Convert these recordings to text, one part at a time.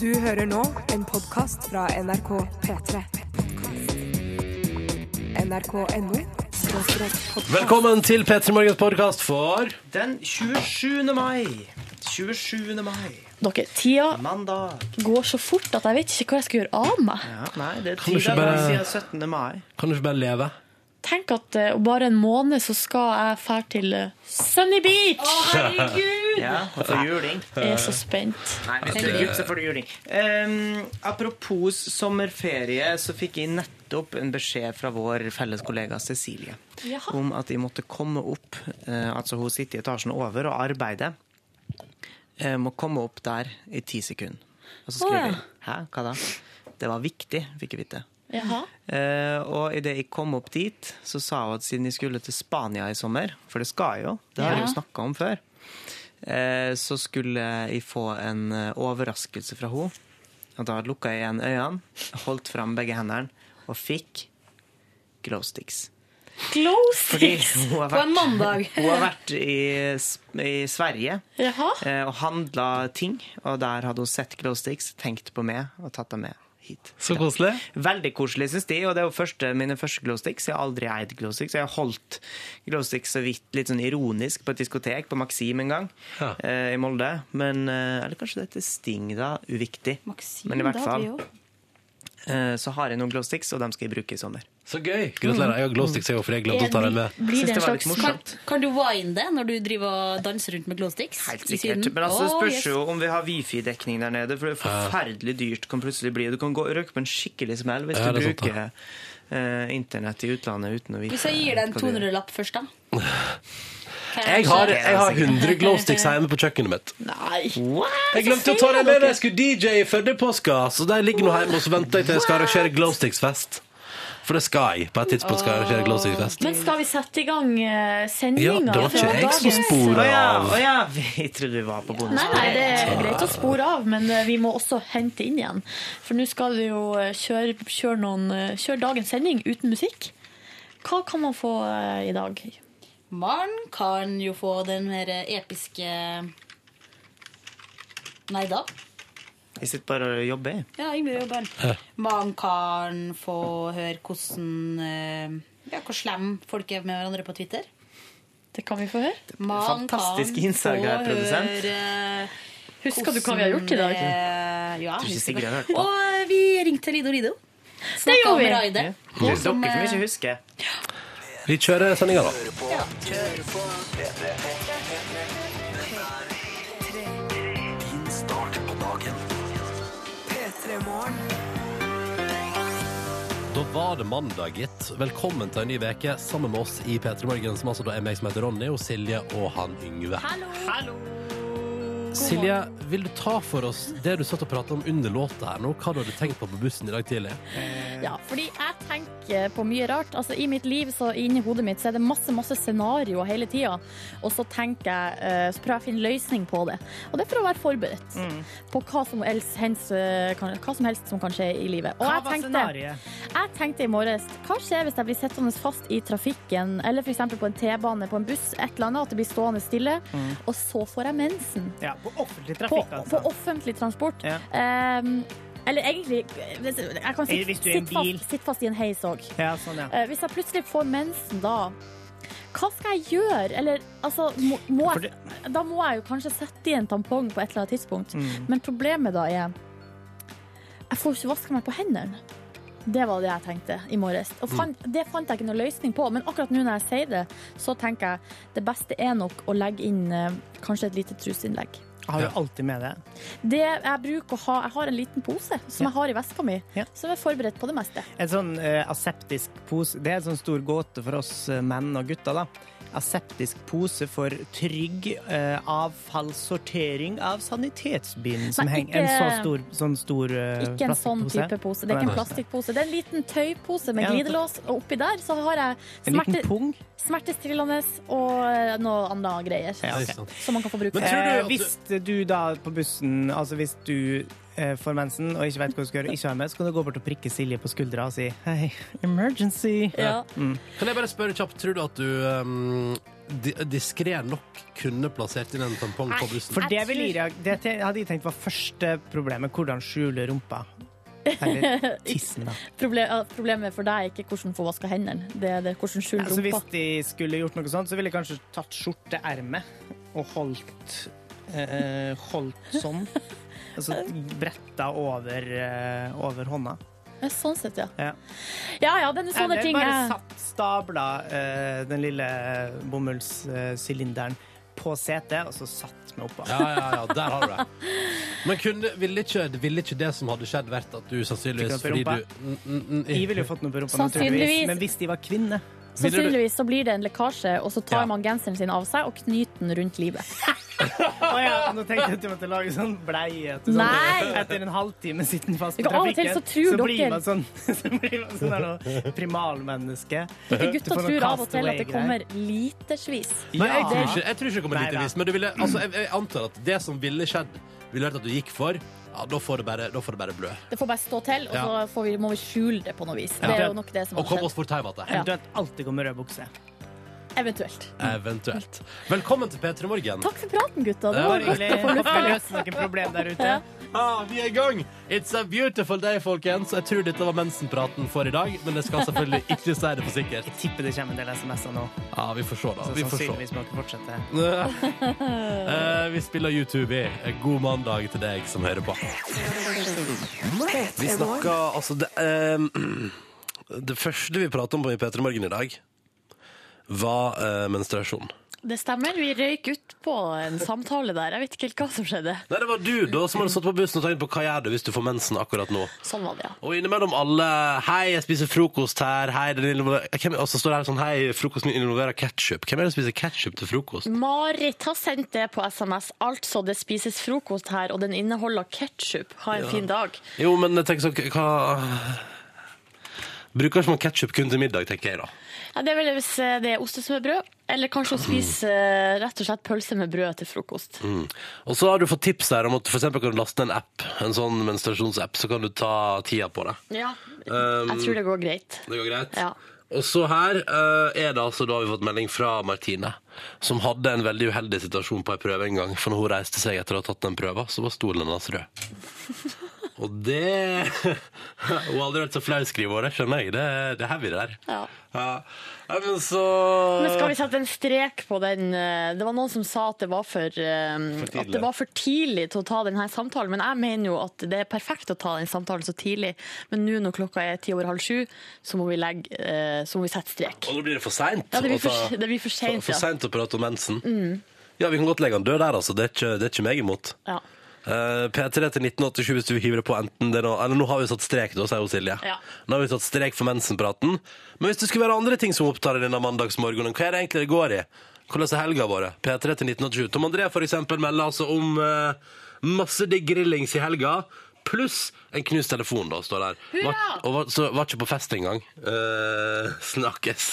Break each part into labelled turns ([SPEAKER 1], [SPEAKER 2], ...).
[SPEAKER 1] Du hører nå en podkast fra NRK P3. NRK.no podkast.
[SPEAKER 2] Velkommen til P3 Morgens podkast for
[SPEAKER 3] Den 27. mai. 27. mai.
[SPEAKER 4] Dere, tida
[SPEAKER 3] Mandag.
[SPEAKER 4] går så fort at jeg vet ikke hva jeg skal gjøre av meg.
[SPEAKER 3] Ja, nei, det er
[SPEAKER 2] Kan du
[SPEAKER 3] ti
[SPEAKER 2] ikke
[SPEAKER 3] dager
[SPEAKER 2] bare-
[SPEAKER 3] siden 17. mai.
[SPEAKER 2] Kan du ikke bare leve?
[SPEAKER 4] Tenk at eh, om bare en måned så skal jeg fære til eh, Sunny Beach!
[SPEAKER 3] Ja, og for juling.
[SPEAKER 4] Jeg er så spent.
[SPEAKER 3] Nei, hvis du er gutt, så får du juling. Ehm, apropos sommerferie, så fikk jeg nettopp en beskjed fra vår felles kollega Cecilie
[SPEAKER 4] Jaha.
[SPEAKER 3] om at jeg måtte komme opp. eh, altså, hun sitter i etasjen over og arbeider. Jeg må komme opp der i ti sekunder. Og så skriver
[SPEAKER 4] Å, ja.
[SPEAKER 3] jeg Hæ, hva da? Det var viktig, fikk jeg vite.
[SPEAKER 4] Jaha.
[SPEAKER 3] Eh, og idet jeg kom opp dit, så sa hun at siden jeg skulle til Spania i sommer, for det skal jeg jo, det har jeg jo
[SPEAKER 4] Ja.
[SPEAKER 3] snakka om før, eh, så skulle jeg få en eh, overraskelse fra henne. Og da lukka jeg igjen øynene, holdt fram begge hendene og fikk glow sticks.
[SPEAKER 4] Glow
[SPEAKER 3] Fordi
[SPEAKER 4] sticks!
[SPEAKER 3] hun har
[SPEAKER 5] På
[SPEAKER 3] vært,
[SPEAKER 5] en mandag.
[SPEAKER 3] hun har vært i, S- i Sverige
[SPEAKER 4] Jaha.
[SPEAKER 3] eh, og handla ting, og der hadde hun sett glow sticks, tenkt på meg og tatt dem med hit.
[SPEAKER 2] Så koselig.
[SPEAKER 3] Veldig koselig, syns de. Og det er jo første, mine første glowsticks. Jeg har aldri eid glowsticks. Jeg har holdt glowsticks så vidt litt sånn ironisk på et diskotek på Maxim en gang
[SPEAKER 2] Ja.
[SPEAKER 3] eh, i Molde. Men, eh, eller kanskje det heter Sting, da. Uviktig. Men i hvert fall eh, så har jeg noen glowsticks, og dem skal jeg bruke i sommer.
[SPEAKER 2] Så gøy. Gratulerer. Jeg har glowsticks, jeg òg, for jeg glemte å ta dem med.
[SPEAKER 4] Blir
[SPEAKER 3] Synes
[SPEAKER 4] det en
[SPEAKER 3] det var litt
[SPEAKER 4] slags
[SPEAKER 3] morsomt.
[SPEAKER 5] Kan, kan du wine det når du driver og danser rundt med glowsticks?
[SPEAKER 3] Helt
[SPEAKER 5] i
[SPEAKER 3] sikkert.
[SPEAKER 5] Syden?
[SPEAKER 3] Men altså, det
[SPEAKER 5] Å,
[SPEAKER 3] spørs
[SPEAKER 5] yes.
[SPEAKER 3] jo om vi har wifi-dekning der nede, for det er forferdelig dyrt kan plutselig bli. Du kan gå røyke på en skikkelig smell hvis
[SPEAKER 2] Ja, det
[SPEAKER 3] du
[SPEAKER 2] er sant,
[SPEAKER 3] bruker eh, internett i utlandet uten å vite
[SPEAKER 5] Hvis jeg gir deg en
[SPEAKER 3] hva du gjør.
[SPEAKER 5] 200-lapp først, da? Kan
[SPEAKER 2] Jeg
[SPEAKER 5] kanskje-
[SPEAKER 2] har, jeg har 100 glowsticks hjemme på kjøkkenet mitt.
[SPEAKER 4] Nei.
[SPEAKER 2] Jeg glemte å ta dem med da jeg skulle DJ i Førde i påska, så de ligger nå hjemme og så venter jeg til jeg skal arrangere glowsticks-fest. For det skal jeg. På et tidspunkt skal jeg arrangere glowsticks-fest.
[SPEAKER 4] Men skal vi sette i gang uh,
[SPEAKER 2] Ja,
[SPEAKER 4] sendinga?
[SPEAKER 2] det var ikke jeg som
[SPEAKER 3] Å
[SPEAKER 2] spora
[SPEAKER 3] ja,
[SPEAKER 2] av.
[SPEAKER 3] å ja. Vi trodde vi var på bonus.
[SPEAKER 4] Nei, nei, det er greit å spore av, men eh, vi må også hente inn igjen. For nå skal vi jo eh, kjøre, kjøre, noen, eh, kjøre dagens sending uten musikk. Hva kan man få eh, i dag?
[SPEAKER 5] Maren kan jo få den her episke Nei da.
[SPEAKER 3] Jeg sitter bare og jobber. jeg.
[SPEAKER 5] Ja, Ingrid og barn. Man kan få høre hvordan eh, Ja, hvor slem folk er med hverandre på Twitter.
[SPEAKER 4] Det kan vi få høre.
[SPEAKER 5] Man
[SPEAKER 3] Fantastisk
[SPEAKER 5] kan
[SPEAKER 3] innsalg av
[SPEAKER 5] få
[SPEAKER 3] produsent.
[SPEAKER 5] høre, eh,
[SPEAKER 4] Husker du hva vi har gjort i dag?
[SPEAKER 5] Eh, ja,
[SPEAKER 3] Tror ikke
[SPEAKER 5] husker
[SPEAKER 3] Sigrid
[SPEAKER 5] det.
[SPEAKER 3] har hørt det.
[SPEAKER 5] Og eh, vi ringte Lido Lido.
[SPEAKER 4] Det gjorde vi.
[SPEAKER 5] Raide.
[SPEAKER 3] Det er dere som
[SPEAKER 6] eh,
[SPEAKER 3] ikke husker.
[SPEAKER 2] Vi kjører sendinga, da. Da var det mandag, gitt. Velkommen til en ny veke sammen med oss i P3 Morgen, som altså da er meg som heter Ronny, og Silje og han Yngve. Silje, vil du ta for oss det du satt og pratet om under låta her nå? Hva du hadde tenkt på på bussen i dag tidlig?
[SPEAKER 6] Ja, fordi jeg tenker på mye rart. Altså, I mitt liv, så inni hodet mitt, så er det masse masse scenarioer hele tida. Og så tenker jeg, eh, så prøver jeg å finne løsning på det. Og det er for å være forberedt på hva som, helst, hens, eh, kan, hva som helst som kan skje i livet. Og jeg tenkte, jeg tenkte i morges hva skjer hvis jeg blir sittende fast i trafikken, eller f.eks. på en T-bane, på en buss, et eller annet, at det blir stående stille, og så får jeg mensen?
[SPEAKER 3] Ja, på offentlig altså.
[SPEAKER 6] på, på offentlig transport.
[SPEAKER 3] Ja.
[SPEAKER 6] Ehm, eller egentlig hvis, Jeg kan
[SPEAKER 3] Eller
[SPEAKER 6] sitte
[SPEAKER 3] hvis du er i en
[SPEAKER 6] sitte
[SPEAKER 3] bil.
[SPEAKER 6] fast, sitte fast i en heis òg.
[SPEAKER 3] Ja, sånn, ja.
[SPEAKER 6] Eh, hvis jeg plutselig får mensen da, hva skal jeg gjøre? Eller altså må, må
[SPEAKER 3] For
[SPEAKER 6] jeg, Da må jeg jo kanskje sette i en tampong på et eller annet tidspunkt.
[SPEAKER 3] Mm.
[SPEAKER 6] Men problemet da er Jeg får ikke vaska meg på hendene. Det var det jeg tenkte i morges.
[SPEAKER 3] Mm.
[SPEAKER 6] Og fant, det fant jeg ikke noen løsning på. Men akkurat nå når jeg sier det, så tenker jeg det beste er nok å legge inn eh, kanskje et lite truseinnlegg.
[SPEAKER 3] Har du alltid med det?
[SPEAKER 6] Det jeg bruker å ha Jeg har en liten pose som jeg har i veska mi,
[SPEAKER 3] Ja.
[SPEAKER 6] som er forberedt på det meste.
[SPEAKER 3] En sånn eh, aseptisk pose Det er en sånn stor gåte for oss eh, menn og gutter, da. Aseptisk pose for trygg eh, avfallssortering av sanitetsbind som
[SPEAKER 6] Nei,
[SPEAKER 3] henger En
[SPEAKER 6] ikke-
[SPEAKER 3] så stor, sånn stor eh,
[SPEAKER 6] Ikke en sånn
[SPEAKER 3] plastikkpose.
[SPEAKER 6] type pose. Det er ikke en plastikkpose. Det er en liten tøypose med
[SPEAKER 3] Ja, nettopp.
[SPEAKER 6] glidelås, og oppi der så har jeg
[SPEAKER 3] En liten
[SPEAKER 6] smerte,
[SPEAKER 3] pung.
[SPEAKER 6] smertestillende og eh, noe annet greier.
[SPEAKER 3] Ja,
[SPEAKER 2] ok.
[SPEAKER 6] Som man kan få bruke.
[SPEAKER 2] Men tror du
[SPEAKER 3] Eh,
[SPEAKER 2] at-
[SPEAKER 3] hvis du da på bussen Altså hvis du eh, får mensen og ikke vet hva du skal gjøre, ikke har med, så kan du gå bort og prikke Silje på skuldra og si hei, emergency.
[SPEAKER 6] Ja. Mm.
[SPEAKER 2] Kan jeg bare spørre kjapt, tror du at du um, di diskré nok kunne plassert inn en tampong på bussen.
[SPEAKER 3] For det,
[SPEAKER 7] Jeg
[SPEAKER 3] vil
[SPEAKER 7] tror-
[SPEAKER 3] Irak, det te- hadde jeg tenkt var første problemet. Hvordan skjule rumpa. Eller tissen, da.
[SPEAKER 7] Proble ja, problemet for deg er ikke hvordan få vaska hendene, det er det hvordan skjule
[SPEAKER 3] Altså, hvis
[SPEAKER 7] rumpa.
[SPEAKER 3] de skulle gjort noe sånt, så ville jeg kanskje tatt skjorteermet og holdt eh, Holdt sånn. Altså bretta over, eh, over hånda.
[SPEAKER 7] Ja, Sånn sett, ja.
[SPEAKER 3] Ja.
[SPEAKER 7] Ja ja, det er sånne
[SPEAKER 3] Eller
[SPEAKER 7] ting
[SPEAKER 3] bare
[SPEAKER 7] jeg
[SPEAKER 3] satt stabla eh, den lille bomullssylinderen på setet, og så satt vi oppå.
[SPEAKER 2] Ja, ja, ja, der har du det. Men kunne, ville, ikke, ville ikke det som hadde skjedd, vært at du sannsynligvis
[SPEAKER 3] Fikk den
[SPEAKER 2] fordi
[SPEAKER 3] opp i
[SPEAKER 2] du mm, mm, mm,
[SPEAKER 3] Jeg ville jo fått noe på rumpa, naturligvis.
[SPEAKER 7] Sannsynligvis.
[SPEAKER 3] Men hvis de var kvinner
[SPEAKER 7] Sannsynligvis så blir det en lekkasje, og så tar
[SPEAKER 2] Ja.
[SPEAKER 7] man genseren sin av seg og knyter den rundt livet.
[SPEAKER 3] Å ja, nå tenkte jeg at du måtte lage sånn bleie. Til sånn.
[SPEAKER 7] Nei!
[SPEAKER 3] Etter en halvtime sitter den fast på
[SPEAKER 7] Ja, av og til
[SPEAKER 3] trafikken,
[SPEAKER 7] så tror
[SPEAKER 3] blir
[SPEAKER 7] dere-
[SPEAKER 3] man sånn, så blir man sånn der noe primalmenneske.
[SPEAKER 7] Dere
[SPEAKER 3] Du får
[SPEAKER 7] gutta
[SPEAKER 3] noen
[SPEAKER 7] tror av og til at det
[SPEAKER 3] castaway-greier.
[SPEAKER 7] kommer litersvis.
[SPEAKER 2] Nei, jeg tror ikke,
[SPEAKER 3] Ja.
[SPEAKER 2] jeg tror ikke det kommer
[SPEAKER 3] Nei,
[SPEAKER 2] dit i
[SPEAKER 3] nei.
[SPEAKER 2] vis, men du ville, altså, jeg, jeg antar at det som ville skjedd, ville vært at du gikk for ja, da får det bare, da får det bare blø.
[SPEAKER 7] Det får bare stå til, og så
[SPEAKER 2] Ja.
[SPEAKER 7] får vi, må vi skjule det på noe vis. Det er jo nok det som
[SPEAKER 2] Og kom
[SPEAKER 7] har
[SPEAKER 2] oss
[SPEAKER 7] skjedd.
[SPEAKER 2] fort hjem igjen.
[SPEAKER 3] Eventuelt alltid gå med rød bukse.
[SPEAKER 7] Eventuelt.
[SPEAKER 2] Eventuelt. Velkommen til P3 Morgen.
[SPEAKER 7] Takk for praten, gutta. Det var
[SPEAKER 2] Ja,
[SPEAKER 3] Bare
[SPEAKER 7] godt
[SPEAKER 3] hyggelig.
[SPEAKER 7] å få
[SPEAKER 3] Håper
[SPEAKER 7] lufta
[SPEAKER 3] vi
[SPEAKER 7] litt.
[SPEAKER 3] løser noen problem der ute.
[SPEAKER 2] Ah, vi er i gang! It's a beautiful day, folkens. Jeg tror dette var mensenpraten for i dag, men jeg skal selvfølgelig ikke si det for sikkert.
[SPEAKER 3] Jeg tipper det kommer en del SMS-er nå.
[SPEAKER 2] Ja, vi får se, da.
[SPEAKER 3] Så
[SPEAKER 2] Vi får se.
[SPEAKER 3] sannsynligvis må dere fortsette.
[SPEAKER 2] Eh, vi spiller YouTube i. God mandag til deg som hører på. Vi
[SPEAKER 1] P3 Morgen.
[SPEAKER 2] snakker altså det, ehm, det første vi pratet om på i P3 Morgen i dag, var eh, menstruasjon.
[SPEAKER 6] Det stemmer. Vi røyk ut på en samtale der. Jeg vet ikke helt hva som skjedde.
[SPEAKER 2] Nei, det var du da som hadde stått på bussen og tenkt på hva gjør du hvis du får mensen akkurat nå.
[SPEAKER 6] Sånn var det, ja.
[SPEAKER 2] Og innimellom alle Hei, jeg spiser frokost her. Hei, den involverer Hvem- Og så står det her sånn Hei, frokosten involverer ketsjup. Hvem er det som spiser ketsjup til frokost?
[SPEAKER 6] Marit har sendt det på SMS. Altså, det spises frokost her, og den inneholder ketsjup. Ha en fin dag.
[SPEAKER 2] Jo, men jeg tenker sånn Hva Bruker ikke man ketsjup kun til middag, tenker jeg da.
[SPEAKER 6] Ja, det er vel hvis eh, det er ostesmørbrød, eller kanskje å spise eh, rett og slett pølse med brød til frokost.
[SPEAKER 2] Mm. Og så har du fått tips her om at for eksempel kan du laste en app, en sånn menstruasjonsapp, så kan du ta tida på det.
[SPEAKER 6] Ja,
[SPEAKER 2] Um,
[SPEAKER 6] jeg tror det går greit.
[SPEAKER 2] Det går greit.
[SPEAKER 6] Ja.
[SPEAKER 2] Og så her eh, er det altså, da har vi fått melding fra Martine, som hadde en veldig uheldig situasjon på ei prøve en gang. For når hun reiste seg etter å ha tatt den prøva, så var stolen hennes rød. Og det Hun har aldri vært så flau, skriver hun. Det skjønner jeg. Det, det er heavy, det der.
[SPEAKER 6] Ja.
[SPEAKER 2] Nei, men så
[SPEAKER 6] Men skal vi sette en strek på den eh, Det var noen som sa at det var for, eh,
[SPEAKER 2] tidlig.
[SPEAKER 6] at det var for tidlig til å ta denne samtalen, men jeg mener jo at det er perfekt å ta den samtalen så tidlig. Men nå når klokka er ti over halv sju, så må vi, legge, eh, så må vi sette strek.
[SPEAKER 2] Og nå blir det for seint.
[SPEAKER 6] Ja, det blir for, det blir for
[SPEAKER 2] for,
[SPEAKER 6] sent,
[SPEAKER 2] for
[SPEAKER 6] ja. Mm.
[SPEAKER 2] sent å prate om mensen. Ja, vi kan godt legge han død der, altså. Det er ikke, det er ikke meg imot.
[SPEAKER 6] ja.
[SPEAKER 2] Eh, P3 til 1987 hvis du hiver det på enten det nå Eller nå har vi satt strek, da, sier hun Silje.
[SPEAKER 6] Ja.
[SPEAKER 2] Nå har vi satt strek for mensenpraten. Men hvis det skulle være andre ting som opptar deg denne mandagsmorgenen, hva er det egentlig det går i? Hvordan er helga vår? P3 til 1987. Tom André for eksempel melder altså om eh, masse digg grillings i helga. Pluss en knust telefon, da, står der. Var, og var, så var ikke på fest engang. Eh, snakkes.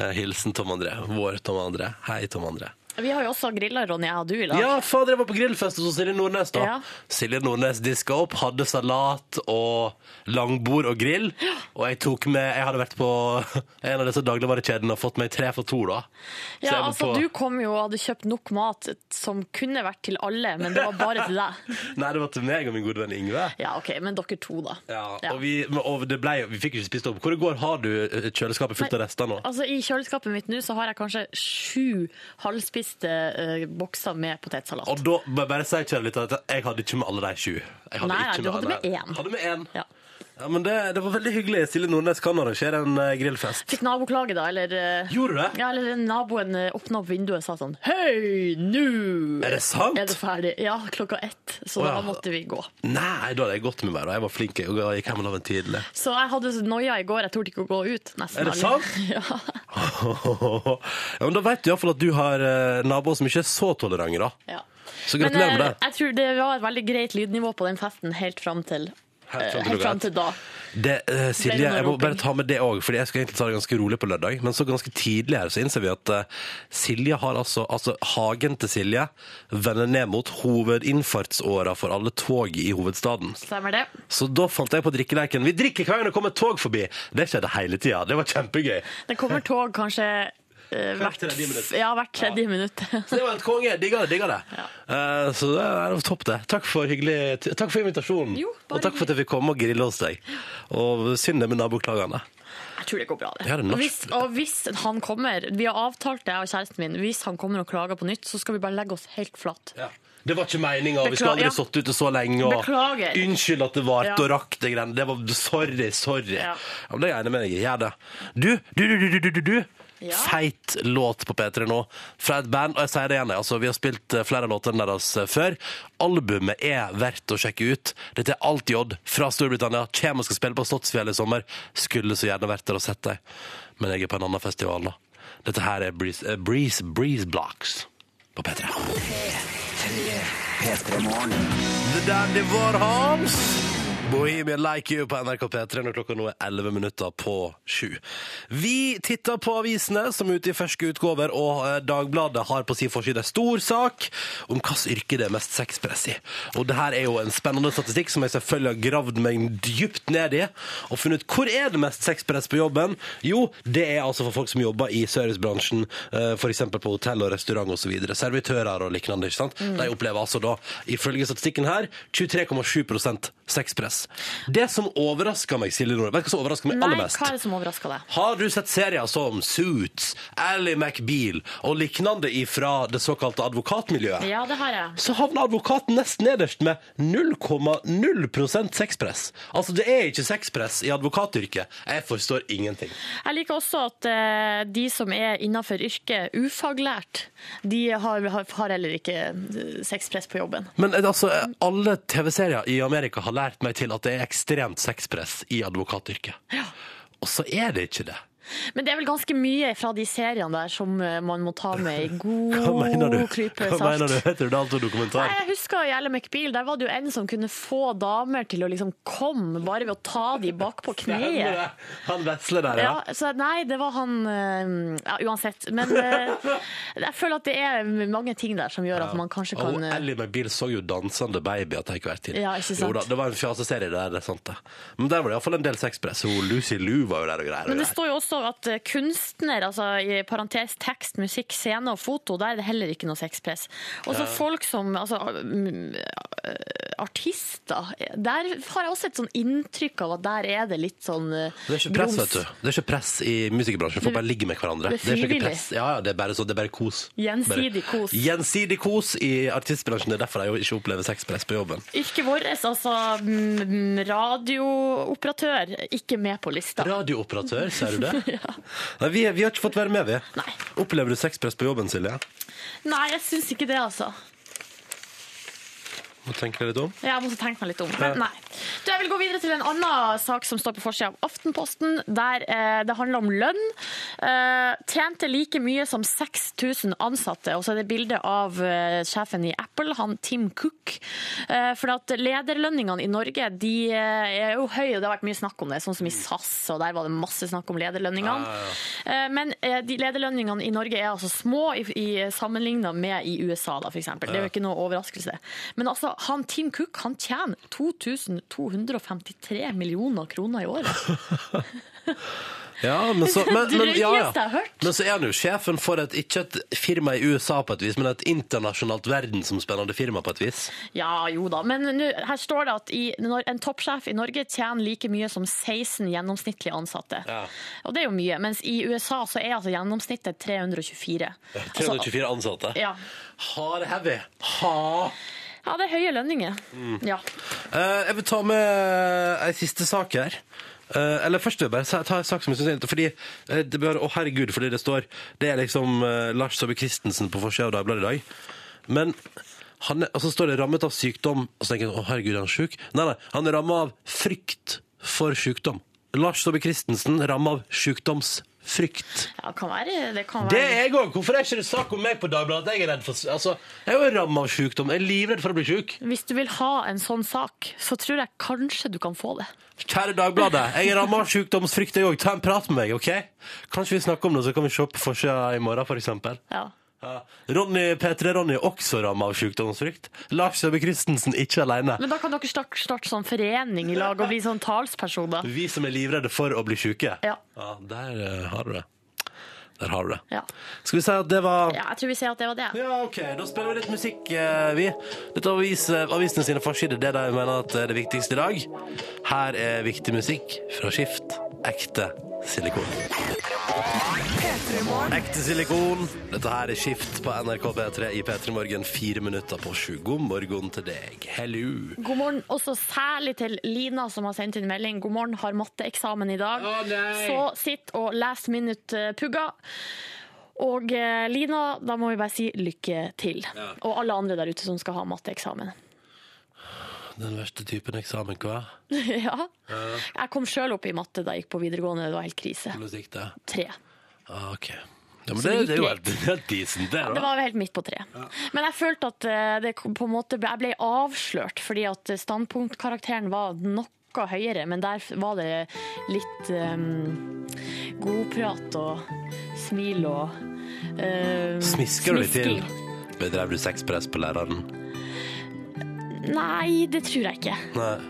[SPEAKER 2] Eh, hilsen Tom André. Vår Tom André. Hei, Tom André.
[SPEAKER 6] Vi har jo også grilla, Ronny, jeg og du i lag.
[SPEAKER 2] Ja, fader, jeg var på grillfest hos Silje Nordnes da.
[SPEAKER 6] Ja.
[SPEAKER 2] Silje Nordnes diska opp, hadde salat og langbord og grill. Og jeg tok med Jeg hadde vært på en av disse dagligvarekjedene og fått meg tre for to, da. Så jeg
[SPEAKER 6] Ja,
[SPEAKER 2] var
[SPEAKER 6] altså
[SPEAKER 2] på-
[SPEAKER 6] Du kom jo og hadde kjøpt nok mat som kunne vært til alle, men det var bare til deg.
[SPEAKER 2] Nei, det var til meg og min gode venn Yngve.
[SPEAKER 6] Ja, OK, men dere to, da.
[SPEAKER 2] Ja,
[SPEAKER 6] Ja.
[SPEAKER 2] Og, vi, men- og det ble, vi fikk ikke spist opp. Hvor det går, har du eh, kjøleskapet fullt av rester nå?
[SPEAKER 6] Altså, I kjøleskapet mitt nå så har jeg kanskje sju halvspiste eh, bokser med potetsalat.
[SPEAKER 2] Og da må jeg bare si kjære lytter, at jeg hadde ikke med alle de sju. Jeg hadde
[SPEAKER 6] Nei, nei,
[SPEAKER 2] ikke
[SPEAKER 6] du
[SPEAKER 2] alle.
[SPEAKER 6] hadde med én.
[SPEAKER 2] Hadde med én.
[SPEAKER 6] Ja.
[SPEAKER 2] Ja, men det, det var veldig hyggelig. Silje Nordnes kan arrangere en eh, grillfest.
[SPEAKER 6] Fikk naboklage, da, eller eh,
[SPEAKER 2] Gjorde du det?
[SPEAKER 6] Ja, eller den naboen eh, åpna opp vinduet og sa sånn Hei, nå
[SPEAKER 2] Er det sant?
[SPEAKER 6] er det ferdig. Ja, klokka ett. Så
[SPEAKER 2] Å,
[SPEAKER 6] da
[SPEAKER 2] ja.
[SPEAKER 6] måtte vi gå.
[SPEAKER 2] Nei, da hadde jeg gått med meg, da. Jeg var flink. Jeg gikk hjem og la meg tidlig.
[SPEAKER 6] Så jeg hadde så noia i går, jeg torde ikke å gå ut. Nesten
[SPEAKER 2] Er det
[SPEAKER 6] alle.
[SPEAKER 2] sant?
[SPEAKER 6] Ja.
[SPEAKER 2] ja, men da vet du iallfall at du har eh, naboer som ikke er så tolerante, da.
[SPEAKER 6] Ja.
[SPEAKER 2] Så
[SPEAKER 6] Men
[SPEAKER 2] gratulerer med
[SPEAKER 6] eh,
[SPEAKER 2] det.
[SPEAKER 6] jeg tror det var et veldig greit lydnivå på den festen helt fram til,
[SPEAKER 2] Helt fram til
[SPEAKER 6] eh, helt
[SPEAKER 2] klokka
[SPEAKER 6] fram
[SPEAKER 2] ett.
[SPEAKER 6] til da.
[SPEAKER 2] det eh, Silje,
[SPEAKER 6] Ble det noe
[SPEAKER 2] jeg må
[SPEAKER 6] roping?
[SPEAKER 2] bare ta med det òg, Fordi jeg skulle egentlig ta det ganske rolig på lørdag. Men så ganske tidlig her så innser vi at eh, Silje har altså, altså Hagen til Silje vender ned mot hovedinnfartsåra for alle tog i hovedstaden.
[SPEAKER 6] Stemmer det?
[SPEAKER 2] Så da fant jeg på drikkeleiken. Vi drikker hver gang det kommer et tog forbi! Det skjedde hele tida. Det var kjempegøy.
[SPEAKER 6] Det kommer tog kanskje eh, hvert,
[SPEAKER 2] tredje minutt.
[SPEAKER 6] ja, hvert tredje minutt.
[SPEAKER 2] Så det var helt konge. Digga det. digga det. Eh, så det er jo topp, det. Takk for, hyggelig, t- takk for invitasjonen.
[SPEAKER 6] Jo, bare
[SPEAKER 2] og takk for at jeg fikk komme og grille hos deg. Og synd det med naboklagene.
[SPEAKER 6] Jeg tror det går bra, det.
[SPEAKER 2] Ja, det er norsk.
[SPEAKER 6] hvis, og hvis han kommer Vi har avtalt det, jeg og kjæresten min. Hvis han kommer og klager på nytt, så skal vi bare legge oss helt flat.
[SPEAKER 2] Ja. Det var ikke meninga. Vi skulle
[SPEAKER 6] Beklager,
[SPEAKER 2] aldri
[SPEAKER 6] ja.
[SPEAKER 2] sittet ute så lenge. Og
[SPEAKER 6] Beklager.
[SPEAKER 2] Unnskyld at det varte
[SPEAKER 6] Ja.
[SPEAKER 2] og rakk det greiene. Det var sorry, sorry. Ja.
[SPEAKER 6] Ja.
[SPEAKER 2] men det er jeg enig med deg i. Gjør det. Du, du, du, du, du, du, du.
[SPEAKER 6] Ja.
[SPEAKER 2] Feit låt på P3 nå fra et band. Og jeg sier det igjen, jeg, altså, vi har spilt eh, flere låter deres eh, før. Albumet er verdt å sjekke ut. Dette er Alt J fra Storbritannia. Kjem og skal spille på Slottsfjell i sommer. Skulle så gjerne vært der og sett deg, men jeg er på en annen festival nå. Dette her er Breeze, eh, Breeze, Breeze Blocks på P3. The Dandy Warhols. Bohemian Like You på NRK P3 når klokka nå er 11 minutter på sju. Vi titter på avisene som er ute i ferske utgaver, og eh, Dagbladet har på sin forside stor sak om hvilket yrke det er mest sexpress i. Og det her er jo en spennende statistikk som jeg selvfølgelig har gravd meg dypt ned i, og funnet ut hvor er det mest sexpress på jobben? Jo, det er altså for folk som jobber i servicebransjen, eh, for eksempel på hotell og restaurant og så videre. Servitører og liknande, ikke sant?
[SPEAKER 6] Mm.
[SPEAKER 2] De opplever altså da, ifølge statistikken her, 23,7 sexpress. Det som overrasker meg, Silje Nordnes, vet du hva som overrasker meg
[SPEAKER 6] Nei,
[SPEAKER 2] aller mest?
[SPEAKER 6] hva er det som overrasker deg?
[SPEAKER 2] Har du sett serier som Suits, Ally McBeal og liknande ifra det såkalte advokatmiljøet?
[SPEAKER 6] Ja, det har jeg.
[SPEAKER 2] så havner advokaten nest nederst med 0,0 sexpress. Altså, det er ikke sexpress i advokatyrket. Jeg forstår ingenting.
[SPEAKER 6] Jeg liker også at eh, de som er innenfor yrket ufaglært, de har, har, har heller ikke eh, sexpress på jobben.
[SPEAKER 2] Men eh, altså, eh, alle TV-serier i Amerika har lært meg til at det er ekstremt sexpress i advokatyrket. Og så er det ikke det.
[SPEAKER 6] Men det er vel ganske mye fra de seriene der som eh, man må ta med i
[SPEAKER 2] Hva mener du?
[SPEAKER 6] god klype
[SPEAKER 2] Hva mener du?
[SPEAKER 6] salt.
[SPEAKER 2] Heter det alt og dokumentar?
[SPEAKER 6] Nei, jeg husker i Elle McBeal, der var det jo en som kunne få damer til å liksom komme bare ved å ta de bakpå kneet.
[SPEAKER 2] Stemmer det. Han vesler der, ja.
[SPEAKER 6] Ja, så nei, det var han eh, ja, Uansett. Men eh, jeg føler at det er mange ting der som gjør at man kanskje
[SPEAKER 2] Og
[SPEAKER 6] kan eh,
[SPEAKER 2] Ellie McBeal så jo dansende babyer til hver tid.
[SPEAKER 6] Ja, ikke sant?
[SPEAKER 2] Jo da, det var en fjaseserie der, det er sant det. Men der var det iallfall en del sexpress. Hun Lucy Lou var jo der og greier. og
[SPEAKER 6] Men det
[SPEAKER 2] greier.
[SPEAKER 6] står jo også at eh, kunstner, altså i parentes tekst, musikk, scene og foto, der er det heller ikke noe sexpress. Og så folk som altså, mm, eh, artister, eh, der har jeg også et sånn inntrykk av at der er det litt sånn eh,
[SPEAKER 2] Det er ikke press,
[SPEAKER 6] grums.
[SPEAKER 2] vet du. Det er ikke press i musikkbransjen. Folk bare ligger med hverandre.
[SPEAKER 6] det er
[SPEAKER 2] ikke noe
[SPEAKER 6] frivillig.
[SPEAKER 2] press. Ja, ja, det er bare, så, det er bare kos.
[SPEAKER 6] Gjensidig
[SPEAKER 2] Bare-
[SPEAKER 6] kos.
[SPEAKER 2] Gjensidig kos i artistbransjen. Det er derfor jeg jo ikke opplever sexpress på jobben.
[SPEAKER 6] Yrket vårt, altså mm, radiooperatør, ikke med på lista.
[SPEAKER 2] Radiooperatør, ser du det? Nei, vi, vi har ikke fått være med, vi.
[SPEAKER 6] Nei.
[SPEAKER 2] Opplever du sexpress på jobben, Silje?
[SPEAKER 6] Nei, jeg syns ikke det, altså.
[SPEAKER 2] Må tenke deg litt om.
[SPEAKER 6] Jeg måtte tenke meg litt om. Men nei. Du, jeg vil gå videre til en annen sak som står på forsida av Aftenposten, der eh, det handler om lønn. Eh, tjente like mye som 6000 ansatte. Og så er det bilde av eh, sjefen i Apple, han Tim Cook. Eh, for at lederlønningene i Norge de eh, er jo høye, og det har vært mye snakk om det. Sånn som i SAS, og der var det masse snakk om lederlønningene. Eh, Men eh, de lederlønningene i Norge er altså små i, i sammenligna med i USA, da, for eksempel. Det er jo ikke noe overraskelse. Men altså, han Tim Cook han tjener 2253 millioner kroner i året.
[SPEAKER 2] Ja, men så, men,
[SPEAKER 6] Det
[SPEAKER 2] men, ja,
[SPEAKER 6] drøyeste jeg har
[SPEAKER 2] ja.
[SPEAKER 6] hørt.
[SPEAKER 2] men så er han jo sjefen for et, ikke et firma i USA på et vis, men et internasjonalt verdensomspennende firma på et vis.
[SPEAKER 6] Ja, jo da. Men nå- her står det at i, når en toppsjef i Norge tjener like mye som 16 gjennomsnittlige ansatte.
[SPEAKER 2] Ja.
[SPEAKER 6] Og det er jo mye. Mens i USA så er altså gjennomsnittet 324. Altså,
[SPEAKER 2] 324 ansatte.
[SPEAKER 6] ja.
[SPEAKER 2] Hard heavy. Ha.
[SPEAKER 6] ja, det er høye lønninger.
[SPEAKER 2] Mm.
[SPEAKER 6] Ja.
[SPEAKER 2] Eh, jeg vil ta med ei siste sak her. Eh, eller først vil jeg bare sa- ta en sak som jeg synes er interessant. Fordi, eh, det bare, å herregud, fordi det står Det er liksom eh, Lars Saabye Christensen på forsida av Dagbladet i dag. Men han er, og så står det 'rammet av sykdom', og så tenker jeg å herregud, er han sjuk? Nei, nei, han er ramma av frykt for sykdom. Lars Saabye Christensen ramma av sykdomsfrykt.
[SPEAKER 6] ja, det kan være. Det kan
[SPEAKER 2] Det
[SPEAKER 6] være.
[SPEAKER 2] er jeg òg! Hvorfor er ikke det sak om meg på Dagbladet? at Jeg er redd for Altså, jeg er jo ramma av sykdom. Jeg er livredd for å bli sjuk.
[SPEAKER 6] Hvis du vil ha en sånn sak, så tror jeg kanskje du kan få det.
[SPEAKER 2] Kjære Dagbladet, jeg er rammet av sykdomsfrykt jeg òg. Ta en prat med meg, OK? Kanskje vi snakker om det, så kan vi se på forsida i morgen, f.eks.
[SPEAKER 6] Ja.
[SPEAKER 2] Ja. Ronny P3 Ronny er også rammet av sykdomsfrykt. Lars Saabye Christensen ikke alene.
[SPEAKER 6] Men da kan dere starte, starte sånn forening i lag og bli sånn talspersoner.
[SPEAKER 2] Vi som er livredde for å bli syke.
[SPEAKER 6] Ja.
[SPEAKER 2] der eh, har du det. Der har du det.
[SPEAKER 6] Ja.
[SPEAKER 2] Skal vi si at det var
[SPEAKER 6] ja, jeg tror vi sier at det var det.
[SPEAKER 2] Ja, OK. Da spiller vi litt musikk, eh, vi. Dette er avis, eh, avisene sine forsider, det de mener at er det viktigste i dag. Her er viktig musikk fra Skift. Ekte silikon. Ekte silikon. Dette her er Skift på NRK P3 i P3 Morgen fire minutter på sju. God morgen til deg. Hello.
[SPEAKER 6] God morgen også særlig til Lina som har sendt inn melding. God morgen, har matteeksamen i dag. Så sitt og last minute eh, pugga. Og eh, Lina, da må vi bare si lykke til. Og alle andre der ute som skal ha matteeksamen.
[SPEAKER 2] Den verste typen eksamen, hva?
[SPEAKER 6] ja. Jeg kom sjøl opp i matte da jeg gikk på videregående. Det var helt krise.
[SPEAKER 2] Hvordan gikk det?
[SPEAKER 6] Tre.
[SPEAKER 2] Ah, OK. Ja, men
[SPEAKER 6] Så
[SPEAKER 2] det,
[SPEAKER 6] det gikk
[SPEAKER 2] det er jo helt,
[SPEAKER 6] greit.
[SPEAKER 2] det er decent, det.
[SPEAKER 6] Det
[SPEAKER 2] da.
[SPEAKER 6] var helt midt på tre. Men jeg følte at eh, det kom- på en måte ble, jeg ble avslørt, fordi at standpunktkarakteren var noe høyere, men der var det litt um, godprat og smil og eh,
[SPEAKER 2] Smisker du litt til?
[SPEAKER 6] smisking.
[SPEAKER 2] Bedrev du sexpress på læreren?
[SPEAKER 6] Nei, det tror jeg ikke.
[SPEAKER 2] Nei.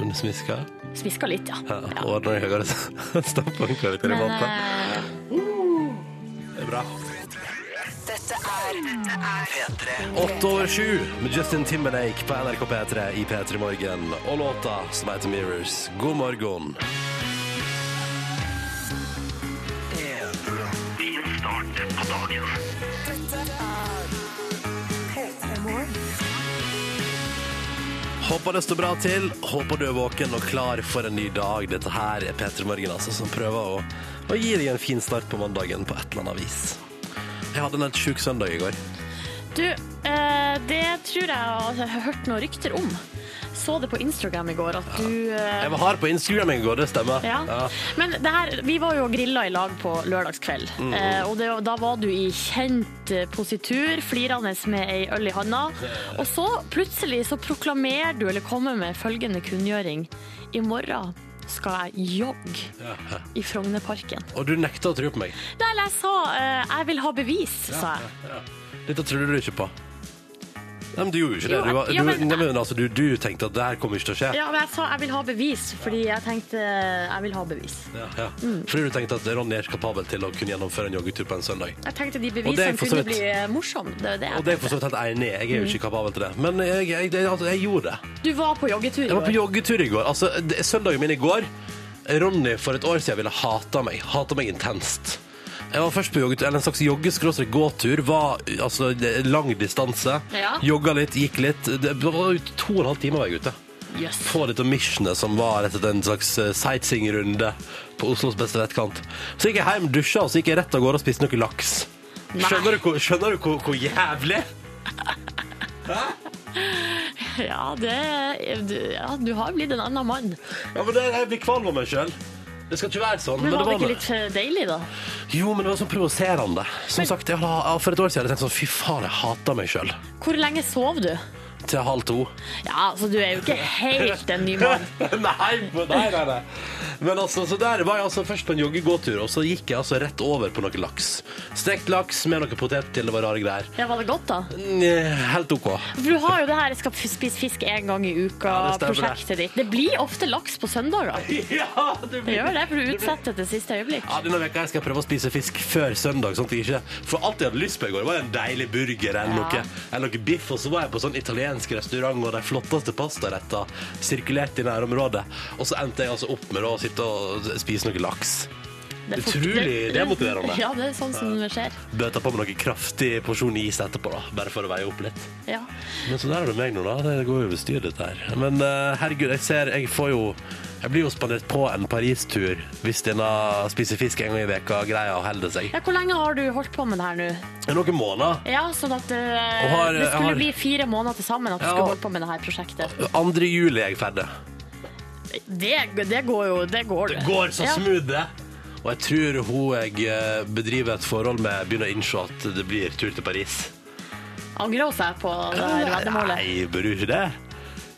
[SPEAKER 2] Men du smiska?
[SPEAKER 6] Smiska litt, ja.
[SPEAKER 2] Ja. Ordna i høyere standpunktkarakter i
[SPEAKER 6] Men,
[SPEAKER 2] matte?
[SPEAKER 6] eh,
[SPEAKER 2] Det er bra. Åtte over sju med Justin Timberlake på NRK P3 i P3 Morgen og låta som heter Mirrors. God morgen. Håper det står bra til. Håper du er våken og klar for en ny dag. Dette her er P3 Morgen altså, som prøver å, å gi deg en fin start på mandagen på et eller annet vis. Jeg hadde en helt sjuk søndag i går.
[SPEAKER 6] Du, eh, det tror jeg jeg har hørt noen rykter om. Så det på Instagram i går at du eh,
[SPEAKER 2] Jeg var hard på Instagram i går, det stemmer.
[SPEAKER 6] Ja. Men det her, vi var jo og grilla i lag på lørdagskveld.
[SPEAKER 2] Mm.
[SPEAKER 6] Eh, og det, da var du i kjent eh, positur, flirende med ei øl i handa. Og så plutselig så proklamerer du eller kommer med følgende kunngjøring. I morgen skal jeg jogge
[SPEAKER 2] Ja.
[SPEAKER 6] i Frognerparken.
[SPEAKER 2] Og du nekta å tro på meg.
[SPEAKER 6] Nei, jeg sa eh, 'jeg vil ha bevis', sa jeg.
[SPEAKER 2] Dette trodde du ikke på. Nei, men du gjorde jo ikke det.
[SPEAKER 6] Jo,
[SPEAKER 2] Du, var,
[SPEAKER 6] ja, men-
[SPEAKER 2] du, nei, men, altså, du, du tenkte at det her kommer ikke til å skje.
[SPEAKER 6] Ja, men jeg sa 'jeg vil ha bevis', fordi jeg tenkte eh, 'jeg vil ha bevis'.
[SPEAKER 2] Ja, ja.
[SPEAKER 6] Mm.
[SPEAKER 2] Fordi du tenkte at Ronny er ikke kapabel til å kunne gjennomføre en joggetur på en søndag.
[SPEAKER 6] Jeg tenkte de
[SPEAKER 2] Og det er
[SPEAKER 6] bevisene
[SPEAKER 2] for så
[SPEAKER 6] kunne
[SPEAKER 2] vidt-
[SPEAKER 6] bli eh, morsomme. Det er jo det.
[SPEAKER 2] Og det er jeg for så vidt helt enig i.
[SPEAKER 6] Mm.
[SPEAKER 2] Jeg er jo ikke kapabel til det. Men jeg, jeg, jeg, altså, jeg gjorde det.
[SPEAKER 6] Du var på joggetur i
[SPEAKER 2] Jeg var på
[SPEAKER 6] går.
[SPEAKER 2] joggetur i går. Altså, det- søndagen min i går Ronny for et år siden ville hata meg. Hata meg intenst. Jeg var først på joggetur, eller en slags jogge-gåtur. Var altså det- lang distanse.
[SPEAKER 6] Ja.
[SPEAKER 2] Jogga litt, gikk litt. Det var jo to og en halv time var jeg ute.
[SPEAKER 6] Yes.
[SPEAKER 2] På dette missionet som var rett og slett en slags eh, sightseeing-runde på Oslos beste vettkant. Så gikk jeg hjem, dusja, og så gikk jeg rett av gårde og spiste noe laks. Skjønner du, hvor, skjønner du hvor, hvor jævlig?
[SPEAKER 6] Ja, det, du- ja, du har blitt en annen mann.
[SPEAKER 2] Ja, men det, jeg blir kvalm av meg sjøl. Det skal ikke være sånn.
[SPEAKER 6] Men, var det
[SPEAKER 2] noe-
[SPEAKER 6] ikke litt eh, deilig, da?
[SPEAKER 2] Jo, men det var så provoserende. Som sagt, jeg, har- For et år siden hadde jeg tenkt sånn Fy faen, jeg hater meg sjøl.
[SPEAKER 6] Hvor lenge sov du?
[SPEAKER 2] Til halv to.
[SPEAKER 6] Ja, altså, du er jo ikke helt en ny mann.
[SPEAKER 2] nei, nei, nei, nei. Men altså, så der var jeg altså først på en joggegåtur, og så gikk jeg altså rett over på noe laks. Stekt laks med noe potet til, det var rare greier.
[SPEAKER 6] Ja, var det godt, da?
[SPEAKER 2] Mm, Helt OK.
[SPEAKER 6] For du har jo det her 'Jeg skal f- spise fisk én gang i
[SPEAKER 2] Ja, det stemmer,
[SPEAKER 6] uka'-prosjektet ditt. Det blir ofte laks på søndager.
[SPEAKER 2] Ja, det
[SPEAKER 6] Det gjør det, for du utsetter til siste øyeblikk.
[SPEAKER 2] Ja, Denne veka skal jeg prøve å spise fisk før søndag. sånn at jeg ikke... For alt jeg hadde lyst på i går, var en deilig burger eller,
[SPEAKER 6] Ja.
[SPEAKER 2] noe, eller noe biff. Og så var jeg på sånn italiensk restaurant, og de flotteste pastarettene sirkulerte i nærområdet. Og så endte jeg altså opp med å sitte og spise noe laks.
[SPEAKER 6] Det er fort-
[SPEAKER 2] Utrolig demotiverende.
[SPEAKER 6] Ja, det er sånn som det skjer.
[SPEAKER 2] Bøta på med noe kraftig porsjon is etterpå, da, bare for å veie opp litt.
[SPEAKER 6] Ja.
[SPEAKER 2] Men så der er du meg nå, da. Det går jo over styr, dette her. Men eh, herregud, jeg ser Jeg får jo Jeg blir jo spandert på en Paris-tur hvis denne spiser fisk en gang i veka greia holder seg.
[SPEAKER 6] ja, Hvor lenge har du holdt på med det her nå?
[SPEAKER 2] Noen måneder.
[SPEAKER 6] Ja, sånn at eh,
[SPEAKER 2] Og har-
[SPEAKER 6] det skulle
[SPEAKER 2] har-
[SPEAKER 6] bli fire måneder til sammen at du
[SPEAKER 2] Ja.
[SPEAKER 6] skulle holde på med det her prosjektet.
[SPEAKER 2] 2. juli er jeg ferdig.
[SPEAKER 6] Det, det går jo. Det går,
[SPEAKER 2] Det går så
[SPEAKER 6] Ja.
[SPEAKER 2] smooth, det. Og jeg tror hun jeg eh, bedriver et forhold med, begynner å innse at det blir tur til Paris.
[SPEAKER 6] Angrer hun seg på det her veddemålet?
[SPEAKER 2] Nei, bør du ikke det?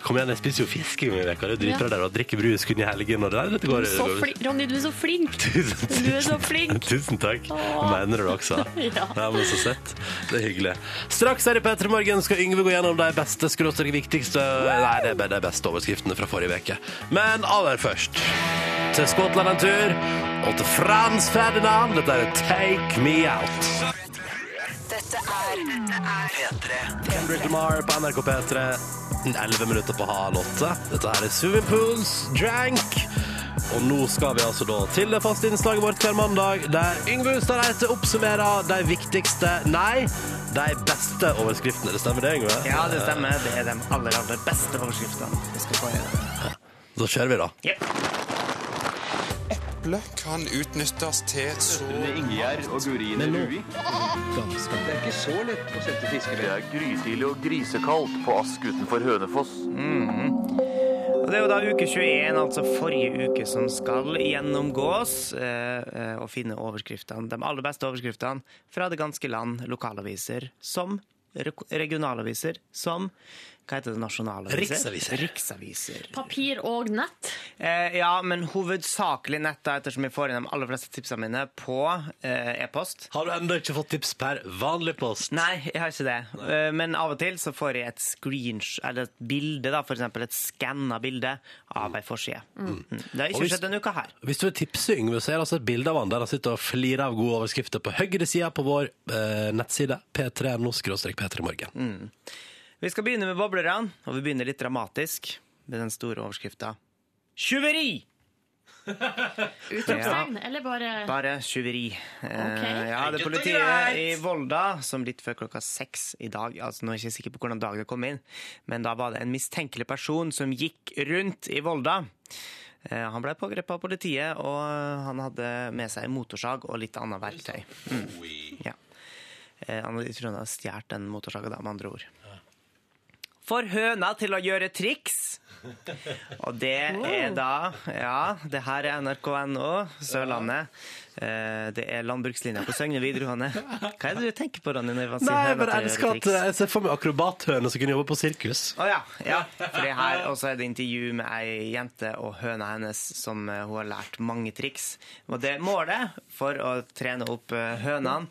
[SPEAKER 2] Kom igjen, jeg spiser jo fisk en gang i veka. Det er dritbra der å drikke brus kun i helgen. Og det der, dette går,
[SPEAKER 6] Så
[SPEAKER 2] går-
[SPEAKER 6] fli- Ronny, du er så flink!
[SPEAKER 2] Tusen,
[SPEAKER 6] Du er så
[SPEAKER 2] tusen-
[SPEAKER 6] flink.
[SPEAKER 2] Tusen takk.
[SPEAKER 6] Åh.
[SPEAKER 2] Mener du det også?
[SPEAKER 6] Ja.
[SPEAKER 2] men så søtt. Det er hyggelig. Straks her i P3 Morgen skal Yngve gå gjennom de beste, skråstrek viktigste Nei, det er bare de beste overskriftene fra forrige uke. Men aller først til Skottland en tur. Og til Frans Ferdinand. Dette er Take Me Out. Kendrick Lamar på NRK P3. 11 minutter på halv åtte. Dette her er Swimming Pools Drank. Og nå skal vi altså da til det faste innslaget vårt hver mandag, der Yngve Hustad Reite oppsummerer de viktigste, nei, de beste overskriftene. Det stemmer det, Yngve?
[SPEAKER 3] Ja, det stemmer. Det er de aller, aller beste overskriftene. vi skal få i-
[SPEAKER 2] Så kjører vi, da.
[SPEAKER 8] Eple kan utnyttes til så
[SPEAKER 9] Ingjerd og Gurine Ruvik. Det er ikke så lett å sette fiskevær. Det er grytidlig og grisekaldt på Ask utenfor Hønefoss.
[SPEAKER 3] Og Det er jo da uke 21, altså forrige uke, som skal gjennomgås eh, eh, og finne overskriftene, de aller beste overskriftene fra det ganske land, lokalaviser som re- regionalaviser som Hva heter det? Nasjonalaviser?
[SPEAKER 2] Riksaviser.
[SPEAKER 3] Riksaviser.
[SPEAKER 6] Papir og nett.
[SPEAKER 3] Eh, ja, men hovedsakelig netta, ettersom jeg får inn de aller fleste tipsene mine på eh, e-post.
[SPEAKER 2] Har du ennå ikke fått tips per vanlig post?
[SPEAKER 3] Nei, jeg har ikke det. Eh, Men av og til så får jeg et screensh, eller et bilde, da, for eksempel et skanna bilde av ei forside. Mm. Det har
[SPEAKER 2] Og
[SPEAKER 3] ikke
[SPEAKER 2] hvis-
[SPEAKER 3] skjedd denne uka her.
[SPEAKER 2] Hvis du vil tipse Yngve, så er det altså et bilde av han der han sitter og flirer av gode overskrifter på høyre side på vår eh, nettside p3.no-p3morgen.
[SPEAKER 3] Vi skal begynne med boblerne, og vi begynner litt dramatisk med den store overskrifta. Tjuveri!
[SPEAKER 6] Utropstegn, eller bare
[SPEAKER 3] Bare tjuveri. Eh, ja, det er
[SPEAKER 2] Enkelt og
[SPEAKER 3] politiet
[SPEAKER 2] greit.
[SPEAKER 3] i Volda som litt før klokka seks i dag altså Nå er jeg ikke sikker på hvordan dag det kom inn, men da var det en mistenkelig person som gikk rundt i Volda. Eh, Han ble pågrepet av politiet, og han hadde med seg motorsag og litt annet verktøy. Mm. Ja. Eh, Han jeg tror han hadde stjålet den motorsaga, da, med andre ord. Får høna til å gjøre triks! Og det er da Ja, det her er nrk.no, Sørlandet. Eh, Det er landbrukslinja på Søgne videregående. Hva er det du tenker på, Ronny? når man sier
[SPEAKER 2] Nei, jeg
[SPEAKER 3] høna
[SPEAKER 2] bare
[SPEAKER 3] til å gjøre
[SPEAKER 2] elsker at
[SPEAKER 3] triks?
[SPEAKER 2] eh, jeg ser for meg akrobathøne som kunne jobbe på sirkus.
[SPEAKER 3] Å ja. ja. For det her også er det intervju med ei jente og høna hennes som eh, hun har lært mange triks. Og det målet for å trene opp eh, hønene,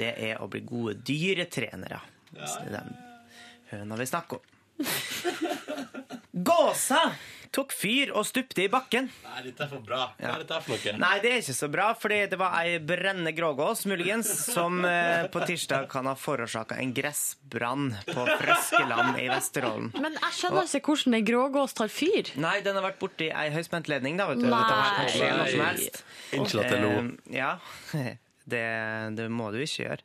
[SPEAKER 3] det er å bli gode dyretrenere. Så det er den høna vi snakker om. Gåsa tok fyr og stupte i bakken.
[SPEAKER 2] Nei, dette er for bra. Hva er dette for noe?
[SPEAKER 3] Nei, det er ikke så bra, fordi det var ei brennende grågås, muligens, som eh, på tirsdag kan ha forårsaka en gressbrann på Frøskeland i Vesterålen.
[SPEAKER 6] Men jeg skjønner ikke hvordan en grågås tar fyr.
[SPEAKER 3] Nei, den har vært borti ei høyspentledning, da. vet du.
[SPEAKER 6] Nei.
[SPEAKER 3] Dette her kan skje når som helst.
[SPEAKER 2] Unnskyld at jeg lo.
[SPEAKER 3] Eh, ja, det, det må du ikke gjøre.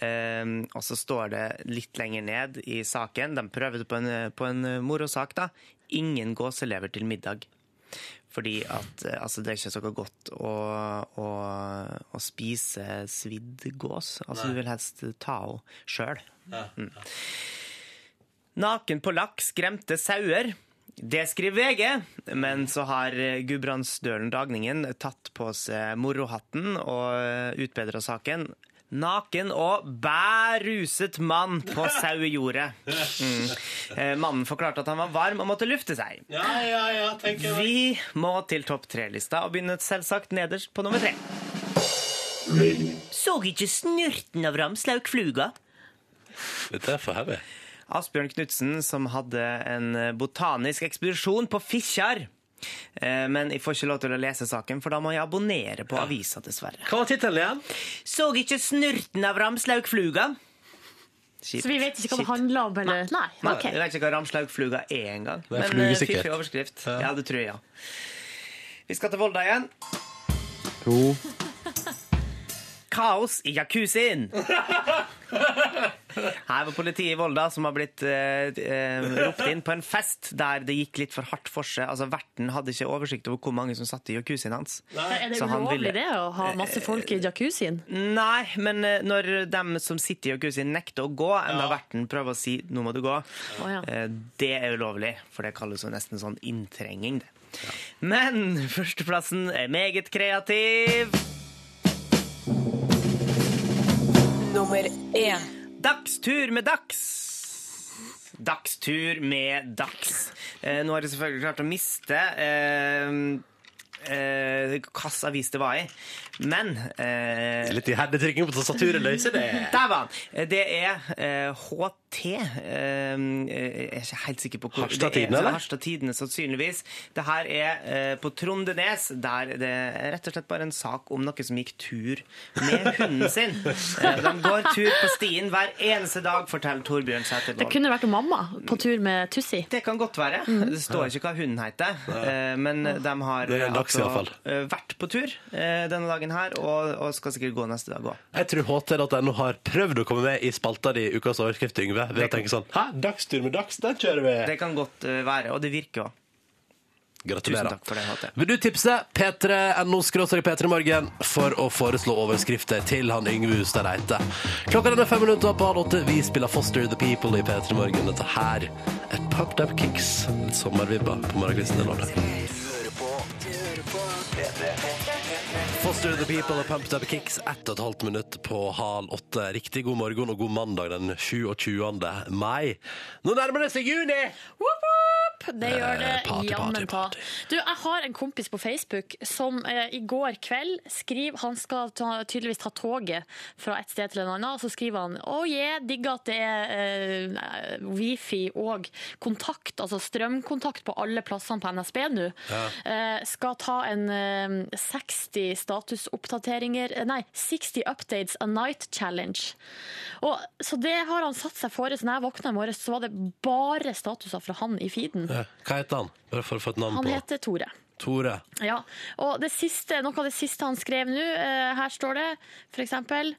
[SPEAKER 3] Eh, og så står det litt lenger ned i saken, de prøvde på en, på en morosak, da. Ingen gåselever til middag. Fordi at eh, altså, det er ikke så godt å, å, å spise svidd gås. Altså, du vil helst ta henne sjøl. Naken polakk skremte sauer. Det skriver VG, men så har Gudbrandsdølen Dagningen tatt på seg morohatten og utbedra saken. Naken og bæruset mann på sauejordet. Mm. Eh, Mannen forklarte at han var varm og måtte lufte seg.
[SPEAKER 2] Ja, ja, ja, tenker
[SPEAKER 3] Vi må til topp tre-lista og begynne selvsagt nederst på nummer tre. Så ikke snurten av ramslauk fluga?
[SPEAKER 2] Dette er for heavy.
[SPEAKER 3] Asbjørn Knutsen som hadde en eh, botanisk ekspedisjon på Fikkjar. Eh, Men jeg får ikke lov til å lese saken, for da må jeg abonnere på avisa, dessverre.
[SPEAKER 2] Hva var tittelen igjen?
[SPEAKER 3] Så ikke snurten av ramslaukfluga? Kjipt.
[SPEAKER 6] Så vi vet ikke hva det
[SPEAKER 3] Kjipt.
[SPEAKER 6] handler om? Eller? Nei.
[SPEAKER 3] Nei,
[SPEAKER 6] ok.
[SPEAKER 3] Jeg vet ikke hva ramslaukfluga er engang.
[SPEAKER 2] er en
[SPEAKER 3] Men
[SPEAKER 2] fluge
[SPEAKER 3] eh,
[SPEAKER 2] sikkert.
[SPEAKER 3] fiffig overskrift. Ja, det tror jeg, ja. Vi skal til Volda igjen. Kaos i jacuzzien! Her var politiet i Volda som har blitt eh, eh, ropt inn på en fest der det gikk litt for hardt for seg. Altså, Verten hadde ikke oversikt over hvor mange som satt i jacuzzien hans.
[SPEAKER 6] Er det
[SPEAKER 3] Så han Eh, ville-
[SPEAKER 6] ulovlig det å ha masse folk i jacuzzien?
[SPEAKER 3] Nei, men eh, når dem som sitter i jacuzzien nekter å gå, enda verten prøver å si 'nå må du gå',
[SPEAKER 6] Å, ja.
[SPEAKER 3] eh, det er ulovlig. For det kalles jo nesten sånn inntrenging, det. Men førsteplassen er meget kreativ.
[SPEAKER 10] Nummer én.
[SPEAKER 3] Dagstur med dags. Dagstur med dags. Eh, nå har jeg selvfølgelig klart å miste eh, eh, hvilken avis det var i, men eh,
[SPEAKER 2] Litt iherdig trykking på tastaturet løser det.
[SPEAKER 3] Der var han! Det er eh, HT
[SPEAKER 11] T. Eh, jeg er ikke helt sikker på hvor
[SPEAKER 2] Harstad
[SPEAKER 11] det er.
[SPEAKER 2] Tidende, eller?
[SPEAKER 11] Harstad Tidende, sannsynligvis. Det her er eh, på Trondenes, der det er rett og slett bare en sak om noen som gikk tur med hunden sin. Eh, de går tur på stien hver eneste dag, forteller Torbjørn
[SPEAKER 6] Det
[SPEAKER 11] Sætervold.
[SPEAKER 6] kunne Mm. vært mamma på tur med Tussi.
[SPEAKER 11] Det kan godt være. Det står ikke hva hunden heter. eh, Men de har
[SPEAKER 2] Det er en laks i
[SPEAKER 11] altså,
[SPEAKER 2] hvert
[SPEAKER 11] eh, vært på tur eh, denne dagen her, og, og skal sikkert gå neste dag òg.
[SPEAKER 2] Jeg tror ht.no har prøvd å komme med i spalta di i ukas overskrift, Yngve, ved å tenke sånn Hæ, dagstur med dags, den kjører vi!
[SPEAKER 11] Det kan godt eh, være, og det virker òg. Tusen
[SPEAKER 2] Gratulerer.
[SPEAKER 11] takk for det, HT.
[SPEAKER 2] Vil du tipse p3.no skråstrek p3morgen for å foreslå overskrifter til han Yngve Hustad Reite? Klokka den er fem minutter på halv åtte. Vi spiller Foster the People i P3 Morgen. Dette her er Pumped Up Kicks. Litt sommervibber på morgenkvisten. det lover det. Foster the People og Pumped Up Kicks. Ett og et halvt minutt på halv åtte. Riktig god morgen og god mandag den 27. mai. Nå nærmer det seg juni!
[SPEAKER 6] Whoop, whoop! Det gjør det
[SPEAKER 2] Eh, party,
[SPEAKER 6] jammen
[SPEAKER 2] party,
[SPEAKER 6] ta.
[SPEAKER 2] party.
[SPEAKER 6] Du, jeg har en kompis på Facebook som eh, i går kveld skriver Han skal ta, tydeligvis ta toget fra et sted til en annen, og så skriver han Å yeah, digger at det er eh, wifi og kontakt, altså strømkontakt på alle plassene på NSB nå. Eh, skal ta en eh, 60 statusoppdateringer eh, Nei, 60 updates a night challenge. Og, så det har han satt seg fore. Så når jeg våkna i morges, så var det bare statuser fra han i feeden.
[SPEAKER 2] Eh, Hva heter han? Bare for å få et navn
[SPEAKER 6] Han
[SPEAKER 2] på
[SPEAKER 6] heter Tore.
[SPEAKER 2] Tore.
[SPEAKER 6] Ja, og det siste, noe av det siste han skrev nå, eh, her står det for eksempel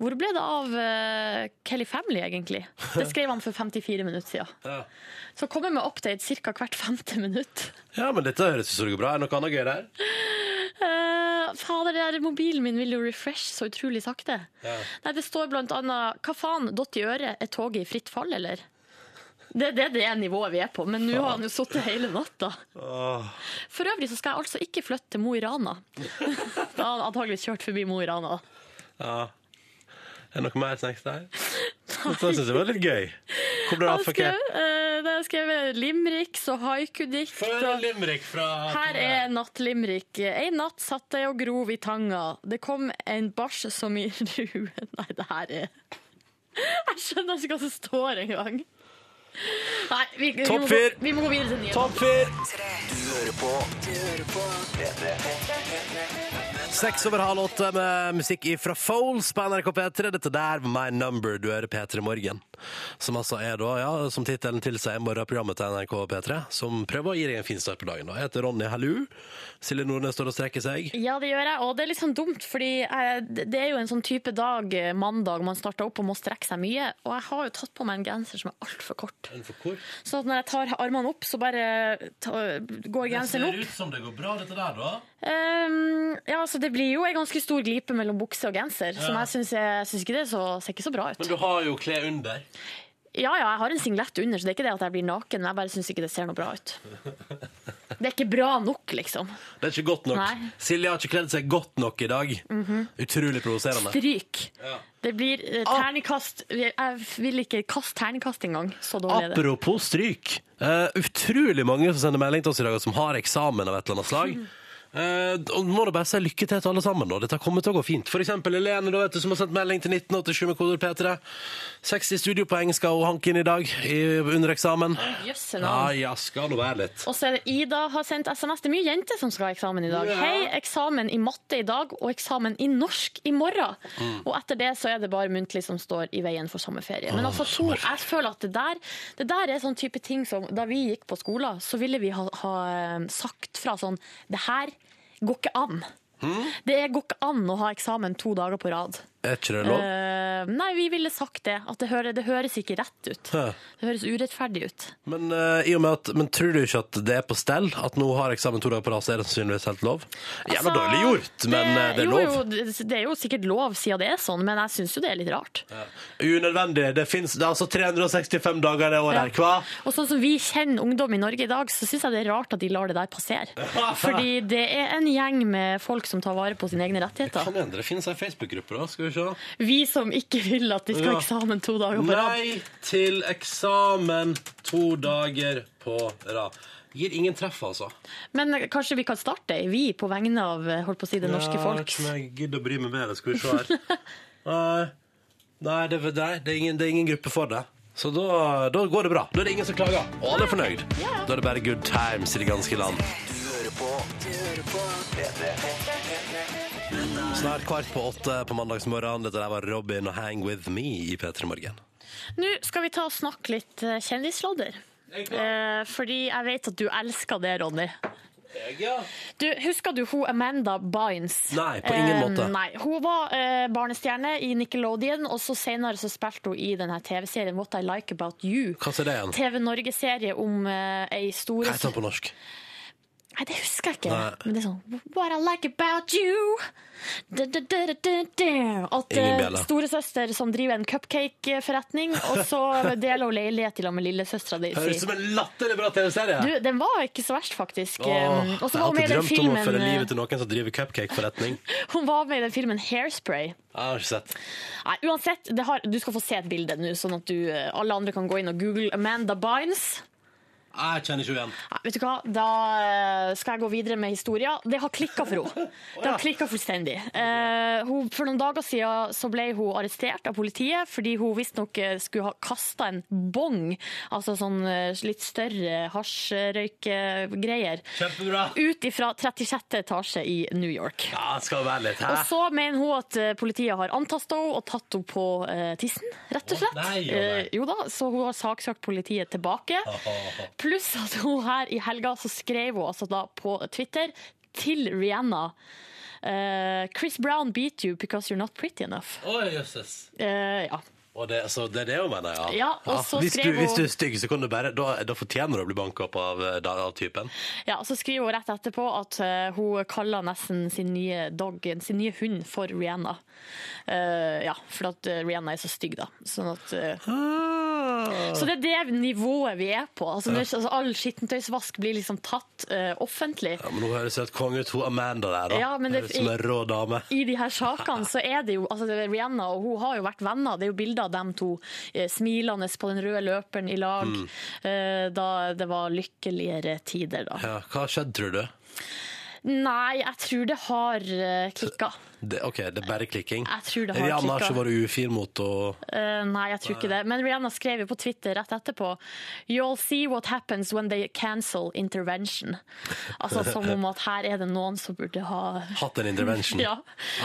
[SPEAKER 6] Hvor ble det av eh, Kelly Family, egentlig? Det skrev han for 54 minutter siden.
[SPEAKER 2] Ja.
[SPEAKER 6] Så kommer med update ca. hvert femte minutt.
[SPEAKER 2] Ja, men dette høres ut som det går bra. Er det noe annet gøy der?
[SPEAKER 6] Eh, fader, det der mobilen min vil jo refresh så utrolig sakte. Nei, det står blant annet Hva faen, dott i øret, er toget i fritt fall, eller? Det, det er det nivået vi er på, men nå har han jo sittet hele natta. For øvrig så skal jeg altså ikke flytte til Mo i Rana. Da har han antageligvis kjørt forbi Mo i Rana.
[SPEAKER 2] Ja. Er det noe mer snacks der? Dette syns jeg var litt gøy. Hvor ble det av? Okay.
[SPEAKER 6] Jeg skrev, eh, det er skrevet limericks og haikudikt.
[SPEAKER 2] Få høre en limerick fra
[SPEAKER 6] Her er nattlimrik. En natt satt jeg og grov i tanga. Det kom en bars som i ruen Nei, det her er Jeg skjønner ikke hva som står engang. Nei, vi, vi,
[SPEAKER 2] Topp
[SPEAKER 6] må gå,
[SPEAKER 2] fyr.
[SPEAKER 6] vi må gå videre til nye.
[SPEAKER 2] Topp fire! Seks over halv åtte med musikk fra Foles på NRK P3. Dette der var My Number, du hører P3 Morgen. Som altså er da, ja, som tittelen tilsier, morgenprogrammet til NRK P3, som prøver å gi deg en fin start på dagen. da. Jeg heter Ronny Hallu. Silje Nordnes står og strekker seg.
[SPEAKER 6] Ja, det gjør jeg, og det er litt sånn dumt, fordi eh, det er jo en sånn type dag, eh, mandag, man starter opp og må strekke seg mye, og jeg har jo tatt på meg en genser som er altfor kort.
[SPEAKER 2] En for kort.
[SPEAKER 6] Så at når jeg tar armene opp, så bare ta, går genseren opp.
[SPEAKER 2] ut som det går bra, dette der, da.
[SPEAKER 6] Ehm, ja, altså Det blir jo en ganske stor glipe mellom bukse og genser, som jeg syns jeg synes ikke det så, ser ikke så bra ut.
[SPEAKER 2] Men du har jo klær under.
[SPEAKER 6] Ja, ja, jeg har en singlet under, så det er ikke det at jeg blir naken. men Jeg bare syns ikke det ser noe bra ut. Det er ikke bra nok, liksom.
[SPEAKER 2] Det er ikke godt nok.
[SPEAKER 6] Nei. Mhm.
[SPEAKER 2] Silje har ikke kledd seg godt nok i dag. Utrolig provoserende.
[SPEAKER 6] Stryk. Det blir eh,
[SPEAKER 2] Ah.
[SPEAKER 6] terningkast Jeg vil ikke kaste terningkast engang. Så dårlig er det.
[SPEAKER 2] Apropos stryk. eh, utrolig mange som sender melding til oss i dag, og som har eksamen av et eller annet slag.
[SPEAKER 6] Mhm.
[SPEAKER 2] Eh, og må da bare si lykke til til alle sammen. Da. Dette kommer til å gå fint. For eksempel Helene, da, vet du, som har sendt melding til 1987 med kodord P3. 60 studiopoeng skal hun hanke inn i dag i, under eksamen.
[SPEAKER 6] Jøsse
[SPEAKER 2] Ja,
[SPEAKER 6] navn.
[SPEAKER 2] ja, skal nå være litt.
[SPEAKER 6] Og så er det Ida har sendt SMS. Det er mye jenter som skal ha eksamen i dag.
[SPEAKER 2] Ja.
[SPEAKER 6] Hei, eksamen i matte i dag og eksamen i norsk i morgen.
[SPEAKER 2] Mm.
[SPEAKER 6] Og etter det så er det bare muntlig som står i veien for sommerferie. Men altså, to, jeg føler at det der, det der er sånn type ting som da vi gikk på skolen, så ville vi ha, ha eh, sagt fra sånn Det her går ikke an.
[SPEAKER 2] Mm.
[SPEAKER 6] Det går ikke an å ha eksamen to dager på rad.
[SPEAKER 2] Er ikke det lov?
[SPEAKER 6] Eh, nei, vi ville sagt det. At det, hører, det høres ikke rett ut.
[SPEAKER 2] Hæ.
[SPEAKER 6] Det høres urettferdig ut.
[SPEAKER 2] Men, eh, i og med at, men tror du ikke at det er på stell? At nå har eksamen to dager på rad, så er det sannsynligvis helt lov? Jævla
[SPEAKER 6] Altså,
[SPEAKER 2] dårlig gjort, men eh, det er
[SPEAKER 6] jo,
[SPEAKER 2] lov.
[SPEAKER 6] Jo, det- det er jo sikkert lov siden det er sånn, men jeg syns jo det er litt rart.
[SPEAKER 2] Unødvendig. Det, finnes, det er altså 365 dager det året
[SPEAKER 6] Ja.
[SPEAKER 2] her. Hva?
[SPEAKER 6] Og sånn som vi kjenner ungdom i Norge i dag, så syns jeg det er rart at de lar det der passere. Fordi det er en gjeng med folk som tar vare på sine egne rettigheter.
[SPEAKER 2] Kom igjen, det finnes ei Facebook-gruppe, da. Skal vi se.
[SPEAKER 6] Vi som ikke vil at de skal
[SPEAKER 2] Ja.
[SPEAKER 6] ha eksamen to dager på rad.
[SPEAKER 2] Nei til eksamen to dager på rad. Gir ingen treff, altså.
[SPEAKER 6] Men kanskje vi kan starte, vi på vegne av eh, holdt på å si, det norske
[SPEAKER 2] Ja, jeg
[SPEAKER 6] folk.
[SPEAKER 2] vet ikke om jeg gidder å bry meg med det. Skal vi se her. Nei, nei, det, er- nei det, er ingen, det er ingen gruppe for det. Så da, da går det bra. Da er det ingen som klager, og alle er fornøyd. Da er det bare good times i det ganske land. Snart kvart på åtte på mandagsmorgen. Dette der var Robin og Hang With Me i P3 Morgen.
[SPEAKER 6] Nå skal vi ta og snakke litt eh, kjendislodder. Eh, fordi jeg vet at du elsker det, Ronny. Du, husker du hun Amanda Bynes?
[SPEAKER 2] Nei, på ingen
[SPEAKER 6] Eh,
[SPEAKER 2] måte.
[SPEAKER 6] Nei, Hun var eh, barnestjerne i Nickelodeon, og så senere så spilte hun i denne TV-serien What I Like About You.
[SPEAKER 2] Hva er det igjen?
[SPEAKER 6] TV Norge-serie om eh, ei
[SPEAKER 2] Hva
[SPEAKER 6] store
[SPEAKER 2] heter han på norsk?
[SPEAKER 6] Nei, det husker jeg ikke.
[SPEAKER 2] Nei.
[SPEAKER 6] Men det er sånn What I like about you da, da, da, da, da, da. At
[SPEAKER 2] Ingen
[SPEAKER 6] eh,
[SPEAKER 2] bjelle.
[SPEAKER 6] storesøster som driver en cupcake-forretning, og så deler hun leilighet til og med lillesøstera di.
[SPEAKER 2] Høres ut som en latterlig bra
[SPEAKER 6] Du,
[SPEAKER 2] TV-serie!
[SPEAKER 6] den var ikke så verst, faktisk.
[SPEAKER 2] Åh,
[SPEAKER 6] Um,
[SPEAKER 2] jeg
[SPEAKER 6] og så
[SPEAKER 2] har
[SPEAKER 6] var
[SPEAKER 2] alltid
[SPEAKER 6] hun med i den
[SPEAKER 2] drømt om å føre
[SPEAKER 6] filmen eh,
[SPEAKER 2] livet til noen som driver cupcake-forretning. Jeg
[SPEAKER 6] Hun var med i den filmen Hairspray.
[SPEAKER 2] har ikke sett.
[SPEAKER 6] Nei, uansett, det har, du skal få se et bilde nå, sånn at du, eh, alle andre kan gå inn og google Amanda Bynes.
[SPEAKER 2] Jeg kjenner ikke igjen.
[SPEAKER 6] Nei, vet du hva? Da eh, skal jeg gå videre med historia. Det har klikka for henne. Det har klikket fullstendig. Eh, hun, for noen dager siden så ble hun arrestert av politiet fordi hun visstnok eh, skulle ha kasta en bong, altså sånn eh, litt større hasjrøykegreier,
[SPEAKER 2] Kjempebra!
[SPEAKER 6] ut ifra 36. etasje i New York.
[SPEAKER 2] Ja, det skal være litt,
[SPEAKER 6] Og
[SPEAKER 2] hæ?
[SPEAKER 6] så mener hun at eh, politiet har antasta henne og tatt henne på eh, tissen, rett og slett.
[SPEAKER 2] nei, å nei.
[SPEAKER 6] Eh, jo da, Så hun har saksøkt politiet tilbake. Pluss at hun her i helga så skrev hun altså da på Twitter til Rihanna eh, Chris Brown beat you because you're not pretty enough.
[SPEAKER 2] Oi, jøsses.
[SPEAKER 6] Eh, ja.
[SPEAKER 2] Og det, så det er det hun mener, ja?
[SPEAKER 6] Ja, og så
[SPEAKER 2] hvis, du,
[SPEAKER 6] skrev hun-
[SPEAKER 2] hvis du er stygg, så kan du bare Da, da fortjener du å bli banka opp av, eh, da- av typen.
[SPEAKER 6] ja, Så skriver hun rett etterpå at eh, hun kaller nesten sin nye dog, sin nye hund for Rihanna. Eh, ja, for at eh, Rihanna er så stygg, da. Sånn at eh, Så det er det nivået vi er på. Altså, det er ikke- altså, all skittentøysvask blir liksom tatt eh, offentlig.
[SPEAKER 2] Ja, men Hun høres helt konge ut, hun Amanda der, da.
[SPEAKER 6] Ja, men det-
[SPEAKER 2] høres ut som en rå dame.
[SPEAKER 6] I de her sakene så er det jo altså det er Rihanna og hun har jo vært venner. Det er jo bilder av dem to eh, smilende på den røde løperen i lag eh, da det var lykkeligere tider, da.
[SPEAKER 2] Ja, hva har skjedd, tror du?
[SPEAKER 6] Nei, jeg tror det har uh, klikka.
[SPEAKER 2] Det, ok, det er bare klikking.
[SPEAKER 6] Jeg tror det har
[SPEAKER 2] Rihanna har ikke
[SPEAKER 6] klikket.
[SPEAKER 2] vært ufin mot å
[SPEAKER 6] Eh, nei, jeg tror ikke det. Men Rihanna skrev jo på Twitter rett etterpå You'll see what happens when they cancel intervention. Altså som om at her er det noen som burde ha
[SPEAKER 2] hatt en intervention.
[SPEAKER 6] Ja.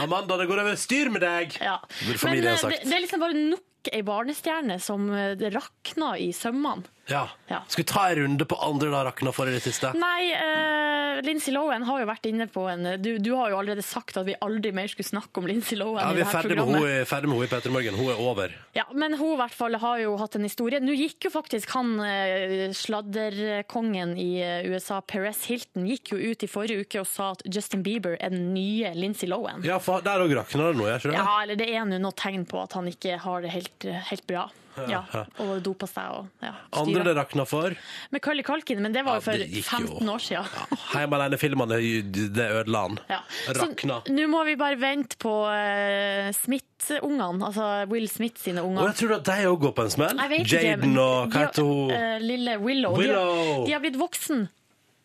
[SPEAKER 2] Amanda, det går over styr med deg!
[SPEAKER 6] Ja.
[SPEAKER 2] Burde
[SPEAKER 6] Men
[SPEAKER 2] familien
[SPEAKER 6] eh,
[SPEAKER 2] sagt.
[SPEAKER 6] det, det er liksom bare nok ei barnestjerne som eh, det rakna i sømmene.
[SPEAKER 2] Ja.
[SPEAKER 6] Ja.
[SPEAKER 2] Skal vi ta en runde på andre da rakna for i det siste?
[SPEAKER 6] Nei, uh, Lincy Lohan har jo vært inne på en eh, du, du har jo allerede sagt at vi aldri mer skulle snakke om Lincy Lohan
[SPEAKER 2] Ja,
[SPEAKER 6] i
[SPEAKER 2] vi er
[SPEAKER 6] det her
[SPEAKER 2] ferdig med
[SPEAKER 6] programmet.
[SPEAKER 2] henne ferdig med hun i Petter Morgen. Hun er over.
[SPEAKER 6] Ja, men hun i hvert fall har jo hatt en historie. Nå gikk jo faktisk han eh, sladderkongen i eh, USA, Perez Hilton, gikk jo ut i forrige uke og sa at Justin Bieber er den nye Lincy Lohan.
[SPEAKER 2] Ja, for der òg rakna det nå, gjør ikke det?
[SPEAKER 6] Ja, eller det er nå noe tegn på at han ikke har det helt, helt bra. Ja, og dopa seg og ja,
[SPEAKER 2] Andre det rakna for?
[SPEAKER 6] Med Cully Kalkin, men det
[SPEAKER 2] Ja,
[SPEAKER 6] var jo for
[SPEAKER 2] det gikk jo.
[SPEAKER 6] 15 år siden.
[SPEAKER 2] Ja, Hjemme alene-filmene, det ødela han.
[SPEAKER 6] Ja. Så
[SPEAKER 2] Rakna.
[SPEAKER 6] nå må vi bare vente på eh, Smith-ungene, altså Will Smith sine
[SPEAKER 2] Og
[SPEAKER 6] unger.
[SPEAKER 2] jeg tror at de òg går på en smell.
[SPEAKER 6] Jeg vet ikke,
[SPEAKER 2] Jaden
[SPEAKER 6] men
[SPEAKER 2] og
[SPEAKER 6] de
[SPEAKER 2] hva
[SPEAKER 6] har-
[SPEAKER 2] heter hun?
[SPEAKER 6] eh, lille Willow. De,
[SPEAKER 2] Willow!
[SPEAKER 6] har, de har blitt voksen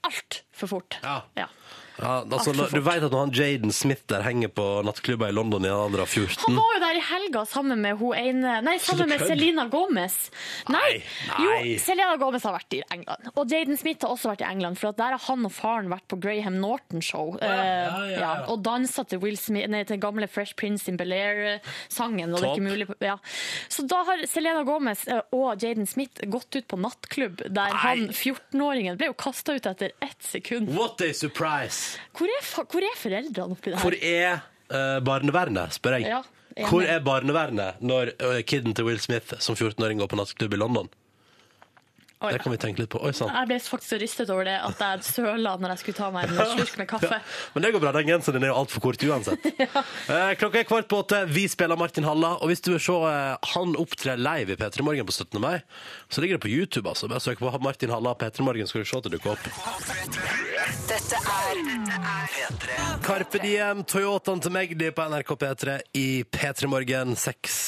[SPEAKER 6] altfor fort.
[SPEAKER 2] Ja.
[SPEAKER 6] Ja.
[SPEAKER 2] Ja, altså,
[SPEAKER 6] altfor fort.
[SPEAKER 2] du vet at når han Jaden Smith der henger på nattklubber i London i en alder av 14
[SPEAKER 6] Han var jo der i helga sammen med hun ene Nei, sammen med
[SPEAKER 2] kødd.
[SPEAKER 6] Selena Gomez. Nei,
[SPEAKER 2] Nei, nei.
[SPEAKER 6] Jo, Selena Gomez har vært i England. Og Jaden Smith har også vært i England, for at der har han og faren vært på Graham Norton-show.
[SPEAKER 2] ja,
[SPEAKER 6] Eh,
[SPEAKER 2] ja,
[SPEAKER 6] ja,
[SPEAKER 2] ja.
[SPEAKER 6] og dansa til Will Smith, nei, til gamle Fresh Prince in Bel-Air-sangen. Og det er
[SPEAKER 2] Topp.
[SPEAKER 6] ikke mulig på- ja. Så da har Selena Gomez eh, og Jaden Smith gått ut på nattklubb, der han 14-åringen ble jo kasta ut etter ett sekund.
[SPEAKER 2] What a surprise!
[SPEAKER 6] Hvor er, fa- hvor er foreldrene oppi det
[SPEAKER 2] Hvor
[SPEAKER 6] her?
[SPEAKER 2] er eh, barnevernet, spør jeg.
[SPEAKER 6] Ja, enig.
[SPEAKER 2] Hvor er barnevernet når uh, kiden til Will Smith som 14-åring går på nattklubb i London?
[SPEAKER 6] Oi.
[SPEAKER 2] Det kan vi tenke litt på. Oi sann.
[SPEAKER 6] Jeg ble faktisk så rystet over det at jeg søla når jeg skulle ta meg en slurk med kaffe.
[SPEAKER 2] Men det går bra, den genseren din er jo altfor kort uansett. Eh, klokka er kvart på åtte, vi spiller Martin Halla, og hvis du vil se eh, han opptre live i P3 Morgen på 17. mai, så ligger det på YouTube, altså. Bare søk på Martin Halla P3 Morgen, skal du se at det dukker opp. Carpe Diem, Toyotaen til Magdi på NRK P3 i P3 Morgen 6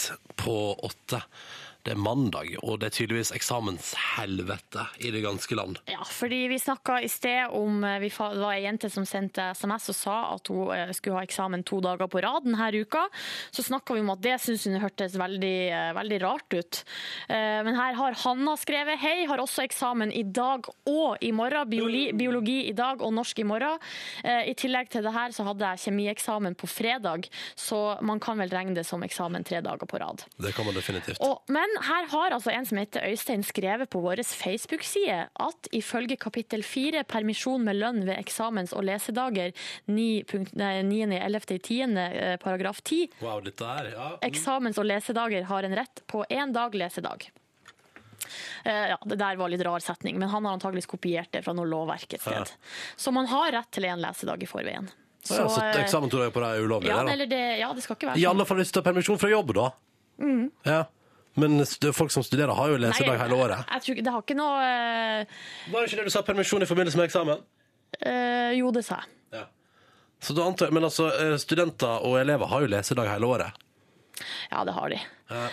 [SPEAKER 2] på 8. Det er mandag, og det er tydeligvis eksamenshelvete i det ganske land.
[SPEAKER 6] Ja, fordi vi snakka i sted om eh, vi fa- Det var ei jente som sendte SMS og sa at hun eh, skulle ha eksamen to dager på rad denne uka. Så snakka vi om at det syntes hun hørtes veldig, eh, veldig rart ut. Eh, Men her har Hanna skrevet Hei, har også eksamen i dag og i morgen. Biologi, biologi i dag og norsk i morgen. Eh, I tillegg til det her så hadde jeg kjemieksamen på fredag, så man kan vel regne det som eksamen tre dager på rad.
[SPEAKER 2] Det kan man definitivt.
[SPEAKER 6] Og, men her har altså en som heter Øystein skrevet på vår Facebook-side at ifølge kapittel 4, permisjon med lønn ved eksamens- og lesedager, 9.11.10, eh, paragraf 10,
[SPEAKER 2] Wow, dette her, ja.
[SPEAKER 6] eksamens- og lesedager har en rett på én dag lesedag. Eh, ja, det der var litt rar setning, men han har antageligvis kopiert det fra noe lovverk et sted. Så man har rett til én lesedag i forveien.
[SPEAKER 2] Så, ja, så
[SPEAKER 6] eh,
[SPEAKER 2] eksamen to dager på rad er ulovlig?
[SPEAKER 6] ja,
[SPEAKER 2] det, da.
[SPEAKER 6] eller det, ja, det skal ikke være
[SPEAKER 2] I
[SPEAKER 6] sånn.
[SPEAKER 2] alle fall hvis du tar permisjon fra jobb, da. Ja. Men stu- folk som studerer, har jo
[SPEAKER 6] Nei, eh,
[SPEAKER 2] lesedag hele året.
[SPEAKER 6] Jeg tror ikke, det har ikke noe eh,
[SPEAKER 2] Var det ikke det du sa permisjon i forbindelse med eksamen?
[SPEAKER 6] eh, Jo, det sa jeg.
[SPEAKER 2] Så da antar jeg, Men altså, eh, studenter og elever har jo lesedag hele året.
[SPEAKER 6] Ja, det har de.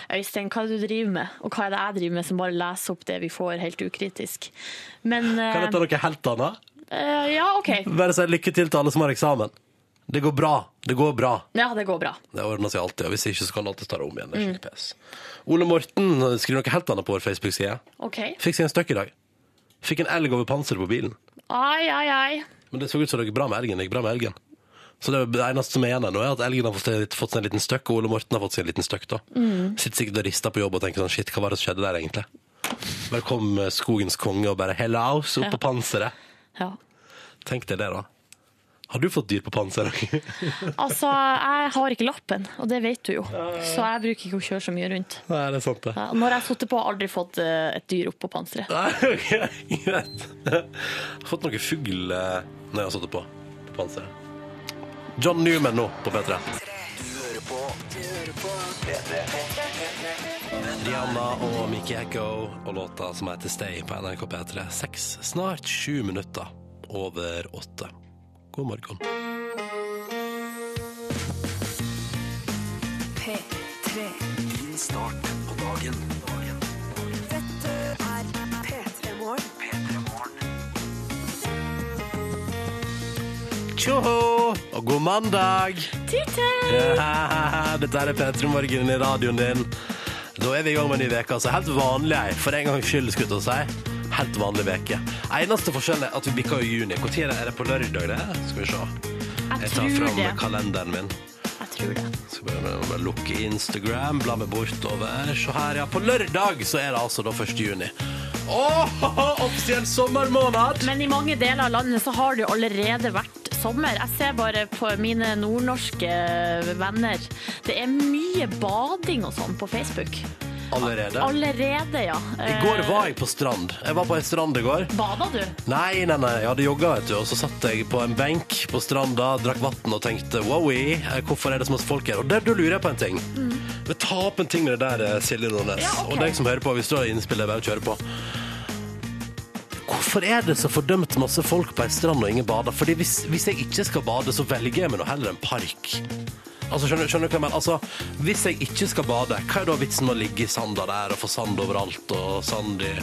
[SPEAKER 6] Øystein, hva er det du driver med? Og hva er det jeg driver med som bare leser opp det vi får helt ukritisk? Men eh,
[SPEAKER 2] Kan jeg ta noe helt annet?
[SPEAKER 6] eh, Ja, OK.
[SPEAKER 2] Bare si lykke til til alle som har eksamen. Det går bra. Det går bra.
[SPEAKER 6] Ja, det går bra.
[SPEAKER 2] Det ordner seg alltid, og hvis ikke så kan du alltid ta det om igjen. Det er
[SPEAKER 6] Mm.
[SPEAKER 2] skikkelig pes. Ole Morten skriver noe helt annet på vår Facebook-side.
[SPEAKER 6] OK.
[SPEAKER 2] Fikk seg en støkk i dag. Fikk en elg over panseret på bilen.
[SPEAKER 6] Ai, ai, ai.
[SPEAKER 2] Men det så ut som det gikk bra med elgen. Det gikk bra med elgen. Så det, er det eneste som er igjen her nå, er at elgen har fått seg, fått seg en liten støkk, og Ole Morten har fått seg en liten støkk. da. Sitter sikkert og rister på jobb og tenker sånn shit, hva var det som skjedde der egentlig? Bare kom eh, skogens konge og bare hello, så opp på panseret.
[SPEAKER 6] Ja.
[SPEAKER 2] Tenk deg det, da. Har du fått dyr på panseret?
[SPEAKER 6] Altså, jeg har ikke lappen, og det vet du jo. Så jeg bruker ikke å kjøre så mye rundt.
[SPEAKER 2] Nei, det er sant, det.
[SPEAKER 6] Ja, Når jeg har sittet på, har jeg aldri fått eh, et dyr oppå panseret.
[SPEAKER 2] Nei, ok, greit. Jeg har fått noe fugl eh, når jeg har satt det på, på panseret. John Newman nå på P3. Diana og Mickey Echo og låta som heter Stay på NRK P3. Seks, snart sju minutter over åtte. God morgen.
[SPEAKER 1] P3.
[SPEAKER 2] Tjoho! Og god mandag!
[SPEAKER 6] Titte!
[SPEAKER 2] Ja, Dette er P3 Morgen i radioen din. Da er vi i gang med en ny veke, altså. Helt vanlig ei, for en gangs skyld, skulle jeg til å si. Helt vanlig veke. Eneste forskjell er at vi bikker jo juni. Når er det på lørdag, det? Skal vi se.
[SPEAKER 6] Jeg
[SPEAKER 2] Jeg tar
[SPEAKER 6] tror
[SPEAKER 2] fram
[SPEAKER 6] det.
[SPEAKER 2] kalenderen min.
[SPEAKER 6] Jeg tror det.
[SPEAKER 2] Skal bare, bare lukke Instagram, bla meg bortover. Se her, ja. På lørdag så er det altså da 1. juni. Åh, offisiell sommermåned!
[SPEAKER 6] Men i mange deler av landet så har det jo allerede vært sommer. Jeg ser bare på mine nordnorske venner. Det er mye bading og sånn på Facebook.
[SPEAKER 2] Allerede.
[SPEAKER 6] Allerede, ja.
[SPEAKER 2] I går var jeg på strand. Jeg var på ei strand i går.
[SPEAKER 6] Bada du?
[SPEAKER 2] Nei, nei, nei, jeg hadde jogga, vet du, og så satt jeg på en benk på stranda, drakk vann og tenkte wowie, eh, hvorfor er det så masse folk her? Og der, da lurer jeg på en ting. Men Ta opp en ting med det der, eh, Silje Nordnes,
[SPEAKER 6] Mm. Ja, ok.
[SPEAKER 2] og deg som hører på, hvis du har innspill, det er bare å kjøre på. Hvorfor er det så fordømt masse folk på ei strand og ingen bader? Fordi hvis, hvis jeg ikke skal bade, så velger jeg meg nå heller en park. Altså, skjønner, skjønner du hva jeg mener? Altså, hvis jeg ikke skal bade, hva er da vitsen med å ligge i sanda der og få sand overalt og sand, i,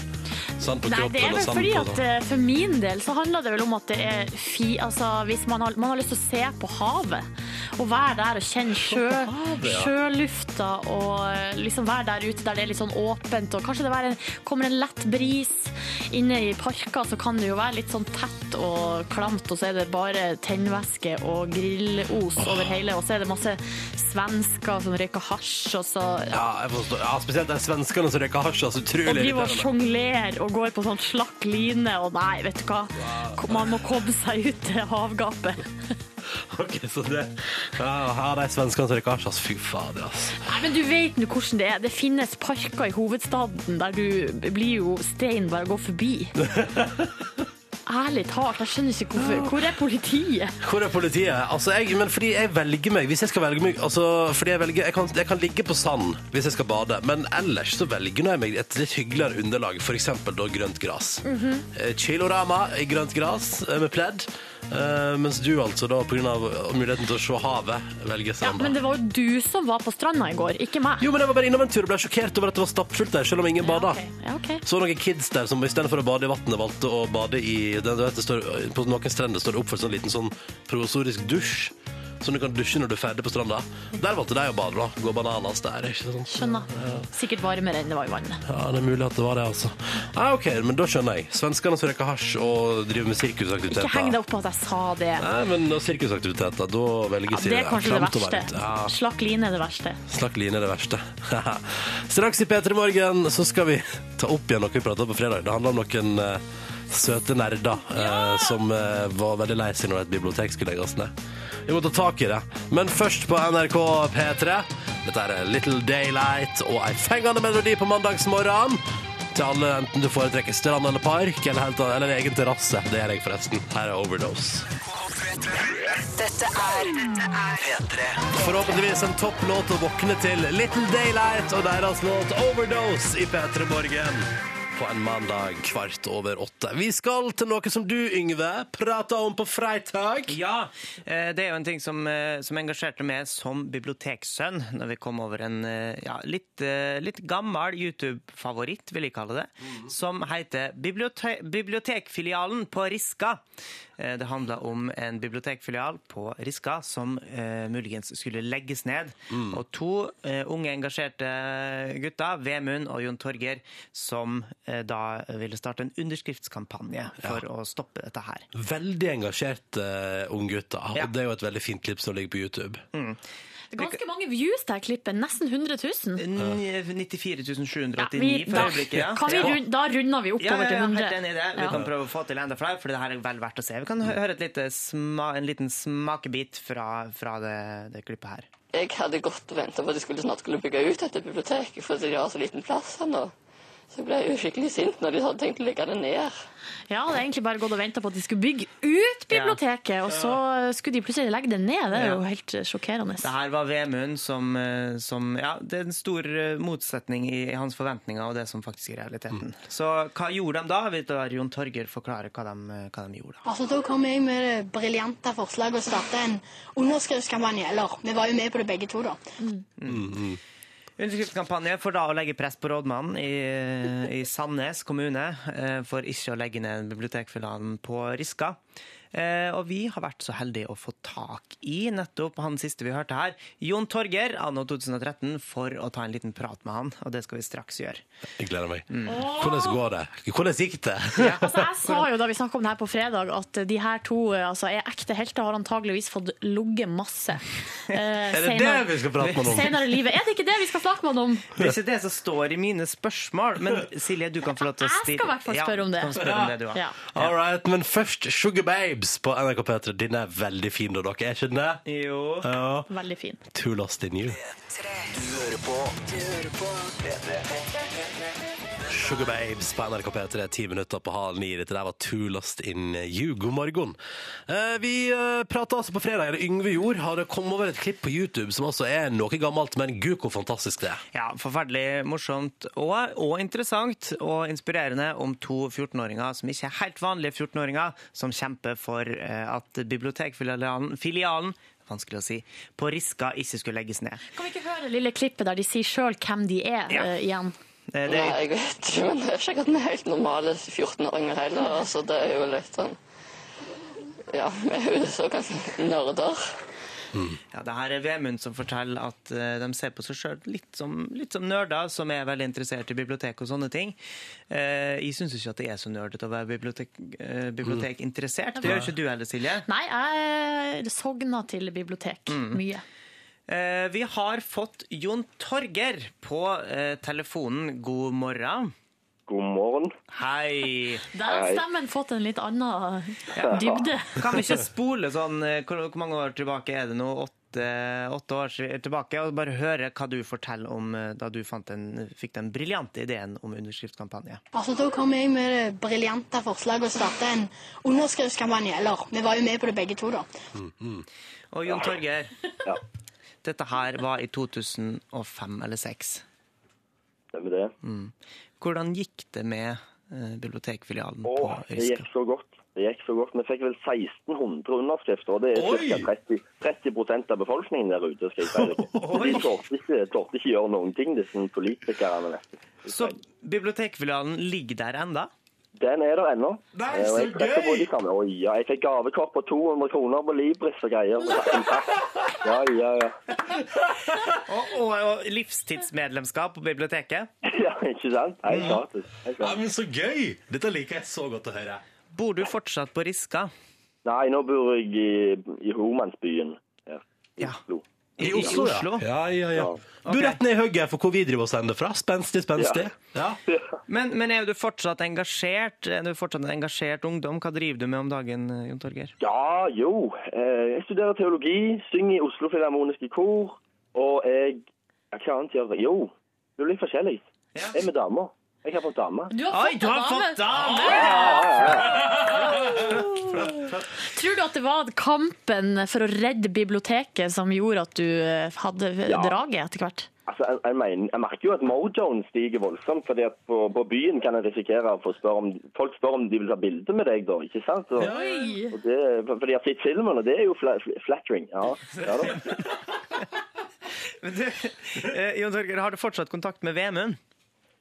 [SPEAKER 2] sand på
[SPEAKER 6] Nei, det er
[SPEAKER 2] kroppen og
[SPEAKER 6] vel
[SPEAKER 2] sand
[SPEAKER 6] fordi
[SPEAKER 2] på
[SPEAKER 6] at eh, for min del så handler det vel om at det er fi... Altså, hvis man har, man har lyst til å se på havet, og være der og kjenne sjø,
[SPEAKER 2] havet, ja.
[SPEAKER 6] sjølufta, og eh, liksom være der ute der det er litt sånn åpent, og kanskje det være en, kommer en lett bris inne i parker, så kan det jo være litt sånn tett og klamt, og så er det bare tennvæske og grillos
[SPEAKER 2] Ah.
[SPEAKER 6] over hele, og så er det masse svensker som røyker hasj, og så...
[SPEAKER 2] Ja, jeg forstår. Ja, spesielt de svenskene som røyker hasj. Altså,
[SPEAKER 6] Og
[SPEAKER 2] utrolig
[SPEAKER 6] driver og
[SPEAKER 2] irriterende.
[SPEAKER 6] sjonglerer og går på sånn slakk line, og nei, vet du hva. Man må komme seg ut til havgapet.
[SPEAKER 2] Ok, så det Ja, her er de svenskene som røyker hasj. ass. Fy fader, ass.
[SPEAKER 6] Nei, men du vet nå hvordan det er. Det finnes parker i hovedstaden der du blir jo stein bare å gå forbi. Ærlig talt, jeg skjønner ikke hvorfor. Hvor er politiet?
[SPEAKER 2] Hvor er politiet? Altså, jeg, men fordi jeg velger meg Hvis jeg skal velge meg altså, fordi jeg, velger, jeg, kan, jeg kan ligge på sand hvis jeg skal bade, men ellers så velger nå jeg meg et litt hyggeligere
[SPEAKER 6] Mhm.
[SPEAKER 2] underlag, f.eks. da grønt gras. Eh, Chilorama i grønt gras eh, med pledd. Eh, mens du altså da, på grunn av muligheten til å se havet, velger
[SPEAKER 6] Ja,
[SPEAKER 2] stranda.
[SPEAKER 6] men det var jo du som var på stranda i går, ikke meg.
[SPEAKER 2] Jo, men jeg var bare innom en tur og ble sjokkert over at det var stappfullt der, selv om ingen bada.
[SPEAKER 6] Ja, ok.
[SPEAKER 2] Så noen kids der som i stedet for å bade i vannet, valgte å bade i den, du vet, det står, På noen strender står det oppført sånn liten sånn provisorisk dusj. Som du kan dusje når du er ferdig på stranda. Der valgte de å bade, da. Gå bananas der. ikke sant?
[SPEAKER 6] Skjønner. Sikkert varmere enn det var i vannet.
[SPEAKER 2] Ja, det er mulig at det var det, altså. Ja, OK, men da skjønner jeg. Svenskene som røyker hasj og driver med sirkusaktiviteter.
[SPEAKER 6] Ikke heng deg opp på at jeg sa det.
[SPEAKER 2] Nei, men når sirkusaktiviteter, da velger
[SPEAKER 6] Ja, det er kanskje det
[SPEAKER 2] klamt og
[SPEAKER 6] verste.
[SPEAKER 2] varmt. Ja,
[SPEAKER 6] Slakk line er det verste.
[SPEAKER 2] Snakk line er det verste. Straks i P3 Morgen så skal vi ta opp igjen noe vi prata om på fredag. Det handler om noen eh, søte nerder eh, som eh, var veldig lei seg når et bibliotek skulle legges ned. Vi må ta tak i det. Men først på NRK P3. Dette er Little Daylight og ei fengende melodi på mandagsmorgenen. Til alle, enten du foretrekker strand eller park, eller, helt, eller egen terrasse. Det gjør jeg forresten. Her er Overdose. Forhåpentligvis en topp låt å våkne til Little Daylight og deres låt Overdose i P3 Morgen på en mandag kvart over åtte. Vi skal til noe som du, Yngve, prata om på fredag.
[SPEAKER 3] Ja, eh, det er jo en ting som, eh, som engasjerte meg som biblioteksønn når vi kom over en eh, ja, litt, eh, litt gammel YouTube-favoritt, vil jeg kalle det, som heter Bibliote Bibliotekfilialen på Riska. Eh, Det handla om en bibliotekfilial på Riska som eh, muligens skulle legges ned. Og to eh, unge engasjerte gutter, Vemund og Jon Torger, som eh, da ville starte en underskriftskampanje for å stoppe dette her.
[SPEAKER 2] Veldig engasjerte uh, unggutter.
[SPEAKER 3] Ja.
[SPEAKER 2] Og det er jo et veldig fint klipp som ligger på YouTube.
[SPEAKER 6] Det er ganske mange views til dette klippet. Nesten 100 000.
[SPEAKER 3] Ni- 94 789
[SPEAKER 6] Ja, vi-
[SPEAKER 3] for
[SPEAKER 6] da-
[SPEAKER 3] øyeblikket. Ja.
[SPEAKER 6] Kan vi
[SPEAKER 3] Ja.
[SPEAKER 6] rund- da runder vi
[SPEAKER 3] Ja,
[SPEAKER 6] oppover
[SPEAKER 3] ja,
[SPEAKER 6] til
[SPEAKER 3] ja, helt enig i
[SPEAKER 6] 100.
[SPEAKER 3] det. Vi
[SPEAKER 6] Ja.
[SPEAKER 3] kan prøve å få til enda flere, for det her er vel verdt å se. Vi kan hø- høre et lite sma, en liten smakebit fra, fra det, det klippet her.
[SPEAKER 12] Jeg hadde gått og venta på at de skulle snart skulle bygge ut dette biblioteket, for de har så liten plass her nå. Så jeg ble jo skikkelig sint når de hadde tenkt å legge det ned.
[SPEAKER 6] Ja, det er egentlig bare gått og venta på at de skulle bygge ut biblioteket, og så skulle de plutselig legge det ned. Det er jo helt eh, sjokkerende.
[SPEAKER 3] Det her var Vemund som, eh, som Ja, det er en stor eh, motsetning i, i hans forventninger og det som faktisk er realiteten. Så hva gjorde de da? Vi lar Jon Torger forklare hva de, hva de gjorde. da.
[SPEAKER 12] Altså, Da kom jeg med det briljante forslaget å starte en underskriftskampanje. Eller, vi var jo med på det begge to, da.
[SPEAKER 3] Underskriftskampanje for da å legge press på rådmannen i, i Sandnes kommune eh, for ikke å legge ned bibliotekfilialen på Riska. Eh, Og vi har vært så heldige å få tak i nettopp han siste vi hørte her, Jon Torger, anno 2013, for å ta en liten prat med han, og det skal vi straks gjøre.
[SPEAKER 2] Jeg gleder meg. Hvordan går det? Hvordan gikk det?
[SPEAKER 6] Altså, jeg sa jo da vi snakket om det her på fredag, at de her to eh, altså, er ekte helter, har antageligvis fått ligget masse. eh,
[SPEAKER 2] er det det vi skal prate med noen om?
[SPEAKER 6] Senere i livet. Er det ikke det vi skal snakke med han om?
[SPEAKER 3] Det er ikke det som står i mine spørsmål, men Silje, du kan få lov til å
[SPEAKER 6] Jeg skal
[SPEAKER 3] stille
[SPEAKER 6] i hvert fall spørre om det.
[SPEAKER 3] Ja, du kan spørre om det du har.
[SPEAKER 6] Ja.
[SPEAKER 2] All right, men først Sugar Babes på NRK P3. Den er veldig fin, da, dere. Er ikke den det?
[SPEAKER 3] Jo.
[SPEAKER 2] Ja.
[SPEAKER 6] Veldig fin.
[SPEAKER 2] Too lost in you. Sugar Babes på NRK P3, ti minutter på halv ni. Dette der var Too Lost in You. God morgen. Eh, vi uh, prata altså på fredag, eller Yngve Jord har kommet over et klipp på YouTube som altså er noe gammelt, men gud, hvor fantastisk det er.
[SPEAKER 3] Ja, forferdelig morsomt og, og interessant og inspirerende om to 14-åringer som ikke er helt vanlige 14-åringer, som kjemper for eh, at bibliotekfilialen filialen, vanskelig å si, på Riska ikke skulle legges ned.
[SPEAKER 6] Kan vi ikke høre det lille klippet der de sier sjøl hvem de er,
[SPEAKER 3] Ja.
[SPEAKER 6] eh, igjen?
[SPEAKER 3] Eh,
[SPEAKER 12] Nei,
[SPEAKER 3] det,
[SPEAKER 12] jeg vet ikke, men det er ikke akkurat en helt normale 14-åringer heller. Altså, det er jo litt sånn Ja, vi er jo såkalte nerder.
[SPEAKER 3] ja, det her er Vemund som forteller at eh, de ser på seg sjøl litt, som- litt som nerder som er veldig interessert i bibliotek og sånne ting. Eh, jeg syns ikke at det er så nerdete å være bibliotek, eh, bibliotekinteressert. Det gjør ikke du heller, Silje.
[SPEAKER 6] Nei, jeg sogna til bibliotek mye.
[SPEAKER 3] Eh, vi har fått Jon Torger på eh, telefonen. God morgen.
[SPEAKER 13] God morgen.
[SPEAKER 3] Hei.
[SPEAKER 6] Der har stemmen fått en litt annen dybde.
[SPEAKER 3] Kan vi ikke spole sånn eh, Hvor, hvor mange år tilbake er det nå? Åtte, åtte år si- tilbake. Og bare høre hva du forteller om eh, da du fant den, fikk den briljante ideen om underskriftskampanje.
[SPEAKER 12] Altså, Da kom jeg med det briljante forslaget å starte en underskriftskampanje. Eller, vi var jo med på det begge to, da.
[SPEAKER 3] Og Jon Torger, dette her var i 2005 eller 2006.
[SPEAKER 13] Stemmer det.
[SPEAKER 3] Hvordan gikk det med eh, bibliotekfilialen
[SPEAKER 9] Å,
[SPEAKER 3] på
[SPEAKER 9] det
[SPEAKER 3] Riska.
[SPEAKER 9] gikk så godt. Det gikk så godt. Vi fikk vel 1600 underskrifter, og det er ca. 30, 30 av befolkningen der ute. skal jeg si deg. Så De torde ikke, torde ikke gjøre noen ting, disse politikerne. vet du.
[SPEAKER 3] Så bibliotekfilialen ligger der enda?
[SPEAKER 9] Den er der ennå.
[SPEAKER 3] Nei,
[SPEAKER 9] Eh, og
[SPEAKER 3] så
[SPEAKER 9] jeg treffer på de samme. Oi, ja, jeg fikk gavekort på 200 kroner på Libris og greier. Så takk, takk. Ja, ja, ja.
[SPEAKER 3] Og, og, og livstidsmedlemskap på biblioteket?
[SPEAKER 9] ja ikke sant? Nei, gratis. Helt gratis.
[SPEAKER 2] Nei, men Så gøy! Dette liker jeg så godt å høre.
[SPEAKER 3] Bor du fortsatt på Riska?
[SPEAKER 9] Nei, nå bor jeg i, i Homansbyen her i Oslo.
[SPEAKER 2] I Oslo, ja. ja, ja, ja. Du rett ned i hugget for hvor vi driver og sender fra. Spenstig, spenstig.
[SPEAKER 3] Men, men er du fortsatt engasjert? Er du fortsatt en engasjert ungdom? Hva driver du med om dagen, eh, Jon Torgeir?
[SPEAKER 9] Ja, jo. Eh, Jeg studerer teologi, synger i Oslo Filharmoniske Kor, og jeg ja, Hva annet gjør jeg? Jo, det er litt forskjellig. Jeg er med damer. Jeg har fått dame.
[SPEAKER 6] Du har fått Oi, du har dame. fått dame! Tror du at det var kampen for å redde biblioteket som gjorde at du eh, hadde
[SPEAKER 9] Ja.
[SPEAKER 6] draget etter hvert?
[SPEAKER 9] Altså, jeg, jeg, mener, jeg merker jo at mojoen stiger voldsomt, fordi at på, på byen kan jeg risikere å få spørre om Folk spør om de vil ta bilde med deg, da, ikke sant? Og,
[SPEAKER 6] Oi.
[SPEAKER 9] og det, for de har sett filmen, og det er jo fla, fl- flattering. Ja, ja da.
[SPEAKER 3] Men du, eh, Jon Torgeir, har du fortsatt kontakt med Vemund?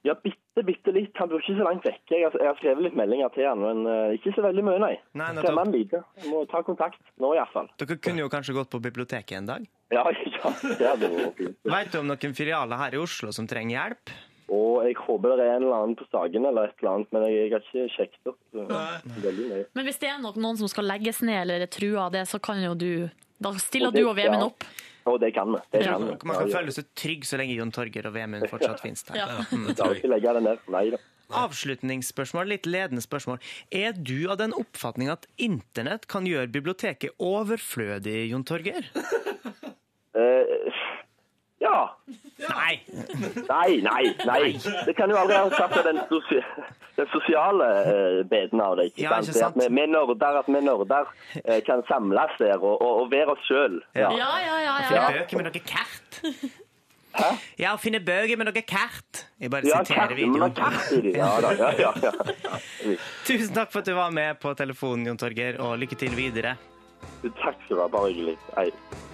[SPEAKER 9] Ja, bitte, bitte litt. Han bor ikke så langt vekk. Jeg har, jeg har skrevet litt meldinger til han, men eh, ikke så veldig mye, nei.
[SPEAKER 3] Nei, nettopp.
[SPEAKER 9] Skremmer han lite. Må ta kontakt nå, iallfall.
[SPEAKER 3] Dere kunne jo kanskje gått på biblioteket en dag?
[SPEAKER 9] Ja, ja, det hadde vært fint.
[SPEAKER 3] Veit du om noen filialer her i Oslo som trenger hjelp?
[SPEAKER 9] Og jeg håper det er en eller annen på Sagen eller et eller annet, men jeg, jeg har ikke sjekket opp eh, veldig nøye.
[SPEAKER 6] Men hvis det er nok noen som skal legges ned eller er trua av det, så kan jo du Da stiller
[SPEAKER 9] Og det-
[SPEAKER 6] du og Vemund
[SPEAKER 9] ja.
[SPEAKER 6] opp.
[SPEAKER 9] Og det kan vi. Det
[SPEAKER 3] Ja,
[SPEAKER 9] kan vi.
[SPEAKER 3] Man kan
[SPEAKER 9] Ja, ja.
[SPEAKER 3] føle seg trygg så lenge Jon Torgeir og Vemund fortsatt finnes der.
[SPEAKER 6] Ja.
[SPEAKER 9] Jeg skal ikke legge det ned. Nei da.
[SPEAKER 3] Avslutningsspørsmål, litt ledende spørsmål. Er du av den oppfatning at internett kan gjøre biblioteket overflødig, Jon Torgeir?
[SPEAKER 9] Eh, ja.
[SPEAKER 3] Nei.
[SPEAKER 9] Nei, nei, nei. Det kan jo aldri ha sagt at den, sosia den sosiale eh, beden av det. ikke
[SPEAKER 3] Ja,
[SPEAKER 9] sant?
[SPEAKER 3] ikke
[SPEAKER 9] Det at
[SPEAKER 3] sant.
[SPEAKER 9] vi, vi nerder, at vi nerder eh, kan samles der og, og, og være oss sjøl.
[SPEAKER 3] Ja.
[SPEAKER 6] Ja, ja, ja.
[SPEAKER 3] Jeg
[SPEAKER 6] ja.
[SPEAKER 3] finner bøker med noe kart. Hæ? Ja, å finne bøker med noe kart. Jeg bare
[SPEAKER 9] Ja,
[SPEAKER 3] siterer
[SPEAKER 9] kart, men det er kart i
[SPEAKER 3] videoen.
[SPEAKER 9] det. Ja, da, ja, ja, ja.
[SPEAKER 3] Tusen takk for at du var med på telefonen, Jon Torgeir, og lykke til videre.
[SPEAKER 9] Du, Takk skal du ha. Bare hyggelig. Hei.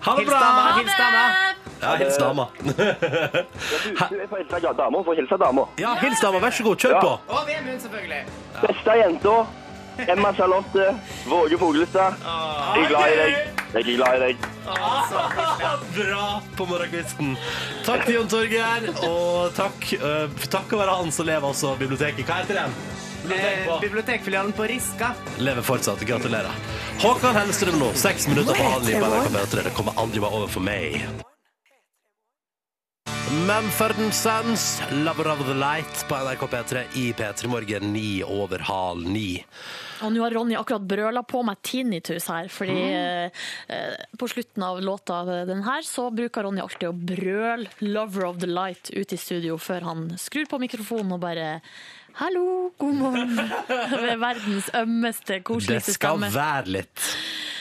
[SPEAKER 2] Ha det
[SPEAKER 3] Hils
[SPEAKER 2] bra!
[SPEAKER 3] dama, hils dama.
[SPEAKER 2] Ja, hils dama.
[SPEAKER 9] Du, du, jeg får hilse dama. Får hilse dama.
[SPEAKER 2] Ja, hils dama. Vær så god, kjør
[SPEAKER 9] Ja.
[SPEAKER 2] på.
[SPEAKER 3] Og Vemund, selvfølgelig.
[SPEAKER 9] Beste jenta. Emma Charlotte. Våge Fuglestad. Jeg er glad i deg. Jeg er glad i deg.
[SPEAKER 2] Bra på morgenkvisten. Takk til Jon Torgeir, og takk, eh, takk å være han som lever altså biblioteket. Hva heter den?
[SPEAKER 3] Eh, bibliotekfilialen på Riska.
[SPEAKER 2] Lever fortsatt. Gratulerer. Håkan Hellstrøm nå, seks minutter på halv ni på NRK P3. Det kommer aldri være over for meg. Mumford Sons, 'Lover of the Light' på NRK P3 i P3 Morgen ni over halv ni.
[SPEAKER 6] Og nå har Ronny akkurat brøla på meg tinnitus her, fordi
[SPEAKER 2] Mm.
[SPEAKER 6] eh, på slutten av låta av den her, så bruker Ronny alltid å brøle 'Lover of the Light' ut i studio før han skrur på mikrofonen og bare 'Hallo, god morgen'. Ved verdens ømmeste,
[SPEAKER 2] Det
[SPEAKER 6] koseligste
[SPEAKER 2] skal
[SPEAKER 6] stemme.
[SPEAKER 2] være litt.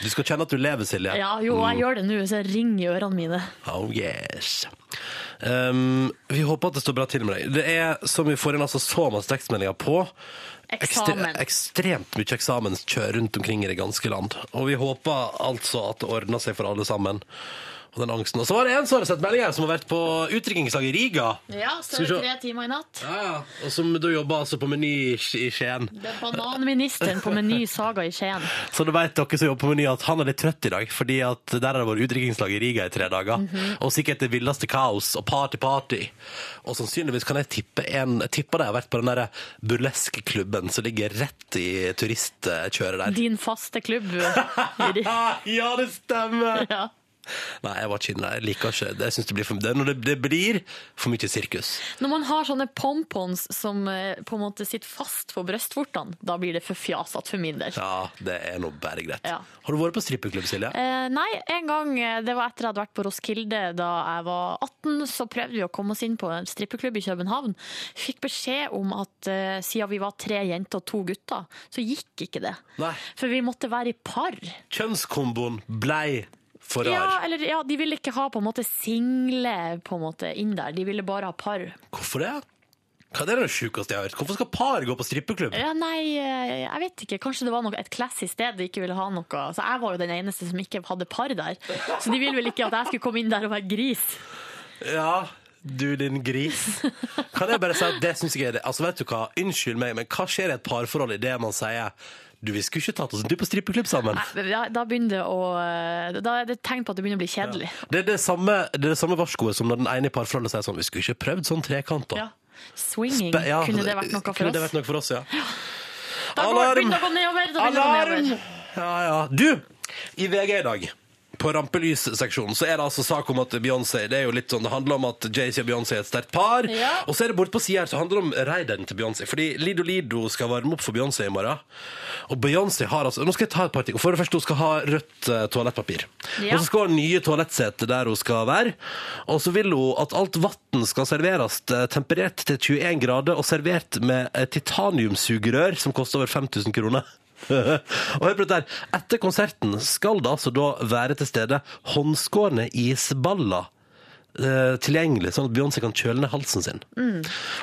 [SPEAKER 2] Du skal kjenne at du lever, Silje.
[SPEAKER 6] Ja, jo, jeg
[SPEAKER 2] Mm.
[SPEAKER 6] gjør det nå, så jeg ringer i ørene mine.
[SPEAKER 2] Oh yes. Um, vi håper at det står bra til med deg. Det er, som vi får inn altså så masse tekstmeldinger på,
[SPEAKER 6] Eksamen.
[SPEAKER 2] ekstremt mye eksamenskjør rundt omkring i det ganske land. Og vi håper altså at det ordner seg for alle sammen. Og den angsten. Og så var det en som hadde sett meldinger som har vært på utdrikningslag i Riga.
[SPEAKER 6] Ja, så er
[SPEAKER 2] Skal
[SPEAKER 6] det
[SPEAKER 2] vi se.
[SPEAKER 6] tre timer i natt.
[SPEAKER 2] Og som da jobber altså på Meny i Sk- i Skien.
[SPEAKER 6] Det er bananministeren på Meny Saga i Skien.
[SPEAKER 2] Så da vet dere som jobber på Meny at han er litt trøtt i dag, fordi at der har det vært utdrikningslag i Riga i tre dager. Og sikkert det villeste kaos og party-party. Og sannsynligvis kan jeg tippe en Jeg tipper de har vært på den der burlesque-klubben som ligger rett i turistkjøret der.
[SPEAKER 6] Din faste klubb.
[SPEAKER 2] ja, det stemmer!
[SPEAKER 6] Ja.
[SPEAKER 2] Nei, jeg var ikke inne der. Jeg liker ikke det. Jeg synes det blir for, det, er når det, det blir for mye sirkus.
[SPEAKER 6] Når man har sånne pompons som eh, på en måte sitter fast på brystvortene, da blir det for fjasete for min del.
[SPEAKER 2] Ja, det er nå bare greit.
[SPEAKER 6] Ja.
[SPEAKER 2] Har du vært på strippeklubb, Silje?
[SPEAKER 6] Eh, nei, en gang, eh, det var etter jeg hadde vært på Roskilde da jeg var 18, så prøvde vi å komme oss inn på en strippeklubb i København. Fikk beskjed om at eh, siden vi var tre jenter og to gutter, så gikk ikke det.
[SPEAKER 2] Nei.
[SPEAKER 6] For vi måtte være i par.
[SPEAKER 2] Kjønnskomboen blei for rar.
[SPEAKER 6] Ja, eller, ja, de ville ikke ha på en måte single på en måte, inn der, de ville bare ha par.
[SPEAKER 2] Hvorfor det? Hva er det sjukeste jeg har hørt? Hvorfor skal par gå på strippeklubb?
[SPEAKER 6] Ja, nei, eh, jeg vet ikke. Kanskje det var noe, et classy sted de ikke ville ha noe. Så jeg var jo den eneste som ikke hadde par der. Så de ville vel ikke at jeg skulle komme inn der og være gris.
[SPEAKER 2] Ja, du din gris. Kan jeg bare si at det synes jeg er det. Altså, vet du hva? Unnskyld meg, men hva skjer i et parforhold i det man sier du, vi skulle ikke tatt oss en tur på strippeklubb sammen?
[SPEAKER 6] Nei, Da, da begynner det å eh, Da er det et tegn på at det begynner å bli kjedelig.
[SPEAKER 2] Det er det samme, det er det samme varskoet som når den ene i parforholdet sier sånn Vi skulle ikke prøvd sånn trekant, da.
[SPEAKER 6] Ja. Swinging,
[SPEAKER 2] Spe- ja,
[SPEAKER 6] kunne det vært noe for
[SPEAKER 2] kunne det
[SPEAKER 6] oss?
[SPEAKER 2] vært noe for oss, ja.
[SPEAKER 6] Da går det begynner å gå nedover. Da begynner det å gå
[SPEAKER 2] Alarm!
[SPEAKER 6] nedover.
[SPEAKER 2] Ja, ja. Du, i VG i dag på rampelysseksjonen så er det altså sak om at Beyoncé Det er jo litt sånn, det handler om at Jay-Z og Beyoncé er et sterkt par.
[SPEAKER 14] Ja.
[SPEAKER 2] Og så er det borte på sida her så handler det om raideren til Beyoncé. Fordi Lido Lido skal varme opp for Beyoncé i morgen. Og Beyoncé har altså Nå skal jeg ta et par ting. For det første, hun skal ha rødt eh, toalettpapir.
[SPEAKER 14] Ja.
[SPEAKER 2] Og så skal hun ha nye toalettseter der hun skal være. Og så vil hun at alt vann skal serveres eh, temperert til 21 grader og servert med eh, titaniumsugerør som koster over 5000 kroner. og hør på dette her. Etter konserten skal det altså da være til stede håndskårne isballer eh, tilgjengelig, sånn at Beyoncé kan kjøle ned halsen sin.
[SPEAKER 6] Mm.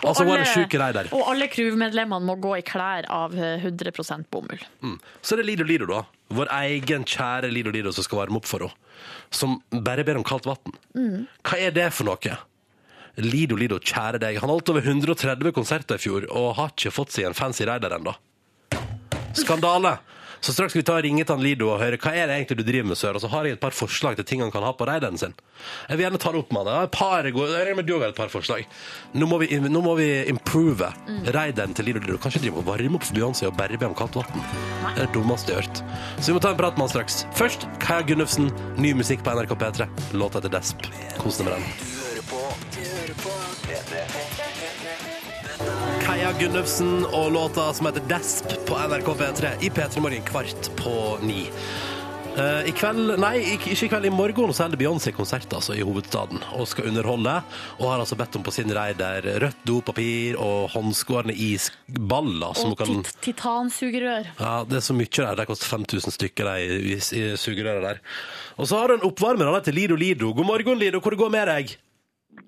[SPEAKER 2] Altså, hun er en sjuk raider.
[SPEAKER 6] og alle crewmedlemmene må gå i klær av eh, 100 bomull.
[SPEAKER 2] Mm. Så er det Lido Lido, da. Vår egen kjære Lido Lido som skal varme opp for henne. Som bare ber om kaldt vann.
[SPEAKER 14] Mm.
[SPEAKER 2] Hva er det for noe? Lido Lido, kjære deg. Han holdt over 130 konserter i fjor og har ikke fått seg en fancy raider ennå. Skandale! Så straks skal vi ta og ringe til han Lido og høre hva er det egentlig du driver med, sør. Og så har jeg et par forslag til ting han kan ha på raideren sin. Jeg vil gjerne ta det opp med han. Jeg har et par gode- Jeg regner med du har et par forslag. Nå må vi, nå må vi improve
[SPEAKER 14] Mm.
[SPEAKER 2] raideren til Lido Lido. Kanskje drive og varme opp for Beyoncé og bare be om kaldt vann. Det er det dummeste jeg har hørt. Så vi må ta en prat med han straks. Først Kaja Gunnufsen, ny musikk på NRK P3. Låta heter Desp. Kos deg med den. Kaja Gunnufsen og låta som heter Desp på NRK P3 i P3 Morgen kvart på ni. Eh, I kveld, nei, ik- ikke i kveld, i morgen så holder Beyoncé konsert altså, i hovedstaden og skal underholde. Og har altså bedt om på sin raider rødt dopapir og håndskårne isballer. Som
[SPEAKER 6] Og
[SPEAKER 2] hun kan,
[SPEAKER 6] tit titansugerør.
[SPEAKER 2] ja, det er så mye der. De koster 5000 stykker de, i, i sugerøret der. Og så har hun oppvarmer han heter Lido Lido. God morgen, Lido. Hvor det går med deg?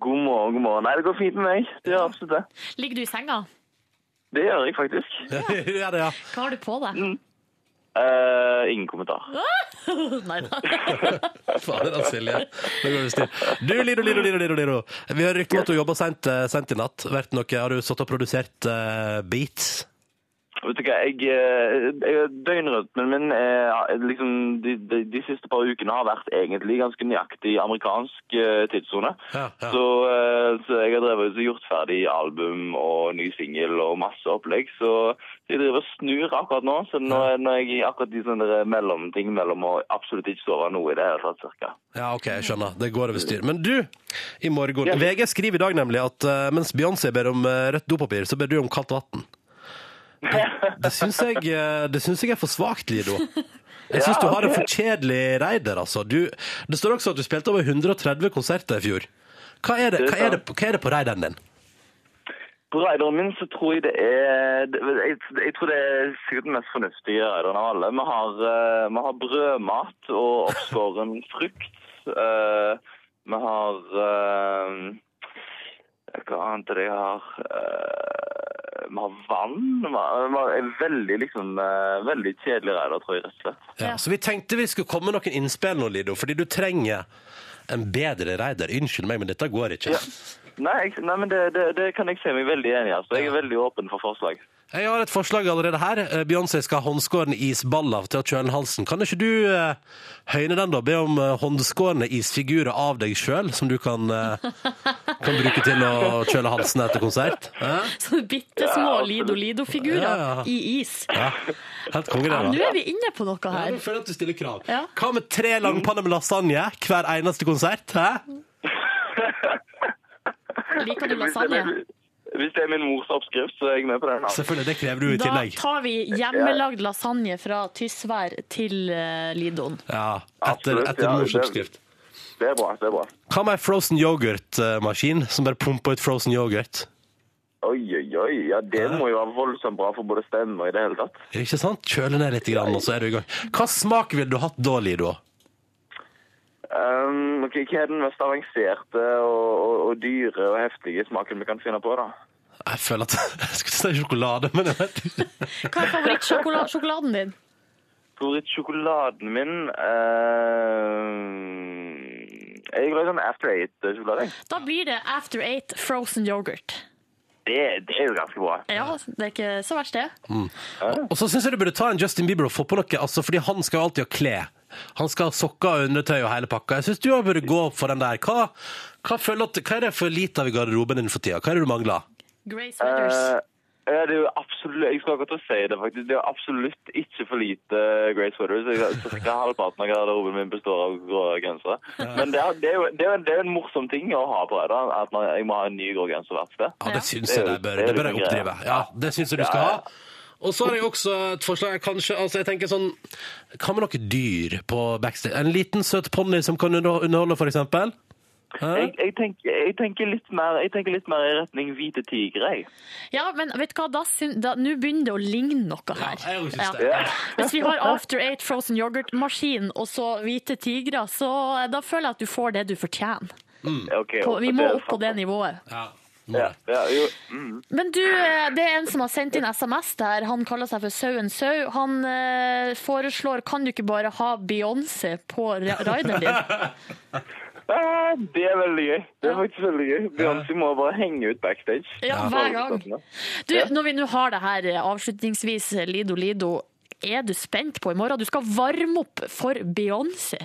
[SPEAKER 9] God morgen, god morgen. Nei, det går fint med meg. Det gjør absolutt det.
[SPEAKER 6] Ligger du i senga?
[SPEAKER 9] Det gjør jeg faktisk.
[SPEAKER 2] Ja, det, ja.
[SPEAKER 6] Hva har du på deg?
[SPEAKER 9] Eh, ingen kommentar.
[SPEAKER 6] Nei da.
[SPEAKER 2] Fader, da, Silje. Nå går det still. Du, Lido, Lido, Lido, Lido, Lido. Vi hører rykter om at du jobber sent, eh, sent i natt. Vært noe, har du satt og produsert eh, beats?
[SPEAKER 9] Vet du hva, jeg, eh, jeg er døgnrødt, men, men eh, liksom de, de, de siste par ukene har vært egentlig ganske nøyaktig amerikansk eh, tidssone. Så, eh, så jeg har drevet og gjort ferdig album og ny singel og masse opplegg. Så jeg driver og snur akkurat nå. Så nå er nå er jeg i akkurat i sånne der mellomting mellom å absolutt ikke sove noe i det hele tatt, cirka.
[SPEAKER 2] Ja, OK, jeg skjønner. Det går over styr. Men du, i morgen VG skriver i dag nemlig at eh, mens Beyoncé ber om eh, rødt dopapir, så ber du om kaldt vann. Det, det syns jeg, eh, det syns jeg er for svakt, Lido. Jeg syns
[SPEAKER 14] Ja,
[SPEAKER 2] du har en
[SPEAKER 14] ok.
[SPEAKER 2] for kjedelig raider, altså. Du, det står også at du spilte over 130 konserter i fjor. Hva er det,
[SPEAKER 9] Det
[SPEAKER 2] hva
[SPEAKER 9] er
[SPEAKER 2] er det, hva er det på raideren din?
[SPEAKER 9] På raideren min så tror jeg det er Jeg, jeg tror det er sikkert den mest fornuftige raideren av alle. Vi har, eh, vi har brødmat og oppskåren frukt. Eh, vi har eh, Hva annet er det jeg har? Eh, vi har vann. Vi har, vi har en veldig, liksom, eh, veldig kjedelig raider, tror jeg, rett og slett.
[SPEAKER 2] Ja, så vi tenkte vi skulle komme med noen innspill nå, Lido, fordi du trenger en bedre raider. Unnskyld meg, men dette går ikke.
[SPEAKER 9] Nei, jeg, nei men det, det, det kan jeg se meg veldig enig i. Altså. Jeg er veldig åpen for forslag.
[SPEAKER 2] Jeg har et forslag allerede her. Eh, Beyoncé skal ha håndskårne isballer til å kjøle halsen. Kan ikke du eh, høyne den, da? Be om eh, håndskårne isfigurer av deg sjøl, som du kan, eh, kan bruke til å kjøle halsen etter konsert? Eh?
[SPEAKER 6] Så bitte små
[SPEAKER 2] Ja, absolutt.
[SPEAKER 6] Lido-Lido-figurer
[SPEAKER 2] Ja, ja.
[SPEAKER 6] i is.
[SPEAKER 2] Ja. Helt konge,
[SPEAKER 6] Ja, nå
[SPEAKER 2] det, da.
[SPEAKER 6] er vi inne på noe
[SPEAKER 2] Ja,
[SPEAKER 6] her.
[SPEAKER 2] nå føler jeg at du stiller krav.
[SPEAKER 6] Ja.
[SPEAKER 2] Hva med tre langpanner med lasagne hver eneste konsert? Hæ?
[SPEAKER 6] Liker du
[SPEAKER 9] Hvis det er
[SPEAKER 6] lasagne?
[SPEAKER 9] min- Hvis det er min mors oppskrift, så er jeg med på den. altså.
[SPEAKER 2] Selvfølgelig, det krever du i
[SPEAKER 6] Da
[SPEAKER 2] tillegg.
[SPEAKER 6] tar vi hjemmelagd lasagne fra Tysvær til eh, Lidoen.
[SPEAKER 2] Ja, etter,
[SPEAKER 9] Absolutt,
[SPEAKER 2] etter
[SPEAKER 9] ja,
[SPEAKER 2] mors
[SPEAKER 9] det-
[SPEAKER 2] oppskrift.
[SPEAKER 9] Det er bra. det er bra.
[SPEAKER 2] Hva med ei frozen yoghurt-maskin som bare pumper ut frozen yoghurt?
[SPEAKER 9] Oi, oi, oi. Ja, det må jo være voldsomt bra for både stemme og i det hele tatt.
[SPEAKER 2] Ikke sant? Kjøle ned litt, grann, og så er du i gang. Hva smak ville du hatt da, Lido?
[SPEAKER 9] Um, ok, Hva er den mest avanserte og, og, og dyre og heftige smaken vi kan finne på, da?
[SPEAKER 2] Jeg føler at jeg skulle si sjokolade, men jeg vet ikke.
[SPEAKER 6] Hva er favorittsjokoladen din?
[SPEAKER 9] Favorittsjokoladen min eh, Jeg er glad i sånn After Eight-sjokolade. jeg.
[SPEAKER 6] Da blir det After Eight frozen yoghurt.
[SPEAKER 9] Det, det er jo ganske bra.
[SPEAKER 6] Ja, det er ikke så verst, det.
[SPEAKER 2] Mm. Og- Og så syns jeg du burde ta en Justin Bieber og få på noe, altså, fordi han skal jo alltid ha klær. Han skal ha sokker og undertøy og hele pakka. Jeg syns du også burde gå for den der. Hva, hva, føler du at, hva er det for lite av i garderoben din for tida? Hva er det du mangler?
[SPEAKER 6] Grey sweaters.
[SPEAKER 9] Eh, ja, det er jo absolutt, jeg skal akkurat si det, faktisk. Det er absolutt ikke for lite Grey Sweaters. Jeg- Så cirka halvparten av garderoben min består av grå gensere. Men det er, det, er jo, det, er, jo- det er jo en morsom ting å ha på da, at man, jeg må ha en ny grå genser hvert sted.
[SPEAKER 2] Ja, det syns jeg de bør, det bør jeg oppdrive. Ja, det syns jeg du skal ha. Og så har jeg også et forslag. Kanskje, altså jeg tenker sånn Hva med noe dyr på backstage? En liten, søt ponni som kan under- underholde, for eksempel? Hæ?
[SPEAKER 9] Jeg, jeg, tenker, jeg, tenker litt mer, jeg tenker litt mer i retning hvite tigre, jeg.
[SPEAKER 6] Ja, men vet du hva, da syn- da- nå begynner det å ligne noe her.
[SPEAKER 9] jeg synes
[SPEAKER 6] Ja.
[SPEAKER 9] det. Ja.
[SPEAKER 6] Hvis vi har After Eight frozen yoghurt-maskin og så hvite tigre, så eh, da føler jeg at du får det du fortjener.
[SPEAKER 9] Ok,
[SPEAKER 6] På- Vi
[SPEAKER 9] og
[SPEAKER 6] må
[SPEAKER 9] det-
[SPEAKER 6] opp på det nivået.
[SPEAKER 9] Ja, ja, jo. Mm.
[SPEAKER 6] Men du, eh, det er en som har sendt inn SMS der. Han kaller seg for Sauen Sau. Han eh, foreslår kan du ikke bare ha Beyoncé på ra- rideren din?
[SPEAKER 9] Ah, det er veldig gøy. Det er faktisk veldig gøy. Beyoncé må bare henge ut backstage.
[SPEAKER 6] Ja, hver gang. Du, når vi nå har det her eh, avslutningsvis, eh, Lido Lido, er du spent på i morgen? Du skal varme opp for Beyoncé.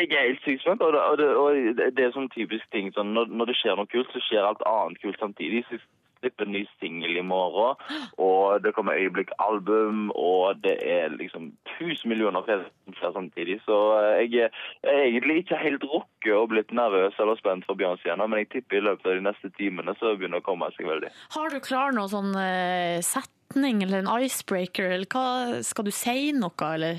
[SPEAKER 9] Jeg er helt sykt spent, og det, og det, og det- det er sånn typisk ting sånn, når, når det skjer noe kult, så skjer alt annet kult samtidig. Så jeg slipper en ny singel i morgen, og det kommer øyeblikkalbum, og det er liksom tusen millioner fjes som skjer samtidig. Så eh, jeg er- jeg er egentlig ikke helt rukket og blitt nervøs eller spent for Beyoncé ennå, men jeg tipper i løpet av de neste timene så begynner det å komme seg veldig.
[SPEAKER 6] Har du klar noe sånn eh, setning eller en icebreaker, eller hva skal du si noe, eller?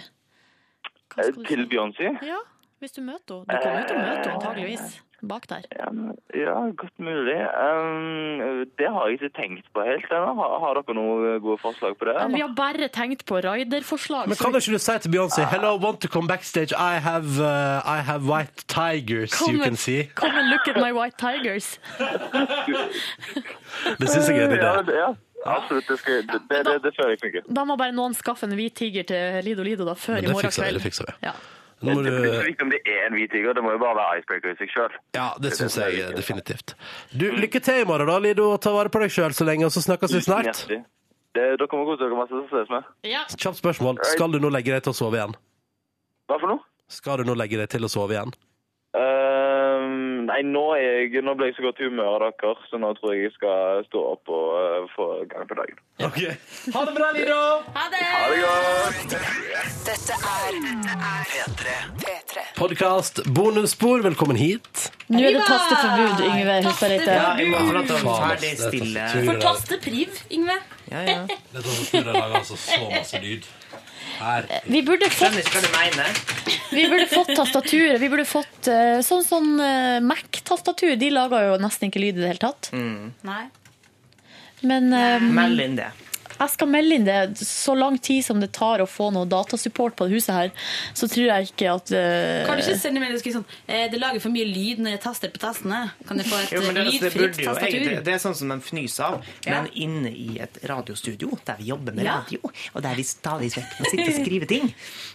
[SPEAKER 9] Eh, Til Beyoncé?
[SPEAKER 6] Ja, hvis du møter henne. Du kommer jo til å møte henne antageligvis bak der.
[SPEAKER 9] Eh, Um, Ja, godt mulig. Um, det har jeg ikke tenkt på helt ennå. Har, har dere noen gode forslag på det?
[SPEAKER 6] Men vi har bare tenkt på raiderforslag.
[SPEAKER 2] Men
[SPEAKER 6] så
[SPEAKER 2] kan
[SPEAKER 6] vi-
[SPEAKER 2] ikke du si til Beyoncé Hello, want to come backstage? I have, uh, I have white tigers,
[SPEAKER 6] Come
[SPEAKER 2] you can
[SPEAKER 6] and-
[SPEAKER 2] see.
[SPEAKER 6] Come and look at my white tigers.
[SPEAKER 2] Det syns jeg er en idé.
[SPEAKER 9] Ja, det- ja. absolutt. Det, skal, det, det, det, det føler jeg funker.
[SPEAKER 6] Da må bare noen skaffe en hvit tiger til Lido Lido da, før
[SPEAKER 2] Men
[SPEAKER 6] i
[SPEAKER 2] det
[SPEAKER 6] morgen
[SPEAKER 2] fikser vi,
[SPEAKER 6] kveld.
[SPEAKER 2] det fikser vi.
[SPEAKER 6] Ja.
[SPEAKER 2] Nå må
[SPEAKER 9] Det
[SPEAKER 2] du
[SPEAKER 9] er ikke så viktig om det er en hvit tiger, det må jo bare være icebreaker i seg sjøl.
[SPEAKER 2] Ja, det syns jeg definitivt. Du, Lykke til i morgen, da, Lido. og Ta vare på deg sjøl så lenge, og så snakkes vi snart.
[SPEAKER 9] Dere må kose dere masse, så ses vi.
[SPEAKER 2] Kjapt spørsmål. Skal du nå legge deg til å sove igjen?
[SPEAKER 9] Hva for noe?
[SPEAKER 2] Skal du nå legge deg til å sove igjen?
[SPEAKER 9] Ehm, nei, nå, er jeg, nå ble jeg så godt i humør av dere, så nå tror jeg jeg skal stå opp og eh, få gang på dagen.
[SPEAKER 2] Ha det bra, Lido!
[SPEAKER 6] Ha det!
[SPEAKER 9] Ha det godt!
[SPEAKER 15] Dette er P3. P3.
[SPEAKER 2] Podkast bonusspor, velkommen hit.
[SPEAKER 6] Nå er det tasteforbud, Yngve Hustadreite.
[SPEAKER 3] Ja, jeg må få lov til å
[SPEAKER 2] Faen, ass,
[SPEAKER 3] ferdig
[SPEAKER 2] det er
[SPEAKER 3] stille.
[SPEAKER 2] tastatur, det der.
[SPEAKER 5] priv, Yngve.
[SPEAKER 3] Ja, ja.
[SPEAKER 2] Det tastaturet lager altså så masse lyd. Her.
[SPEAKER 6] Vi burde fått,
[SPEAKER 3] Skjønner ikke hva du mener.
[SPEAKER 6] vi burde fått tastaturet. Vi burde fått eh, sånn, sånn eh, Mac-tastatur. De lager jo nesten ikke lyd i det hele tatt.
[SPEAKER 2] Mm.
[SPEAKER 5] Nei.
[SPEAKER 6] Men eh,
[SPEAKER 3] Meld inn det.
[SPEAKER 6] jeg skal melde inn det. Så lang tid som det tar å få noe datasupport på det huset her, så tror jeg ikke at eh,
[SPEAKER 5] Kan du ikke sende meg det skrive sånn eh, Det lager for mye lyd når jeg taster på tastene. Kan jeg få et
[SPEAKER 3] Jo, men det,
[SPEAKER 5] eh,
[SPEAKER 3] det,
[SPEAKER 5] lydfritt
[SPEAKER 3] burde jo,
[SPEAKER 5] tastatur?
[SPEAKER 3] egentlig- det er sånn som de fnyser av, men inne i et radiostudio, der vi jobber med
[SPEAKER 5] Ja.
[SPEAKER 3] radio, og der vi stadig vekk må sitte og skrive ting,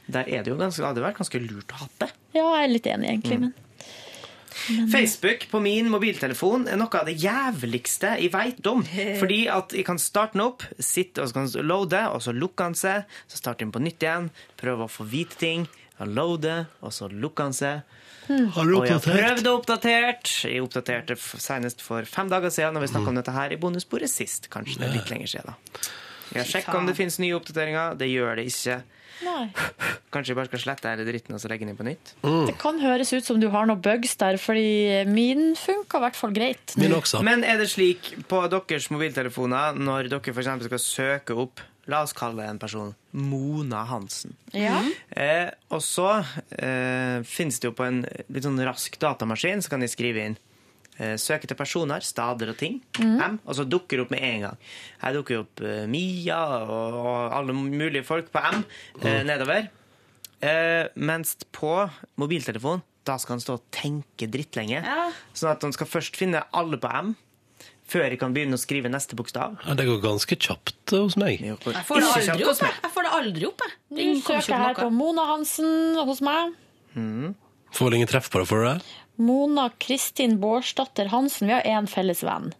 [SPEAKER 3] der er det jo ganske, hadde det vært ganske lurt å ha det.
[SPEAKER 6] Ja, jeg er litt enig,
[SPEAKER 2] Mm.
[SPEAKER 6] egentlig. Men
[SPEAKER 5] Mhm.
[SPEAKER 3] Facebook på min mobiltelefon er noe av det jævligste jeg veit om. Fordi at jeg kan starte den opp, sitte og så kan jeg loade, og så lukker den seg. Så starter den på nytt igjen, prøver å få vite ting. Han loader, og så lukker han seg.
[SPEAKER 2] Har
[SPEAKER 3] Og jeg har prøvd å oppdatert. Jeg oppdaterte f- senest for fem dager siden når vi snakket om dette her i bonusbordet sist. Kanskje det er litt lenger siden, da. Jeg har sjekket om det finnes nye oppdateringer. Det gjør det ikke.
[SPEAKER 6] Nei.
[SPEAKER 3] Kanskje jeg bare skal slette hele dritten og så legge den inn på nytt.
[SPEAKER 6] Det kan høres ut som du har noen bugs der, fordi min funka i hvert fall greit.
[SPEAKER 3] Men er det slik på deres mobiltelefoner når dere for eksempel skal søke opp La oss kalle en person Mona Hansen.
[SPEAKER 6] Ja.
[SPEAKER 3] Eh, og så eh, finnes det jo på en litt sånn rask datamaskin, så kan de skrive inn eh, søke etter personer, stader og ting.
[SPEAKER 16] Mhm.
[SPEAKER 3] M, og så dukker det opp med en gang. Her dukker det opp eh, Mia og, og alle mulige folk på M
[SPEAKER 2] Mhm.
[SPEAKER 3] eh, nedover. Eh, mens på mobiltelefon, da skal han stå og tenke drittlenge. Sånn at han skal først finne alle på M. før jeg kan begynne å skrive neste bokstav.
[SPEAKER 2] Ja, det går ganske kjapt eh, hos meg.
[SPEAKER 17] Jeg får det aldri opp, jeg. jeg. Får det aldri opp, jeg.
[SPEAKER 6] Du
[SPEAKER 17] Det kommer ikke
[SPEAKER 6] søker her
[SPEAKER 17] opp
[SPEAKER 6] på
[SPEAKER 17] noe.
[SPEAKER 6] Mona Hansen hos meg.
[SPEAKER 2] Får vel ingen treff på det, får du det?
[SPEAKER 6] Mona Kristin Bårdsdatter Hansen. Vi har én felles venn.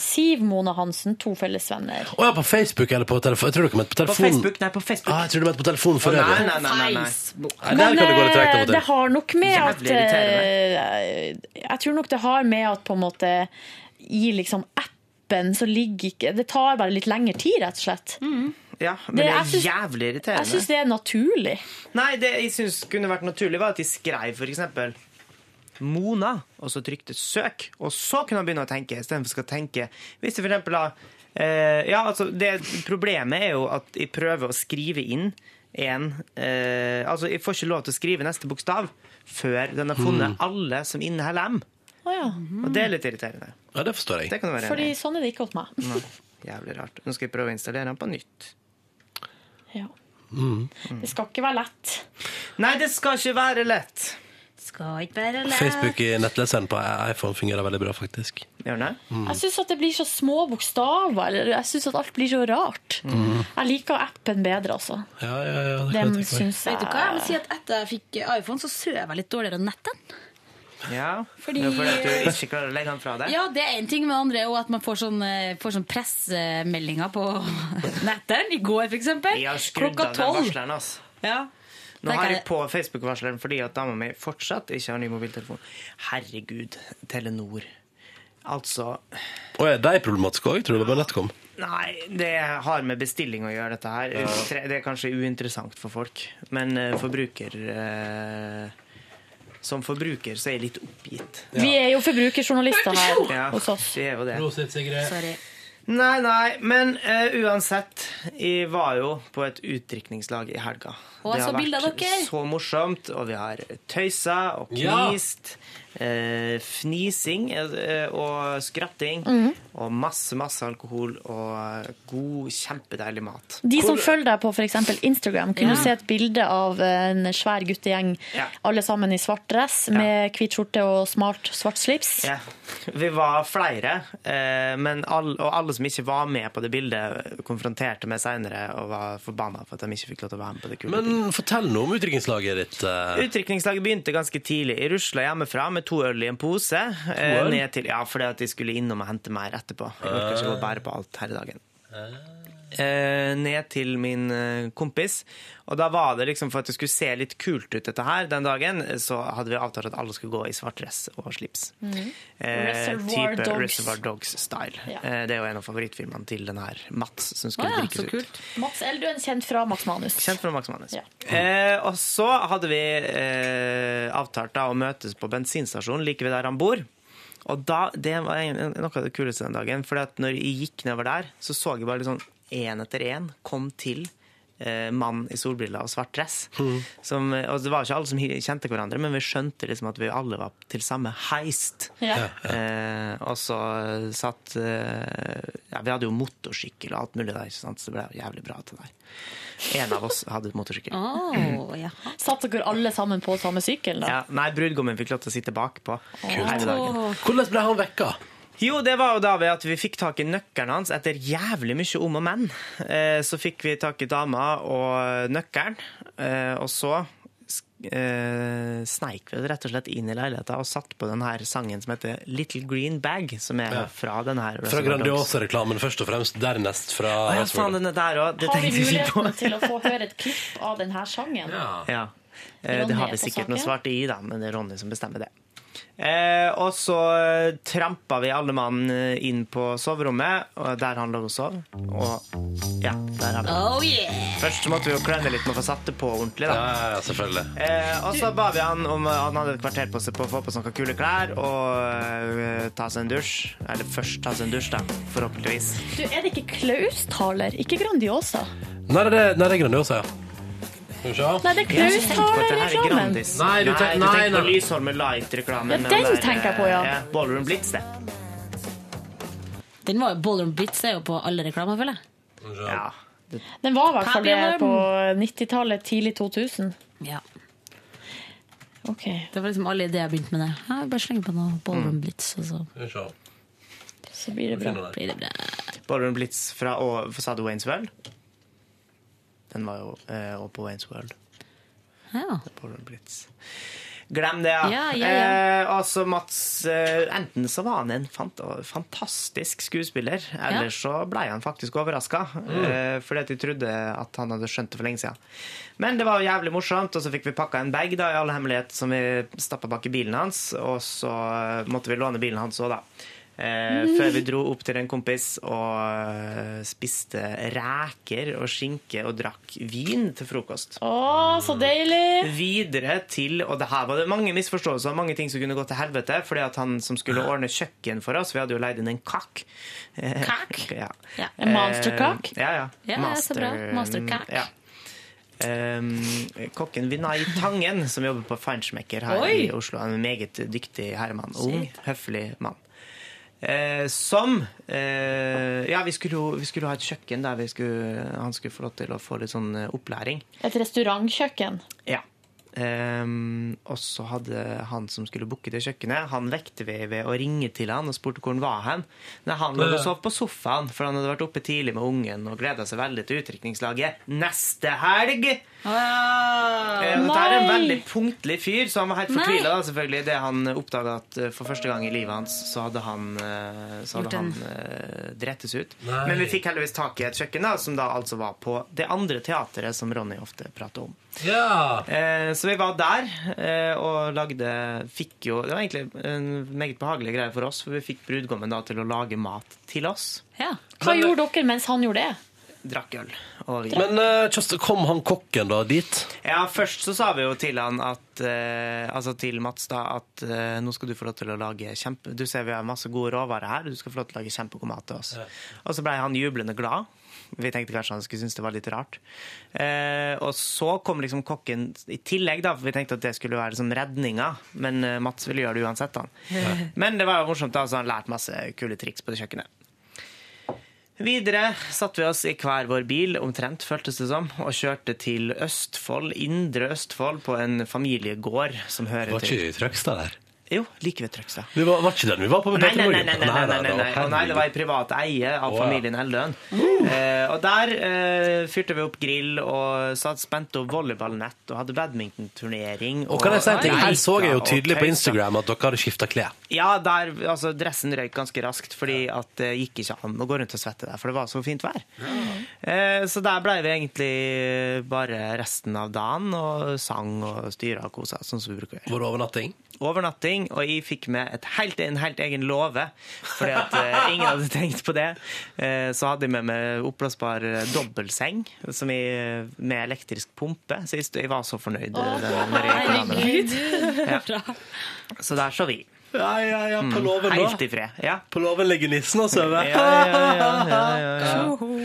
[SPEAKER 6] Siv Mona Hansen, to felles venner.
[SPEAKER 2] Å ja, på Facebook eller på telefon? Jeg tror dere mente på telefon.
[SPEAKER 6] Facebook,
[SPEAKER 3] nei, på Facebook.
[SPEAKER 2] Ah, jeg tror du mente på telefon for
[SPEAKER 3] Å, nei,
[SPEAKER 2] øvrig.
[SPEAKER 3] nei, nei, nei, nei.
[SPEAKER 2] Nei, der kan det gå litt tregt av
[SPEAKER 6] eh,
[SPEAKER 2] og
[SPEAKER 6] det
[SPEAKER 2] til.
[SPEAKER 6] har nok med at
[SPEAKER 2] Jævlig
[SPEAKER 6] eh, Jeg tror nok det har med at på en måte i liksom appen så ligger ikke Det tar bare litt lengre tid, rett og slett.
[SPEAKER 3] Ja, men
[SPEAKER 6] Det-
[SPEAKER 3] det,
[SPEAKER 6] jeg
[SPEAKER 3] er
[SPEAKER 6] syns-
[SPEAKER 3] jævlig irriterende.
[SPEAKER 6] Jeg syns det er naturlig.
[SPEAKER 3] Nei, det jeg syns kunne vært naturlig, var at de skrev for eksempel Mona, og så trykte søk, og så kunne han begynne å tenke, istedenfor skal tenke. Hvis det for eksempel da eh, Ja, altså, det problemet er jo at jeg prøver å skrive inn en eh, Altså, jeg får ikke lov til å skrive neste bokstav før den har funnet alle som inneholder M.
[SPEAKER 6] Å ja.
[SPEAKER 3] Og det er litt irriterende.
[SPEAKER 2] Ja, det forstår jeg.
[SPEAKER 3] Det kan du være
[SPEAKER 6] Fordi
[SPEAKER 3] enig i.
[SPEAKER 6] sånn er det ikke hos meg.
[SPEAKER 3] Nei, Jævlig rart. Nå skal jeg prøve å installere den på nytt.
[SPEAKER 6] Ja. Det skal ikke være lett.
[SPEAKER 3] Nei, det skal ikke være lett.
[SPEAKER 17] Skal ikke være lett.
[SPEAKER 2] Facebook i nettleseren på iPhone fungerer veldig bra, faktisk.
[SPEAKER 3] Gjør det?
[SPEAKER 6] Jeg syns at det blir så små bokstaver. Eller jeg syns at alt blir så rart.
[SPEAKER 2] Mm.
[SPEAKER 6] Jeg liker appen bedre, altså.
[SPEAKER 2] Ja, ja, ja. Det kan
[SPEAKER 6] Den
[SPEAKER 2] jeg tenke meg.
[SPEAKER 6] syns jeg
[SPEAKER 17] Vet du hva, jeg må si at etter jeg fikk iPhone, så søv jeg litt dårligere enn netten.
[SPEAKER 3] Ja,
[SPEAKER 17] Fordi-
[SPEAKER 3] Det er fordi at du ikke klarer å legge den fra deg?
[SPEAKER 17] Ja, det er en ting, men det andre er jo at man får sånn, eh, får sånn pressemeldinger på netteren. I går, for eksempel.
[SPEAKER 3] Jeg har skrudd
[SPEAKER 17] Klokka
[SPEAKER 3] av den
[SPEAKER 17] tolv.
[SPEAKER 3] varsleren, altså.
[SPEAKER 17] Ja.
[SPEAKER 3] Nå
[SPEAKER 17] Det
[SPEAKER 3] har
[SPEAKER 17] kan
[SPEAKER 3] jeg på Facebook-varsleren fordi at dama mi fortsatt ikke har ny mobiltelefon. Herregud, Telenor. Altså
[SPEAKER 2] Å, er de problematiske òg? Tror du det var Netcom?
[SPEAKER 3] Nei, det har med bestilling å gjøre, dette her. Tre- Det er kanskje uinteressant for folk, men eh, forbruker eh, Som forbruker så er jeg litt oppgitt.
[SPEAKER 6] Vi er jo forbrukerjournalister her
[SPEAKER 3] Ja,
[SPEAKER 6] hos oss.
[SPEAKER 3] Det er jo det.
[SPEAKER 6] Sorry.
[SPEAKER 3] Nei, nei, men eh, uansett. Jeg var jo på et utdrikningslag i helga.
[SPEAKER 17] Og jeg så bilder av dere.
[SPEAKER 3] så morsomt, og vi har tøysa og
[SPEAKER 17] Ja.
[SPEAKER 3] knist. eh, fnising eh, og skratting.
[SPEAKER 6] Mhm.
[SPEAKER 3] Og masse, masse alkohol og eh, god, kjempedeilig mat.
[SPEAKER 6] De som
[SPEAKER 3] Hvor-
[SPEAKER 6] følger deg på f.eks. Instagram, kunne
[SPEAKER 3] Ja.
[SPEAKER 6] se et bilde av en svær guttegjeng,
[SPEAKER 3] Ja.
[SPEAKER 6] alle sammen i svart dress, med hvit skjorte og smart svart slips.
[SPEAKER 3] Ja. Vi var flere, eh, men all, og alle som ikke var med på det bildet, konfronterte meg seinere og var forbanna for at de ikke fikk lov til å være med på det kule
[SPEAKER 2] Men fortell noe om utdrikningslaget ditt. eh.
[SPEAKER 3] Utdrikningslaget begynte ganske tidlig. Jeg rusla hjemmefra med to øl i en pose. eh,
[SPEAKER 2] øl?
[SPEAKER 3] Ned til, ja, fordi at jeg skulle innom og hente mer etterpå. Jeg orker ikke gå og bære på alt her i dagen. Eh, ned til min eh, kompis. Og da var det liksom for at det skulle se litt kult ut, dette her, den dagen, så hadde vi avtalt at alle skulle gå i svart dress og slips. Eh,
[SPEAKER 17] Reservoir
[SPEAKER 3] type
[SPEAKER 17] Dogs.
[SPEAKER 3] Reservoir Dogs-style.
[SPEAKER 6] Mm. Ja.
[SPEAKER 3] Eh, det er jo en av favorittfilmene til den her Mats, som skulle
[SPEAKER 6] Å ja, Ah, så
[SPEAKER 3] drikkes ut.
[SPEAKER 6] Mats Elduen, kjent fra Max Manus.
[SPEAKER 3] Kjent fra Max Manus.
[SPEAKER 6] Ja.
[SPEAKER 3] Eh, og så hadde vi eh, avtalt da å møtes på bensinstasjonen like ved der han bor. Og da, det var en- en- noe av det kuleste den dagen. For når jeg gikk nedover der, så så jeg bare liksom én etter én kom til eh, mann i solbriller og svart dress. Som, eh, og det var ikke alle som hi- kjente hverandre, men vi skjønte liksom at vi alle var til samme heist.
[SPEAKER 6] Ja.
[SPEAKER 3] Eh, og så satt eh, ja, Vi hadde jo motorsykkel og alt mulig der, ikke sant? så det ble jo jævlig bra til deg. En av oss hadde motorsykkel.
[SPEAKER 6] Satt dere alle sammen på samme sykkel, da?
[SPEAKER 3] Ja, nei, brudgommen fikk lov til å sitte bakpå. hele dagen.
[SPEAKER 2] Hvordan ble han vekka?
[SPEAKER 3] Jo, det var jo da ved at vi fikk tak i nøkkelen hans etter jævlig mye om og men. Eh, Så fikk vi tak i dama og nøkkelen, eh, og så sk- eh, sneik vi rett og slett inn i leiligheta og satt på den her sangen som heter Little Green Bag, som er
[SPEAKER 2] Ja.
[SPEAKER 3] fra den her.
[SPEAKER 2] Fra Grandiosa-reklamen først og fremst, dernest fra
[SPEAKER 3] Å ja,
[SPEAKER 2] Reservoir
[SPEAKER 3] faen, den er der òg. Det
[SPEAKER 6] Har vi
[SPEAKER 3] tenkte jeg ikke på.
[SPEAKER 6] muligheten til å få høre et klipp av denne sangen?
[SPEAKER 3] Ja. Eh,
[SPEAKER 6] Ronny
[SPEAKER 3] Det
[SPEAKER 6] er
[SPEAKER 3] har
[SPEAKER 6] på
[SPEAKER 3] vi sikkert noe
[SPEAKER 6] saken.
[SPEAKER 3] svart i, da, men det er Ronny som bestemmer det. Eh, og så eh, trampa vi alle mann eh, inn på soverommet, og der han lå og sov. Og ja, der har vi den.
[SPEAKER 17] Oh yeah!
[SPEAKER 3] Først så måtte vi jo klemme litt med å få satt det på ordentlig. da.
[SPEAKER 2] Ja, ja, selvfølgelig.
[SPEAKER 3] Eh, og så ba vi han om eh, han hadde et kvarter på seg på å få på seg noen kule klær og eh, ta seg en dusj. Eller først ta seg en dusj, da. Forhåpentligvis.
[SPEAKER 6] Du, er det ikke Klaustaler? Ikke Grandiosa?
[SPEAKER 2] Nei, det, nei, det er Grandiosa, ja. Skal vi se.
[SPEAKER 6] Nei, det er Klaustaler-reklamen.
[SPEAKER 3] Nei, du
[SPEAKER 2] tenk-
[SPEAKER 3] tenker,
[SPEAKER 2] nei,
[SPEAKER 3] på
[SPEAKER 2] nei.
[SPEAKER 3] Lysholmen Light-reklamen.
[SPEAKER 6] Ja,
[SPEAKER 3] med
[SPEAKER 6] den
[SPEAKER 3] der,
[SPEAKER 6] tenker jeg på, ja.
[SPEAKER 3] eh, Ballroom Blitz, det.
[SPEAKER 17] Den var jo Ballroom Blitz er jo på alle reklamer, føler jeg.
[SPEAKER 3] Ja.
[SPEAKER 6] Den var i hvert fall det
[SPEAKER 17] Papillon.
[SPEAKER 6] på 90-tallet, tidlig 2000.
[SPEAKER 17] Ja.
[SPEAKER 6] Ok.
[SPEAKER 3] Mm.
[SPEAKER 17] Det var liksom alle ideer jeg begynte med det. Ja, bare slenge på noe Ballroom Blitz. Og så.
[SPEAKER 2] Skal vi se.
[SPEAKER 7] Så blir det bra. Blir det bra.
[SPEAKER 3] Ballroom Blitz fra og, Sa du Waynes World? Den var jo eh, også på Waynes World.
[SPEAKER 7] Ja.
[SPEAKER 3] Ballroom Blitz. Glem det, ja.
[SPEAKER 7] Ja, ja, ja.
[SPEAKER 3] Eh, altså Mats eh, Enten så var han en fant fantastisk skuespiller, eller så ble han faktisk overraska. Eh, fordi at de trodde at han hadde skjønt det for lenge siden. Men det var jo jævlig morsomt, og så fikk vi pakka en bag da, i all hemmelighet som vi stappa bak i bilen hans. Og så eh, måtte vi låne bilen hans òg, da. Eh,
[SPEAKER 11] Mm.
[SPEAKER 3] før vi dro opp til en kompis og eh, spiste reker og skinke og drakk vin til frokost.
[SPEAKER 6] Å, så deilig!
[SPEAKER 3] Videre til, og det her var det mange misforståelser og mange ting som kunne gå til helvete, fordi at han som skulle ordne kjøkken for oss, vi hadde jo leid inn en kakk. Kakk? ja.
[SPEAKER 7] Ja, en monsterkakk?
[SPEAKER 3] Eh, Ja, ja.
[SPEAKER 7] Ja, ja, så bra. Monsterkakk.
[SPEAKER 3] Ja. Eh, kokken Vinay Tangen, som jobber på Feinschmecker her
[SPEAKER 7] Oi!
[SPEAKER 3] i Oslo, han er en meget dyktig herremann.
[SPEAKER 7] Shit.
[SPEAKER 3] Ung, høflig mann. Eh, som eh, Ja, vi skulle, jo, vi skulle ha et kjøkken der vi skulle, han skulle få lov til å få litt sånn eh, opplæring.
[SPEAKER 6] Et restaurantkjøkken.
[SPEAKER 3] Ja. Ehm, og så hadde han som skulle booke det kjøkkenet, han vekte vi ved å ringe til han og spurte hvor han var hen. Nei, han lå og sov på sofaen, for han hadde vært oppe tidlig med ungen og gleda seg veldig til utdrikningslaget neste helg. Eh, og Dette er en veldig punktlig fyr, så han var helt
[SPEAKER 17] Nei.
[SPEAKER 3] fortvila da, selvfølgelig, det han oppdaga at eh, for første gang i livet hans så hadde han, eh, så
[SPEAKER 17] Gjort
[SPEAKER 3] hadde han
[SPEAKER 17] en-
[SPEAKER 3] eh, drettes ut.
[SPEAKER 2] Nei.
[SPEAKER 3] Men vi fikk heldigvis tak i et kjøkken da, som da altså var på det andre teateret som Ronny ofte prater om. Eh, Så vi var der eh, og lagde Fikk jo Det var egentlig en meget behagelig greie for oss, for vi fikk brudgommen da til å lage mat til oss.
[SPEAKER 6] Ja. Hva gjorde dere mens han gjorde det?
[SPEAKER 3] Drakk øl og vin.
[SPEAKER 2] Men eh, Kjøste, kom han kokken da dit?
[SPEAKER 3] Ja, først så sa vi jo til han at eh, Altså til Mats da at eh, nå skal du få lov til å lage kjempe Du ser vi har masse gode råvarer her, du skal få lov til å lage kjempegod mat til oss. Og så blei han jublende glad. Vi tenkte kanskje han skulle synes det var litt rart. Eh, og så kom liksom kokken i tillegg, da, for vi tenkte at det skulle være liksom redninga. Men eh, Mats ville gjøre det uansett, han. Men det var jo morsomt, da, så han lærte masse kule triks på det kjøkkenet. Videre satte vi oss i hver vår bil, omtrent føltes det som, og kjørte til Østfold, indre Østfold, på en familiegård som hører
[SPEAKER 2] Var ikke
[SPEAKER 3] til
[SPEAKER 2] i Trøgstad der?
[SPEAKER 3] Jo, like ved Trøgstad.
[SPEAKER 2] Vi var, var ikke den vi var på?
[SPEAKER 3] Nei,
[SPEAKER 2] med
[SPEAKER 3] nei, nei,
[SPEAKER 2] Petter
[SPEAKER 3] nei,
[SPEAKER 2] Morgan?
[SPEAKER 3] nei, nei, nei, nei, nei. Og nei, det var i
[SPEAKER 2] herregud.
[SPEAKER 3] privat eie av
[SPEAKER 2] Å, ja. Uh.
[SPEAKER 3] familien Eldøen. Eh, og der eh, fyrte vi opp grill og satt spent og volleyballnett og hadde badmintonturnering.
[SPEAKER 2] Og kan jeg si en ting? Her
[SPEAKER 3] leika
[SPEAKER 2] så jeg jo
[SPEAKER 3] og
[SPEAKER 2] tydelig på
[SPEAKER 3] tøysa.
[SPEAKER 2] Instagram at dere hadde skifta klær.
[SPEAKER 3] Ja, der, altså, dressen røyk ganske raskt, fordi at det gikk ikke an å gå rundt og svette der, for det var så fint vær. Eh, Så der blei vi egentlig bare resten av dagen og sang og styra og kosa, sånn som vi bruker å gjøre.
[SPEAKER 2] Var det overnatting?
[SPEAKER 3] Overnatting, og jeg fikk med et helt, en helt egen låve, fordi at eh, ingen hadde tenkt på det. Eh, Så hadde jeg med meg oppblåsbar eh, dobbeltseng som jeg, eh, med elektrisk pumpe, så jeg, st- jeg var så fornøyd. eh, når jeg gikk og la meg der. Ja. Så der så vi.
[SPEAKER 2] Ja, ja, ja,
[SPEAKER 3] Mm.
[SPEAKER 2] på låven da.
[SPEAKER 3] Helt i fred. Ja.
[SPEAKER 2] På låven ligger nissen og sover.
[SPEAKER 3] Ja, ja, ja, ja, ja, ja.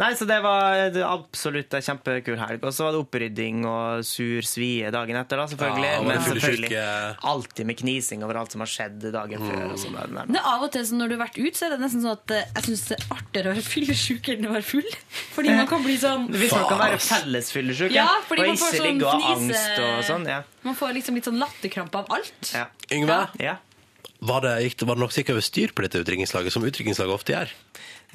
[SPEAKER 3] Nei, så det var det absolutt en kjempekul helg. Og så var det opprydding og sur svie dagen etter, da, selvfølgelig.
[SPEAKER 2] Ja, og
[SPEAKER 3] Men
[SPEAKER 2] det fulle
[SPEAKER 3] selvfølgelig alltid med knising over alt som har skjedd dagen før. Og sånn, der,
[SPEAKER 5] Men av og til så når du har vært ute, så er det nesten sånn at eh, jeg syns det er artigere å være fyllesyk enn å være full. Fordi man kan bli sånn
[SPEAKER 3] Hvis man kan være fellesfyllesyk
[SPEAKER 5] Ja,
[SPEAKER 3] ja,
[SPEAKER 5] fordi
[SPEAKER 3] og
[SPEAKER 5] man får
[SPEAKER 3] ikke
[SPEAKER 5] sånn
[SPEAKER 3] ligge og ha
[SPEAKER 5] fnise-
[SPEAKER 3] angst og sånn. Ja.
[SPEAKER 5] Man får liksom litt sånn latterkrampe av alt.
[SPEAKER 3] Ja.
[SPEAKER 2] Yngve,
[SPEAKER 3] Ja.
[SPEAKER 2] var det, gikk det, var det nok sikkert over styr på dette utdrikningslaget, som utdrikningslaget ofte gjør?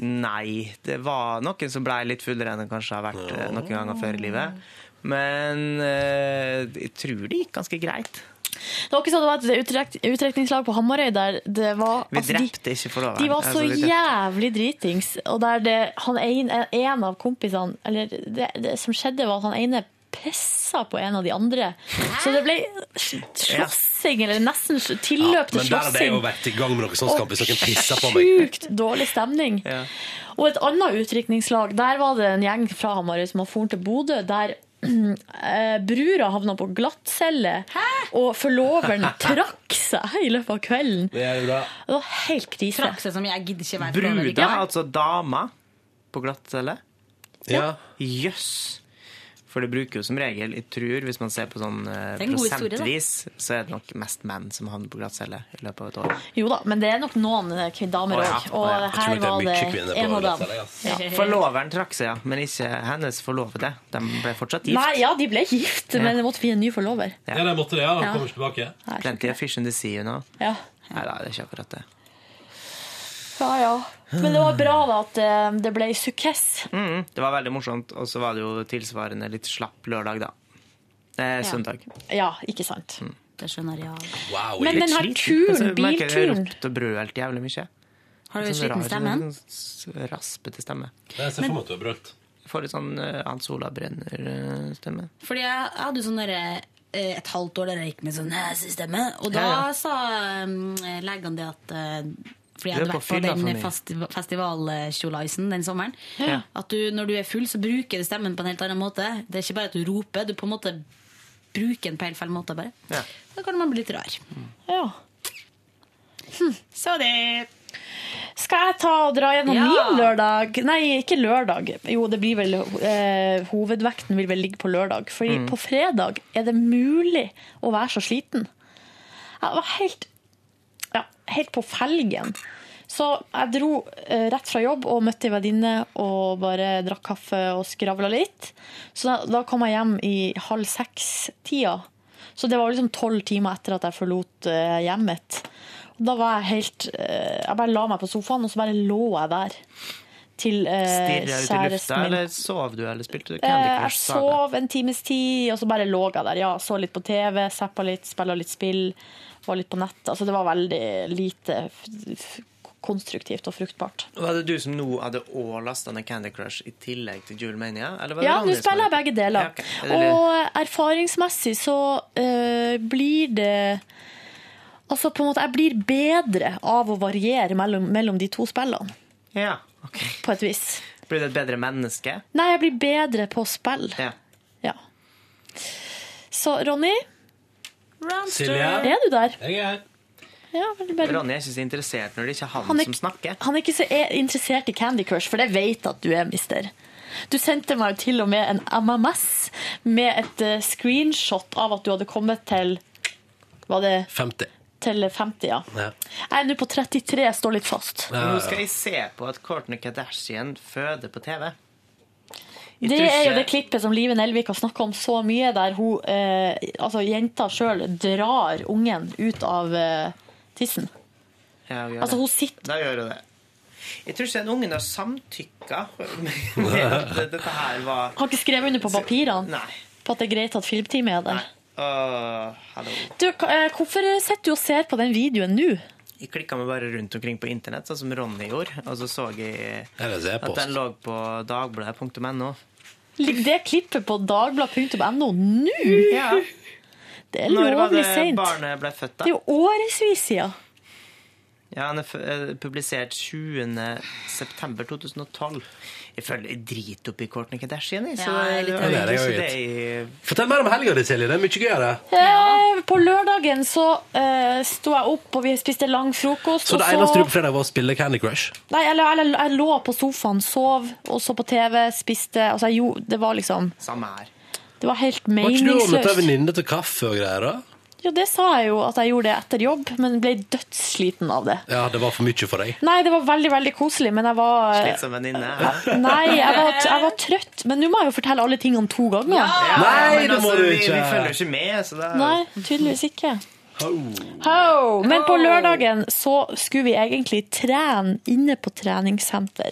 [SPEAKER 3] Nei, det var noen som blei litt fullere enn det kanskje har vært eh, noen ganger før i livet. Men eh, jeg tror det gikk ganske greit.
[SPEAKER 6] Det var ikke sånn at det var et utrekt- utdrekningslag på Hamarøy der det var
[SPEAKER 3] Vi
[SPEAKER 6] altså, de-
[SPEAKER 3] drepte ikke forloveren.
[SPEAKER 6] De var så
[SPEAKER 3] Altså, vi-
[SPEAKER 6] jævlig dritings. Og der det, han en, en av kompisene Eller det, det som skjedde, var at han ene pissa på en av de andre. Så det ble sl- slåssing, eller nesten sl- tilløp til
[SPEAKER 2] Men der hadde jeg
[SPEAKER 6] slåssing.
[SPEAKER 2] jo vært i gang med noe sånt
[SPEAKER 6] Og
[SPEAKER 2] skamp hvis noen pissa på meg.
[SPEAKER 6] Sjukt dårlig stemning. Og et annet utdrikningslag, der var det en gjeng fra Hamarøy som hadde foren til Bodø. der eh, Brura havna på glattcelle, og forloveren trakk seg i løpet av kvelden.
[SPEAKER 2] Det er bra.
[SPEAKER 6] Det var helt krise. Trakk seg som jeg gidder ikke
[SPEAKER 3] Bruda, altså dama på glattcelle?
[SPEAKER 2] Ja.
[SPEAKER 3] Jøss. For det bruker jo som regel, jeg tror, hvis man ser på sånn eh,
[SPEAKER 6] Det er en god historie, da.
[SPEAKER 3] prosentvis, så er det nok mest menn som havner på glattcelle i løpet av et år.
[SPEAKER 6] Jo da, men det er nok noen eh, kvin- damer
[SPEAKER 3] Å,
[SPEAKER 6] òg.
[SPEAKER 3] ja.
[SPEAKER 6] Og
[SPEAKER 3] Å, ja. Jeg tror
[SPEAKER 6] her
[SPEAKER 3] nok det er
[SPEAKER 6] var
[SPEAKER 3] mye kvinner
[SPEAKER 6] det
[SPEAKER 3] på altså.
[SPEAKER 6] en av dem.
[SPEAKER 3] glattcelle,
[SPEAKER 6] Ja.
[SPEAKER 3] Forloveren trakk seg, ja, men ikke hennes forlovede. De ble fortsatt gift.
[SPEAKER 6] Nei, ja, de ble gift, men det måtte bli en ny forlover.
[SPEAKER 3] Ja.
[SPEAKER 2] de måtte det, ja.
[SPEAKER 6] Ja. kommer
[SPEAKER 2] ikke tilbake.
[SPEAKER 3] Plenty of fish in the sea, you know.
[SPEAKER 6] Ja.
[SPEAKER 3] Nei, da, det er ikke akkurat det.
[SPEAKER 6] Ja, ja. Men det var bra da at eh, det ble sukkess.
[SPEAKER 3] Mm, det var veldig morsomt, og så var det jo tilsvarende litt slapp lørdag, da. Eh, søndag.
[SPEAKER 6] Ja, ikke sant.
[SPEAKER 3] Mm.
[SPEAKER 5] Det skjønner jeg.
[SPEAKER 3] Wow,
[SPEAKER 6] Men den her turen,
[SPEAKER 3] Altså, Jeg
[SPEAKER 6] bilturen.
[SPEAKER 3] ropte og brølte jævlig mye.
[SPEAKER 5] Har du
[SPEAKER 3] Sånn
[SPEAKER 5] sliten
[SPEAKER 3] rar-
[SPEAKER 5] stemme?
[SPEAKER 3] sånn Raspete stemme.
[SPEAKER 2] Jeg ser for meg at du har brølt.
[SPEAKER 3] Får litt sånn uh, Hans Olav Brenner-stemme.
[SPEAKER 5] Fordi jeg, jeg hadde jo sånn derre eh, et halvt år der jeg gikk med sånn hesestemme. Og da
[SPEAKER 3] Ja, ja.
[SPEAKER 5] sa um, legene det at eh, Fordi jeg
[SPEAKER 3] Du er
[SPEAKER 5] hadde
[SPEAKER 3] på
[SPEAKER 5] vært på
[SPEAKER 3] fylla for
[SPEAKER 5] den
[SPEAKER 3] mye.
[SPEAKER 5] festi festivalkjolaisen den sommeren.
[SPEAKER 3] Ja.
[SPEAKER 5] At du, når du er full, så bruker du stemmen på en helt annen måte. Det er ikke bare at du roper, du på en måte bruker den på helt feil måte. bare Da kan man bli litt rar.
[SPEAKER 6] Ja.
[SPEAKER 5] Så det
[SPEAKER 6] Skal jeg ta og dra gjennom
[SPEAKER 5] Ja.
[SPEAKER 6] min lørdag? Nei, ikke lørdag. Jo, det blir vel eh, Hovedvekten vil vel ligge på lørdag. Fordi
[SPEAKER 7] Mm.
[SPEAKER 6] på fredag er det mulig å være så sliten. Jeg var helt ja, helt på felgen. Så jeg dro eh, rett fra jobb og møtte ei venninne og bare drakk kaffe og skravla litt. Så da, da kom jeg hjem i halv seks-tida. Så det var liksom tolv timer etter at jeg forlot eh, hjemmet. Og da var jeg helt eh, Jeg bare la meg på sofaen, og så bare lå jeg der. Til eh,
[SPEAKER 3] Stirra ut i lufta,
[SPEAKER 6] kjæresten min.
[SPEAKER 3] eller sov du, eller spilte du
[SPEAKER 6] Eh,
[SPEAKER 3] Candy
[SPEAKER 6] jeg
[SPEAKER 3] Crush? Saga?
[SPEAKER 6] sov en times tid, og så bare lå jeg der. Ja, så litt på TV, zappa litt, spilla litt spill, var litt på nett. Altså, det var veldig lite f f konstruktivt og fruktbart.
[SPEAKER 3] Var det du som nå hadde òg lasta ned Candy Crush i tillegg til Jule Mania? Eller var det
[SPEAKER 6] Ja,
[SPEAKER 3] Ronny
[SPEAKER 6] nå
[SPEAKER 3] som
[SPEAKER 6] spiller jeg
[SPEAKER 3] hadde-
[SPEAKER 6] begge deler.
[SPEAKER 3] Ja, ok. Er det-
[SPEAKER 6] Og erfaringsmessig så eh, blir det Altså, på en måte, jeg blir bedre av å variere mellom, mellom de to spillene,
[SPEAKER 3] ja.
[SPEAKER 6] på et vis.
[SPEAKER 3] Blir du et bedre menneske?
[SPEAKER 6] Nei, jeg blir bedre på spill.
[SPEAKER 3] Ja.
[SPEAKER 6] Ja. Så Ronny,
[SPEAKER 3] Silje?
[SPEAKER 6] er du der?
[SPEAKER 2] Jeg er her.
[SPEAKER 6] Ja, vel, bare
[SPEAKER 3] Ronny er ikke så interessert når det ikke er han,
[SPEAKER 6] Han er-
[SPEAKER 3] som snakker.
[SPEAKER 6] Han er ikke så e- interessert i Candy Crush, for det vet at du er, mister. Du sendte meg jo til og med en MMS med et eh, screenshot av at du hadde kommet til Var det
[SPEAKER 2] 50.
[SPEAKER 6] til 50, ja.
[SPEAKER 2] Ja.
[SPEAKER 6] Jeg er nå på 33, står litt fast.
[SPEAKER 3] Nå skal jeg se på at Kourtney Kardashian føder på TV. Jeg
[SPEAKER 6] Det
[SPEAKER 3] tror
[SPEAKER 6] er jo
[SPEAKER 3] ikke-
[SPEAKER 6] det klippet som Live Nelvik har snakka om så mye, der hun, eh, altså jenta sjøl drar ungen ut av eh, tissen.
[SPEAKER 3] Ja, hun gjør
[SPEAKER 6] Altså,
[SPEAKER 3] det.
[SPEAKER 6] hun sitter
[SPEAKER 3] Da gjør hun det. Jeg tror ikke den ungen har samtykka med at dette her var
[SPEAKER 6] Har ikke skrevet under på papirene på at det er greit at filmteamet er der.
[SPEAKER 3] Åh, hallo.
[SPEAKER 6] Du, ka- eh, hvorfor sitter du og ser på den videoen nå?
[SPEAKER 3] Jeg klikka meg bare rundt omkring på internett, sånn som Ronny gjorde. Og så så jeg
[SPEAKER 2] Eller så er
[SPEAKER 3] at
[SPEAKER 2] post.
[SPEAKER 3] den lå på dagbladet.no.
[SPEAKER 6] Ligger det klippet på dagblad.no nå?
[SPEAKER 3] Ja.
[SPEAKER 6] Det er
[SPEAKER 3] Når var
[SPEAKER 6] lovlig
[SPEAKER 3] det
[SPEAKER 6] seint.
[SPEAKER 3] barnet ble født,
[SPEAKER 6] Det er
[SPEAKER 3] da?
[SPEAKER 6] jo årevis siden.
[SPEAKER 3] Ja, Han er f- eh, publisert 20.9.2012. Jeg føler jeg driter opp i Kourtney Kardashian, jeg. Så
[SPEAKER 5] Ja, jeg er litt
[SPEAKER 3] det
[SPEAKER 2] enig.
[SPEAKER 3] er
[SPEAKER 2] Det er
[SPEAKER 3] ikke
[SPEAKER 2] jeg
[SPEAKER 3] det jeg
[SPEAKER 2] Fortell mer om helga di, Silje. Det er mye gøyere.
[SPEAKER 6] Eh, På lørdagen så uh, sto jeg opp, og vi spiste lang frokost.
[SPEAKER 2] Så det
[SPEAKER 6] og
[SPEAKER 2] eneste du gjorde på fredag, var å spille Candy Crush?
[SPEAKER 6] Nei, eller, eller jeg lå på sofaen, sov, og så på TV, spiste Altså, jeg gjorde Det var liksom
[SPEAKER 3] Samme her.
[SPEAKER 6] Det var helt
[SPEAKER 2] Var ikke du og møtte ei
[SPEAKER 6] meningsløst.
[SPEAKER 2] venninne til kaffe og greier? da?
[SPEAKER 6] Jo, det sa jeg jo at jeg gjorde det etter jobb, men ble dødssliten av det.
[SPEAKER 2] Ja, det var for mye for deg.
[SPEAKER 6] Nei, det var veldig, veldig koselig, men jeg var
[SPEAKER 5] Eh.
[SPEAKER 3] Litt som venninne. hæ?
[SPEAKER 6] Nei, jeg var, jeg var trøtt. Men nå må jeg jo fortelle alle tingene to ganger.
[SPEAKER 3] Ja,
[SPEAKER 2] Nei,
[SPEAKER 3] men
[SPEAKER 2] det må
[SPEAKER 3] altså,
[SPEAKER 2] du
[SPEAKER 3] vi-
[SPEAKER 2] ikke.
[SPEAKER 3] Vi følger jo ikke med, så da
[SPEAKER 6] Nei, tydeligvis ikke. Ho! Men på lørdagen så skulle vi egentlig trene inne på treningssenter.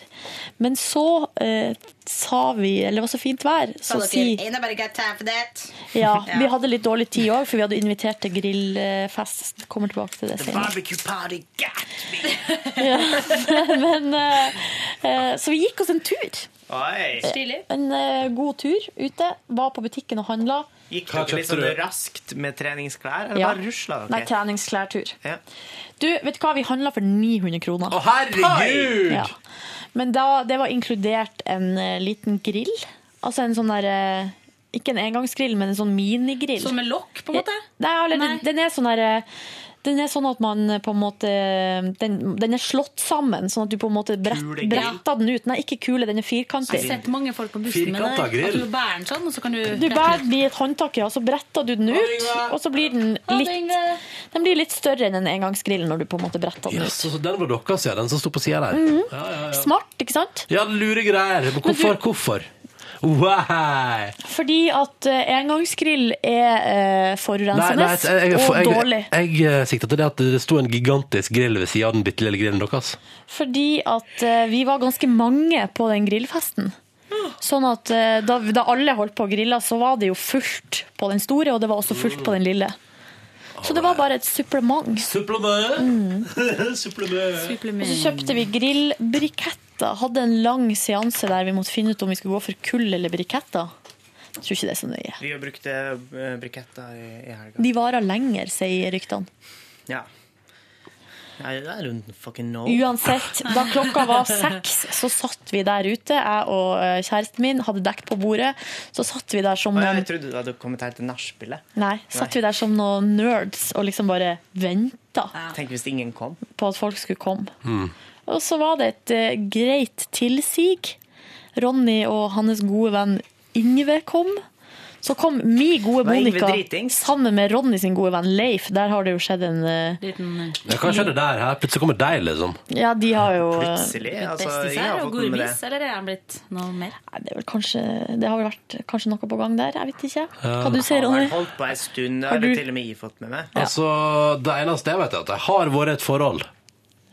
[SPEAKER 6] Men så eh, sa vi, eller det var så fint vær,
[SPEAKER 17] Så
[SPEAKER 6] så si
[SPEAKER 17] dere, ain't nobody got time for that.
[SPEAKER 6] ja, Vi hadde litt dårlig tid òg, for vi hadde invitert til grillfest. Kommer tilbake til det senere.
[SPEAKER 3] Barbecue party, god!
[SPEAKER 6] Ja. Men, eh, eh, så vi gikk oss en tur.
[SPEAKER 3] Oi.
[SPEAKER 6] En eh, god tur ute. Var på butikken og handla.
[SPEAKER 3] Gikk
[SPEAKER 6] Hva
[SPEAKER 3] dere litt
[SPEAKER 6] kjøpte
[SPEAKER 3] sånn
[SPEAKER 6] du?
[SPEAKER 3] raskt med treningsklær, eller bare rusla dere?
[SPEAKER 6] Nei, treningsklærtur.
[SPEAKER 3] Ja.
[SPEAKER 6] Du, vet du hva? Vi handla for 900 kroner.
[SPEAKER 2] Å, herregud!
[SPEAKER 6] Ja. Men da, det var inkludert en eh, liten grill. Altså en sånn der eh, Ikke en engangsgrill, men en sånn minigrill. Eh,
[SPEAKER 5] Som med lokk, på en måte?
[SPEAKER 6] Nei, eller, den- Den, er sånn der, eh, den er sånn at man eh, på en måte Den, den er slått sammen, sånn at du på en måte brett,
[SPEAKER 5] Kulegrill.
[SPEAKER 6] bretter den ut. Nei, ikke kule, den er firkantig.
[SPEAKER 5] Jeg har sett mange folk på bussen med
[SPEAKER 2] Firkanta
[SPEAKER 5] det. At
[SPEAKER 2] grill.
[SPEAKER 5] du bærer den sånn, og så kan du
[SPEAKER 6] Du bærer den i et håndtak, ja, og så bretter du den ut. Og så blir den litt, den blir litt større enn en engangsgrill når du på en måte bretter den
[SPEAKER 2] Yes,
[SPEAKER 6] ut.
[SPEAKER 2] så den var deres, ja. Den som sto på sida der.
[SPEAKER 6] Mhm.
[SPEAKER 2] Ja, ja, ja.
[SPEAKER 6] Smart, ikke sant?
[SPEAKER 2] Ja, lure greier. Men hvorfor? hvorfor? Why?
[SPEAKER 6] Fordi at eh, engangsgrill er eh, forurensende og dårlig.
[SPEAKER 2] Jeg, jeg, jeg sikta til det at det sto en gigantisk grill ved sida av den bitte lille grillen deres.
[SPEAKER 6] Fordi at eh, vi var ganske mange på den grillfesten. Sånn at eh, da, da alle holdt på å grille, så var det jo fullt på den store, og det var også fullt på den lille. Så det var bare et supplement.
[SPEAKER 2] Supplement!
[SPEAKER 6] Og så kjøpte vi grillbriketter. Hadde en lang seanse der vi måtte finne ut om vi skulle gå for kull eller briketter. Jeg tror ikke det er så nøye.
[SPEAKER 3] Vi har brukt eh, briketter i, i helga.
[SPEAKER 6] De varer lenger, sier ryktene.
[SPEAKER 3] Ja. I, I don't fucking know.
[SPEAKER 6] Uansett, da klokka var seks, så satt vi der ute. Jeg og eh, kjæresten min hadde dekk på bordet. Så satt vi der som
[SPEAKER 3] Å, ja,
[SPEAKER 6] noen,
[SPEAKER 3] jeg trodde du hadde kommet her til nachspielet.
[SPEAKER 6] nei, satt vi der som noen nerds og liksom bare venta
[SPEAKER 3] Tenk hvis ingen kom.
[SPEAKER 6] på at folk skulle komme.
[SPEAKER 3] Hmm.
[SPEAKER 6] Og så var det et eh, greit tilsig. Ronny og hans gode venn Yngve kom. Så kom mi gode
[SPEAKER 3] Var Yngve
[SPEAKER 6] Monica
[SPEAKER 3] dritings?
[SPEAKER 6] sammen med Ronny sin gode venn Leif. Der har det jo skjedd en eh,
[SPEAKER 2] Ja, hva skjedde der? Her? Plutselig kommer deg, liksom.
[SPEAKER 6] Ja, de har jo eh,
[SPEAKER 2] Plutselig,
[SPEAKER 6] blitt
[SPEAKER 2] altså,
[SPEAKER 6] bestis.
[SPEAKER 2] ingen har
[SPEAKER 5] Og Gourmis, eller er han blitt noe mer?
[SPEAKER 6] Nei, det, er vel kanskje, det har vel vært kanskje noe på gang der, jeg vet ikke.
[SPEAKER 2] Ja.
[SPEAKER 6] Hva du sier, Ronny?
[SPEAKER 3] Jeg har holdt på en stund, det
[SPEAKER 6] Har
[SPEAKER 3] har
[SPEAKER 6] du-
[SPEAKER 3] jeg til og med jeg fått med meg.
[SPEAKER 2] Altså, Det eneste jeg vet, er at det har vært et forhold.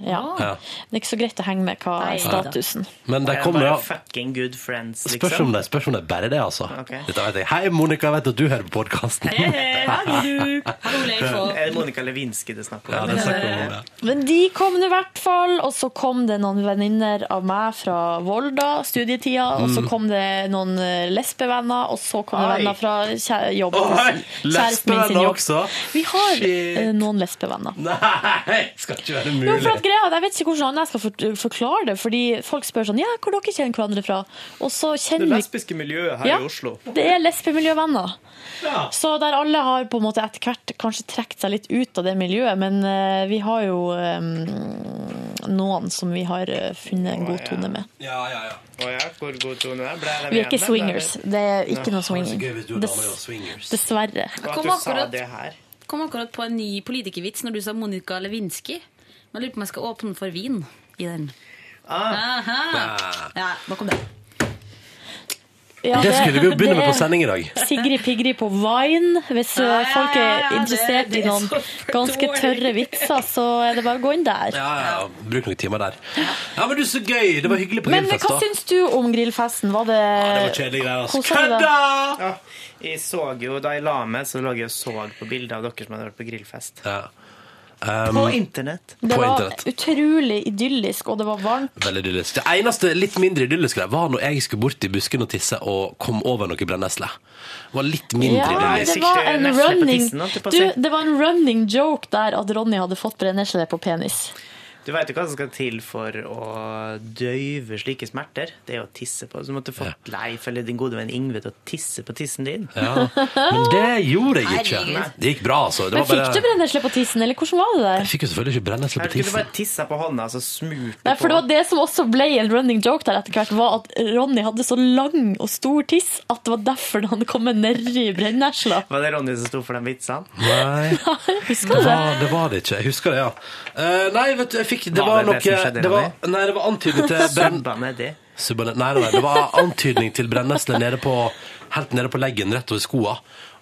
[SPEAKER 6] Ja.
[SPEAKER 2] Ja.
[SPEAKER 6] Det er ikke så greit å henge med hva
[SPEAKER 3] Nei,
[SPEAKER 6] er statusen.
[SPEAKER 2] Men de
[SPEAKER 3] Jeg er
[SPEAKER 2] kommer
[SPEAKER 3] bare
[SPEAKER 2] ja.
[SPEAKER 3] fucking good friends, liksom.
[SPEAKER 2] Spørs om det spørs om det er bare det, altså.
[SPEAKER 3] Ok.
[SPEAKER 2] Dette vet jeg. Hei, Monica, jeg vet at du hører på podkasten.
[SPEAKER 3] Er det Monica Lewinsky det snakker
[SPEAKER 2] Ja,
[SPEAKER 3] om?
[SPEAKER 2] det er snakk om det.
[SPEAKER 6] Men de kom nå i hvert fall, og så kom det noen venninner av meg fra Volda, studietida, og så
[SPEAKER 2] Mm.
[SPEAKER 6] kom det noen eh, lesbevenner, og så kom det
[SPEAKER 2] Oi.
[SPEAKER 6] venner fra kjæ- jobb.
[SPEAKER 2] Oi,
[SPEAKER 6] Kjæresten min sin
[SPEAKER 2] lesbevenner
[SPEAKER 6] jobb.
[SPEAKER 2] også?
[SPEAKER 6] Vi har
[SPEAKER 2] Shit.
[SPEAKER 6] eh, noen lesbevenner.
[SPEAKER 2] Nei, skal ikke være
[SPEAKER 6] Jo, for at
[SPEAKER 2] mulig.
[SPEAKER 6] greia, er at Jeg vet ikke hvordan jeg skal for- forklare det, fordi folk spør sånn Ja, hvor dere kjenner hverandre fra? Og så
[SPEAKER 3] Det
[SPEAKER 6] kjenner vi
[SPEAKER 3] lesbiske miljøet her
[SPEAKER 6] Ja.
[SPEAKER 3] i Oslo.
[SPEAKER 6] Det er lesbemiljøvenner.
[SPEAKER 3] Ja.
[SPEAKER 6] Så der alle har på en måte etter hvert kanskje trukket seg litt ut av det miljøet, men eh, vi har jo eh, noen som vi har eh, funnet en god tone med.
[SPEAKER 3] Ja, ja, ja. Å ja, hvor god tone er ble det?
[SPEAKER 6] Vi er ikke
[SPEAKER 3] med?
[SPEAKER 6] swingers. Det er ikke noe swinging.
[SPEAKER 2] gøy hvis du og
[SPEAKER 6] Dess-
[SPEAKER 2] damer var swingers.
[SPEAKER 6] Dessverre.
[SPEAKER 3] Og at
[SPEAKER 5] Kom
[SPEAKER 3] du sa
[SPEAKER 5] akkurat.
[SPEAKER 3] det her.
[SPEAKER 5] Kom akkurat på en ny politikervits når du sa Monica Lewinsky. Men jeg lurer på om jeg skal åpne for vin i den. Aha.
[SPEAKER 2] Ah.
[SPEAKER 5] Ja, nå kom det.
[SPEAKER 6] Ja,
[SPEAKER 2] det skulle vi jo begynne med
[SPEAKER 6] det
[SPEAKER 2] på
[SPEAKER 6] er
[SPEAKER 2] sending i dag.
[SPEAKER 6] Sigrid Pigrid på Vine. Hvis eh,
[SPEAKER 5] Ja, ja,
[SPEAKER 6] folk
[SPEAKER 5] ja,
[SPEAKER 6] er
[SPEAKER 5] ja, det-
[SPEAKER 6] interessert i
[SPEAKER 5] det er
[SPEAKER 6] noen
[SPEAKER 5] så for
[SPEAKER 6] ganske
[SPEAKER 5] dårlig.
[SPEAKER 6] tørre vitser, så er det bare å gå inn
[SPEAKER 2] Ja,
[SPEAKER 6] der.
[SPEAKER 2] ja, ja. Bruk noen timer der. Ja, men du, så gøy! Det var hyggelig på
[SPEAKER 6] Men
[SPEAKER 2] grillfest,
[SPEAKER 6] hva
[SPEAKER 2] da.
[SPEAKER 6] syns du om grillfesten? Var det,
[SPEAKER 2] det var kjedelige greier, altså.
[SPEAKER 6] Kosa du deg?
[SPEAKER 3] Ja, jeg så jo, da jeg la meg, så lå jeg og så på bilder av dere som hadde vært på grillfest.
[SPEAKER 2] Um,
[SPEAKER 3] på internett.
[SPEAKER 6] Det
[SPEAKER 2] På
[SPEAKER 6] var
[SPEAKER 2] internett.
[SPEAKER 6] utrolig idyllisk, og det var varmt.
[SPEAKER 2] Veldig idyllisk. Det eneste litt mindre idylliske der var når jeg skulle bort i busken og tisse og kom over noe brennesle. Det var litt mindre
[SPEAKER 6] Ja,
[SPEAKER 2] idyllisk.
[SPEAKER 6] det var en
[SPEAKER 3] nesle på
[SPEAKER 6] running
[SPEAKER 3] tissen, holdt jeg på å
[SPEAKER 6] Du,
[SPEAKER 3] si.
[SPEAKER 6] det var en running joke der at Ronny hadde fått brennesle på penis.
[SPEAKER 3] Du veit jo hva som skal til for å døyve slike smerter. Det er jo å tisse på. Så du måtte fått Leif eller din gode venn Ingve til å tisse på tissen din.
[SPEAKER 2] Ja. Men det gjorde jeg ikke.
[SPEAKER 3] Herregud.
[SPEAKER 2] Det gikk bra, altså. Det
[SPEAKER 6] Men
[SPEAKER 2] var
[SPEAKER 6] fikk du
[SPEAKER 2] bare...
[SPEAKER 6] brennesle på tissen, eller hvordan var det
[SPEAKER 2] Jeg
[SPEAKER 6] der?
[SPEAKER 2] fikk jo selvfølgelig ikke brennesle på
[SPEAKER 3] Herregud, du
[SPEAKER 2] tissen.
[SPEAKER 3] bare tissa på hånda, så smurte
[SPEAKER 6] Nei, for det
[SPEAKER 3] på.
[SPEAKER 6] var det som også ble en running joke der etter hvert, var at Ronny hadde så lang og stor tiss at det var derfor han kom med nedi brennesla.
[SPEAKER 3] Var det Ronny som sto for den vitsen?
[SPEAKER 2] Nei, det
[SPEAKER 6] Husker du det?
[SPEAKER 2] var, det var det ikke. Jeg husker det, ja. Eh, nei, vet du, jeg fikk Det var,
[SPEAKER 3] Var det det
[SPEAKER 2] noe
[SPEAKER 3] som skjedde,
[SPEAKER 2] det var, Nei, det var antydning til brenn...
[SPEAKER 3] Subba nedi.
[SPEAKER 2] Subba ned- Nei, nei, nei, det var antydning til brennesle nede på, helt nede på leggen, rett over skoa.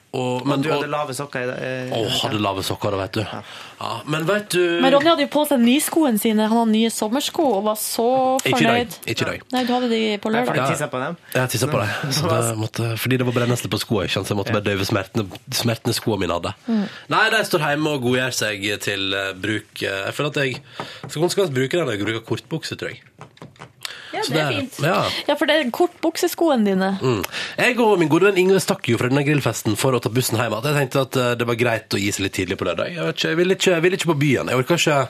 [SPEAKER 2] Og, men,
[SPEAKER 3] Men du
[SPEAKER 2] og,
[SPEAKER 3] hadde lave sokker i dag. eh,
[SPEAKER 2] Å, hadde lave sokker, da, vet du. Ja, men vet du
[SPEAKER 6] Men Ronny hadde jo på seg nyskoene sine, han hadde nye sommersko, og var så
[SPEAKER 2] Ikke i dag.
[SPEAKER 6] fornøyd.
[SPEAKER 2] Ikke i dag.
[SPEAKER 6] Nei, du hadde de på
[SPEAKER 3] Nei, for du
[SPEAKER 6] lørdag.
[SPEAKER 3] tissa på dem.
[SPEAKER 2] Jeg tissa på deg. Så det måtte, fordi det var brennesle på skoa. ikke sant? Så jeg måtte bare døyve smertene, smertene skoene mine hadde.
[SPEAKER 6] Mm.
[SPEAKER 2] Nei, de står hjemme og godgjør seg til eh, bruk. eh, Jeg føler at jeg skal konsekvent bruke den når jeg bruker kortbukse, tror jeg.
[SPEAKER 6] Ja,
[SPEAKER 2] Så det er det- fint. ja.
[SPEAKER 6] for det er kortbukseskoene dine.
[SPEAKER 2] Mm. Jeg og min gode venn Ingrid stakk jo fra denne grillfesten for å ta bussen hjem. At jeg tenkte at eh, det var greit å gi seg litt tidlig på lørdag. Jeg, vet ikke, jeg, vil ikke, jeg vil ikke på byen. Jeg orker ikke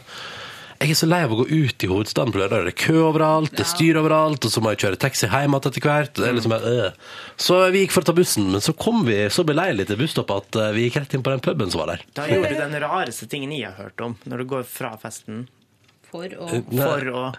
[SPEAKER 2] Jeg er så lei av å gå ut i hovedstaden på lørdag. Det er kø overalt, det er styr overalt, og så må jeg kjøre taxi hjem igjen etter hvert. Det er liksom, bare, øh. Så vi gikk for å ta bussen, men så kom vi så beleilig til busstoppet at eh, vi gikk rett inn på den puben som var der.
[SPEAKER 3] Da gjorde du den rareste tingen jeg har hørt om, når du går fra festen
[SPEAKER 5] For å
[SPEAKER 2] Eh.
[SPEAKER 3] for å,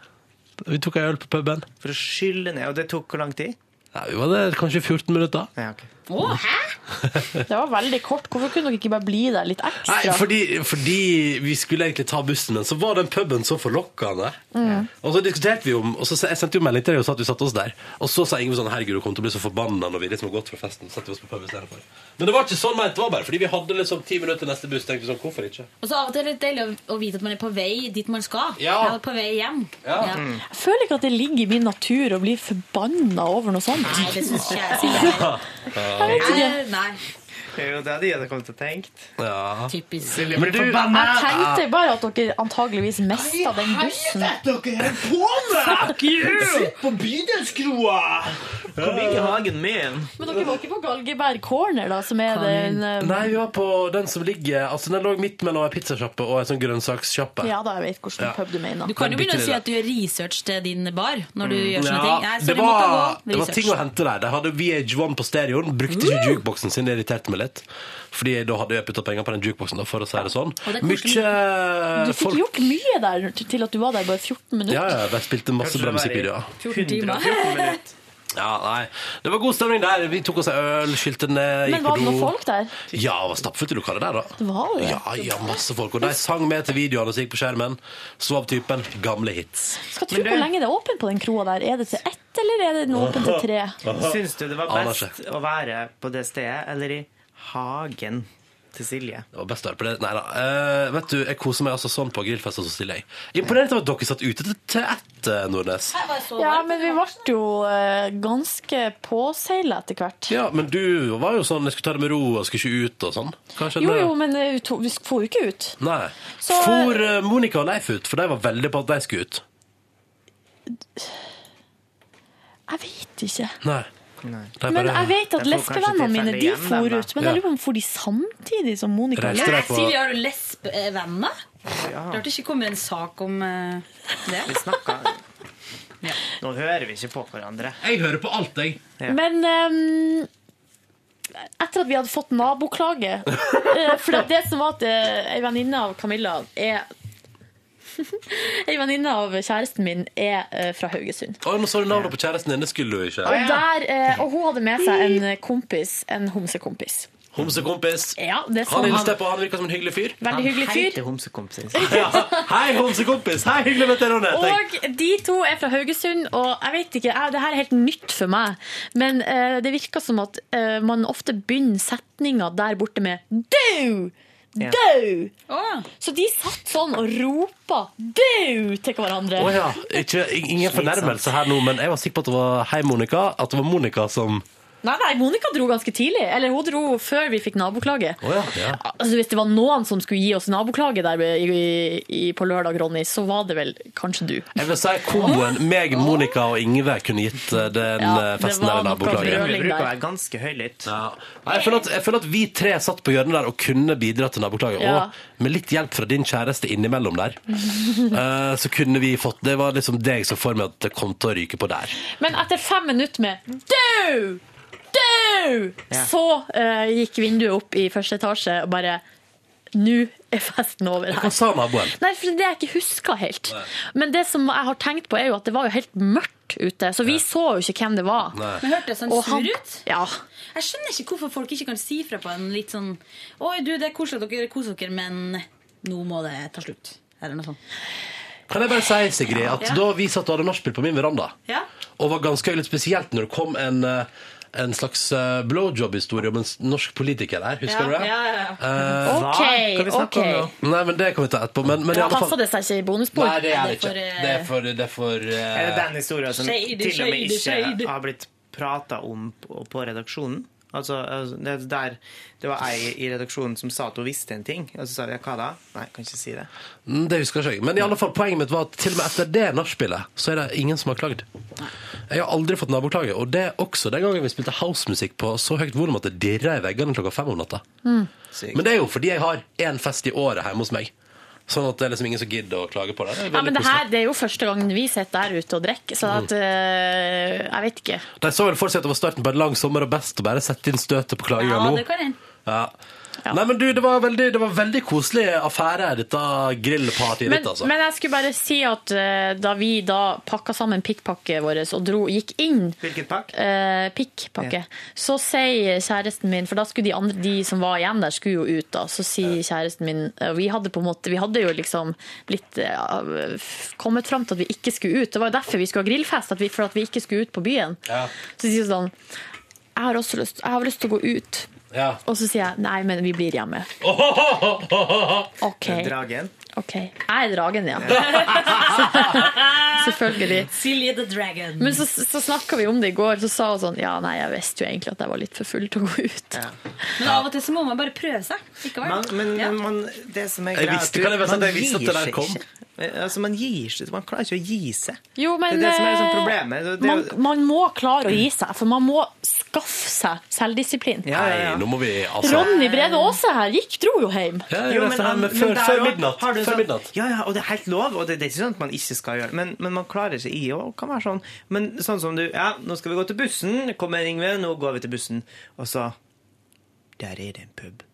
[SPEAKER 2] Vi tok ei øl på puben.
[SPEAKER 3] for å skylle ned. Og det tok hvor lang tid?
[SPEAKER 2] Ja, vi var der kanskje 14 minutter.
[SPEAKER 3] Ja, ok.
[SPEAKER 5] Å, hæ?
[SPEAKER 6] Det var veldig kort. Hvorfor kunne dere ikke bare bli der litt ekstra?
[SPEAKER 2] Nei, fordi, fordi vi skulle egentlig ta bussen, men så var den puben så forlokkende.
[SPEAKER 6] Mm.
[SPEAKER 2] Og så diskuterte vi om, og så jeg sendte jo melding til deg og sa at vi satte oss der. Og så sa Ingve sånn herregud, hun kommer til å bli så forbanna når vi liksom har gått fra festen. Satte vi oss på pub i stedet for. Men det var ikke sånn ment, det var bare fordi vi hadde liksom ti minutter til neste buss. Tenkte vi sånn, hvorfor ikke?
[SPEAKER 5] Og så av og til er det litt deilig å- å vite at man er på vei dit man skal.
[SPEAKER 2] Ja.
[SPEAKER 5] på vei hjem.
[SPEAKER 2] Ja. Mm.
[SPEAKER 6] Jeg føler ikke at det ligger i min natur å bli forbanna over noe sånt.
[SPEAKER 5] Nei, det synes ikke jeg.
[SPEAKER 6] Jeg vet ikke.
[SPEAKER 5] Nei.
[SPEAKER 3] Det er jo det de hadde kommet til å tenkt.
[SPEAKER 2] Ja.
[SPEAKER 5] Typisk.
[SPEAKER 3] Silje
[SPEAKER 2] Men
[SPEAKER 3] blir
[SPEAKER 2] du-
[SPEAKER 3] forbanna.
[SPEAKER 6] Jeg tenkte bare at dere antageligvis mista den bussen.
[SPEAKER 3] dere på Fuck you! Sitt
[SPEAKER 6] på bydelskroa!
[SPEAKER 3] Kom inn i hagen min.
[SPEAKER 6] Men dere var ikke på Galgeberg Corner, da, som er den eh,
[SPEAKER 2] Nei, vi var på den som ligger Altså, den lå midt mellom ei pizzasjappe og ei sånn grønnsakssjappe.
[SPEAKER 6] Ja da, jeg vet hvilken
[SPEAKER 2] Ja.
[SPEAKER 6] pub du mener.
[SPEAKER 5] Du kan jo
[SPEAKER 2] Den bitte
[SPEAKER 5] begynne å si
[SPEAKER 2] lille.
[SPEAKER 5] at du gjør research til din bar når du gjør sånne
[SPEAKER 2] Mm. Ja,
[SPEAKER 5] ting. Nei,
[SPEAKER 2] det,
[SPEAKER 5] sorry, måtte
[SPEAKER 2] var,
[SPEAKER 5] jeg gå.
[SPEAKER 2] det var ting å
[SPEAKER 5] Research.
[SPEAKER 2] hente der. De hadde VH1 på stereoen. Brukte
[SPEAKER 6] Mm.
[SPEAKER 2] ikke jukeboksen sin. Det irriterte meg litt. Fordi da hadde jeg putta penger på den jukeboksen, da, for å si det sånn.
[SPEAKER 6] Og det er koselig.
[SPEAKER 2] Mye
[SPEAKER 6] Du fikk
[SPEAKER 2] folk
[SPEAKER 6] gjort mye der til at du var der bare 14
[SPEAKER 2] Ja,
[SPEAKER 6] minutter.
[SPEAKER 2] ja, de spilte masse
[SPEAKER 3] Kanskje
[SPEAKER 2] bra
[SPEAKER 3] det var i
[SPEAKER 2] musikkvideoer.
[SPEAKER 6] 14 timer.
[SPEAKER 2] Ja, nei. Det var god stemning der. Vi tok oss en øl, skylte ned,
[SPEAKER 6] Men
[SPEAKER 2] gikk på
[SPEAKER 6] var det
[SPEAKER 2] do.
[SPEAKER 6] noen folk der?
[SPEAKER 2] Ja, det var stappfullt i lokalet der, da.
[SPEAKER 6] Det var det.
[SPEAKER 2] Ja, ja, masse folk. Og de sang med til videoene som gikk på skjermen. Så av typen gamle hits.
[SPEAKER 6] Skal tro hvor lenge det er åpent på den kroa der. Er det til ett, eller er det åpent til tre?
[SPEAKER 3] Syns du det var
[SPEAKER 2] Aner
[SPEAKER 3] best å være på det stedet eller i hagen til Silje?
[SPEAKER 2] Det var best å høre på det. Nei da. Eh, vet du, jeg koser meg altså sånn på grillfest hos Silje. Imponert over at dere satt ute til- til ett, eh, Nordnes.
[SPEAKER 6] Ja, men vi ble jo eh, ganske påseila etter hvert.
[SPEAKER 2] Ja, men du var jo sånn, jeg skulle ta det med ro og skulle ikke ut og sånn. Kanskje
[SPEAKER 6] Jo, jo, men eh, vi to- vi for jo ikke ut.
[SPEAKER 2] Nei.
[SPEAKER 6] Så-
[SPEAKER 2] For eh, Monica og Leif ut, for de var veldig på at de skulle ut.
[SPEAKER 6] Jeg vet ikke.
[SPEAKER 2] Nei. De
[SPEAKER 6] Men
[SPEAKER 2] bare-
[SPEAKER 6] jeg vet at lesbevennene mine de for ut. Men
[SPEAKER 2] Ja.
[SPEAKER 6] jeg lurer på om for de samtidig som Monica?
[SPEAKER 2] Reiste deg på-
[SPEAKER 5] Silje, har du lesbevenner? Rart det ikke kommer en sak om eh, det.
[SPEAKER 3] Vi snakka Nå hører vi ikke på hverandre.
[SPEAKER 2] Jeg hører på alt, jeg.
[SPEAKER 6] Men ehm, etter at vi hadde fått naboklage eh, For det, det som var at eh, ei venninne av Camilla er Ei venninne av kjæresten min er eh, fra Haugesund.
[SPEAKER 2] Å, nå så du navnet på kjæresten din, det skulle du ikke.
[SPEAKER 6] Og, der, eh, og hun hadde med seg en kompis, en homsekompis.
[SPEAKER 2] Homsekompis.
[SPEAKER 6] Ja, det sa
[SPEAKER 2] han
[SPEAKER 6] han.
[SPEAKER 2] hilste jeg på, han virka som en hyggelig fyr.
[SPEAKER 6] Veldig hyggelig fyr.
[SPEAKER 3] Heter homsekompisen.
[SPEAKER 2] ja. Hei, homsekompis! Hei, hyggelig å møte deg, Ronny. Tenk.
[SPEAKER 6] Og de to er fra Haugesund, og jeg vet ikke, jeg, det her er helt nytt for meg. Men eh, det virker som at eh, man ofte begynner setninga der borte med dau!
[SPEAKER 14] Ja.
[SPEAKER 6] Dau! Så de satt sånn og ropa dau til hverandre.
[SPEAKER 2] Å ja. Ikke, ingen fornærmelse her nå, men jeg var sikker på at det var Hei, Monica. At det var Monica som
[SPEAKER 6] Nei, nei, Monica dro ganske tidlig. Eller hun dro før vi fikk naboklage.
[SPEAKER 2] Å ja. ja.
[SPEAKER 6] Altså, hvis det var noen som skulle gi oss naboklage der i, i, på lørdag, Ronny, så var det vel kanskje du.
[SPEAKER 2] Jeg vil si komboen meg, Monica og Ingve kunne gitt eh, den
[SPEAKER 6] Ja,
[SPEAKER 2] eh,
[SPEAKER 6] det
[SPEAKER 2] festen
[SPEAKER 6] var
[SPEAKER 2] der en
[SPEAKER 6] noe
[SPEAKER 2] naboklage.
[SPEAKER 6] brøling Vi bruker å der. være
[SPEAKER 2] ganske høylytt. Ja. Nei, Jeg, føler at, jeg føler at vi tre satt på hjørnet der og kunne bidra til naboklaget.
[SPEAKER 6] Ja.
[SPEAKER 2] Og med litt hjelp fra din kjæreste innimellom der, eh, så kunne vi fått Det var liksom deg som for meg at det kom til å ryke på der.
[SPEAKER 6] Men etter fem minutter med dau, dau,
[SPEAKER 2] Ja.
[SPEAKER 6] så eh, gikk vinduet opp i første etasje og bare Nå er festen over her.
[SPEAKER 2] Hva sa naboen?
[SPEAKER 6] Nei, for det jeg ikke husker helt. Men det som jeg har tenkt på, er jo at det var jo helt mørkt ute, så vi så jo ikke hvem det var.
[SPEAKER 2] Nei.
[SPEAKER 5] Men hørtes han
[SPEAKER 6] Og
[SPEAKER 5] sur ut?
[SPEAKER 6] Ja.
[SPEAKER 5] sånn Jeg skjønner ikke hvorfor folk ikke kan si fra på en litt sånn Oi, du, det er koselig at dere koser dere, men nå må det ta slutt. Eller noe sånt.
[SPEAKER 2] Kan jeg bare si, Sigrid, at
[SPEAKER 5] Ja.
[SPEAKER 2] da vi satt og hadde nachspiel på min veranda,
[SPEAKER 5] Ja.
[SPEAKER 2] og var ganske litt spesielt når det kom en, eh, en slags eh, blowjob-historie om en s- norsk politiker der, husker du det?
[SPEAKER 6] Ja, ja, ja.
[SPEAKER 2] Eh,
[SPEAKER 6] Ok, Hva? Hva vi snakker om ok.
[SPEAKER 2] Nei, men det kan vi ta etterpå. Men, men i
[SPEAKER 6] Da
[SPEAKER 2] alle
[SPEAKER 6] passer
[SPEAKER 2] fall
[SPEAKER 6] det seg ikke i bonusbord.
[SPEAKER 2] Nei, det er det ikke. Det er for, det er for eh,
[SPEAKER 3] Er det den historien som
[SPEAKER 6] Shady,
[SPEAKER 3] til og med
[SPEAKER 6] shady, shady.
[SPEAKER 3] ikke har blitt prata om på, på redaksjonen? Altså, altså, det, er der, det var ei i redaksjonen som sa at hun visste en ting, og så sa vi ja, hva da? Nei, kan ikke si det.
[SPEAKER 2] Mm, Det husker ikke jeg. Men i alle fall, poenget mitt var at til og med etter det nachspielet, så er det ingen som har klagd. Jeg har aldri fått naboklage. Og det er også den gangen vi spilte housemusikk på så høyt volum at det dirra i veggene klokka fem om natta. Men det er jo fordi jeg har én fest i året hjemme hos meg. Sånn at det er liksom ingen som gidder å klage på det. det, er
[SPEAKER 6] Ja, men
[SPEAKER 2] veldig
[SPEAKER 6] det, her, det er jo første gangen vi sitter der ute og drikker, så
[SPEAKER 2] Mm.
[SPEAKER 6] at, eh, jeg vet ikke.
[SPEAKER 2] koselig. De så vel for seg at det var starten på en lang sommer og best å bare sette inn støtet på klaginga
[SPEAKER 5] Ja,
[SPEAKER 2] nå.
[SPEAKER 5] det kan hende.
[SPEAKER 2] Ja. Nei, men du, det var veldig, det var veldig koselig affære, dette grillpartyet
[SPEAKER 6] Men,
[SPEAKER 2] ditt, altså.
[SPEAKER 6] men jeg skulle bare si at eh, da vi da pakka sammen pikkpakket vår og dro, gikk inn eh, pikkpakke,
[SPEAKER 11] Ja.
[SPEAKER 6] så sier kjæresten min For da skulle de andre de som var igjen der, skulle jo ut, da. Så sier kjæresten min og Vi hadde på en måte, vi hadde jo liksom blitt eh, f- kommet fram til at vi ikke skulle ut. Det var jo derfor vi skulle ha grillfest, at vi, for at vi ikke skulle ut på byen. Så sier hun sånn Jeg har også lyst, jeg har lyst til å gå ut.
[SPEAKER 2] Ja.
[SPEAKER 6] Og så sier jeg nei, men vi blir hjemme. Ok.
[SPEAKER 11] Dragen.
[SPEAKER 6] Ok, jeg er dragen, ja. Selvfølgelig.
[SPEAKER 5] Silje the Dragon.
[SPEAKER 6] Men så, så snakka vi om det i går, så sa hun sånn Ja, nei, jeg visste jo egentlig at jeg var litt for full til å gå ut.
[SPEAKER 5] Men av og til så må man bare prøve seg. Ikke vel?
[SPEAKER 3] Man, men men man, det som er
[SPEAKER 2] Jeg
[SPEAKER 3] greia,
[SPEAKER 2] visste
[SPEAKER 3] er
[SPEAKER 2] hva det var,
[SPEAKER 3] man
[SPEAKER 2] sant? Jeg visste at det
[SPEAKER 3] gir
[SPEAKER 2] der
[SPEAKER 3] seg
[SPEAKER 2] kom.
[SPEAKER 3] ikke. Altså, man gir seg Man klarer ikke å gi seg.
[SPEAKER 6] Jo, men
[SPEAKER 3] det er det som er
[SPEAKER 6] eh,
[SPEAKER 3] liksom problemet. Det- det-
[SPEAKER 6] man, man må klare å gi seg, for man må skaffe seg selvdisiplin.
[SPEAKER 2] Nei, nå må vi altså
[SPEAKER 6] Ronny Brede Aase her gikk, dro jo hjem.
[SPEAKER 2] Ja,
[SPEAKER 3] Jo, men- men
[SPEAKER 2] før,
[SPEAKER 3] der
[SPEAKER 2] før
[SPEAKER 3] også
[SPEAKER 2] midnatt.
[SPEAKER 3] har du
[SPEAKER 2] Før
[SPEAKER 3] sånn-
[SPEAKER 2] midnatt.
[SPEAKER 3] Ja, ja, og det er helt lov, og det, det er ikke sånn at man ikke skal gjøre det. Men, men man klarer seg i og kan være sånn. Men sånn som du Ja, nå skal vi gå til bussen. Kom igjen, Ingve, nå går vi til bussen. Og så Der er det en pub.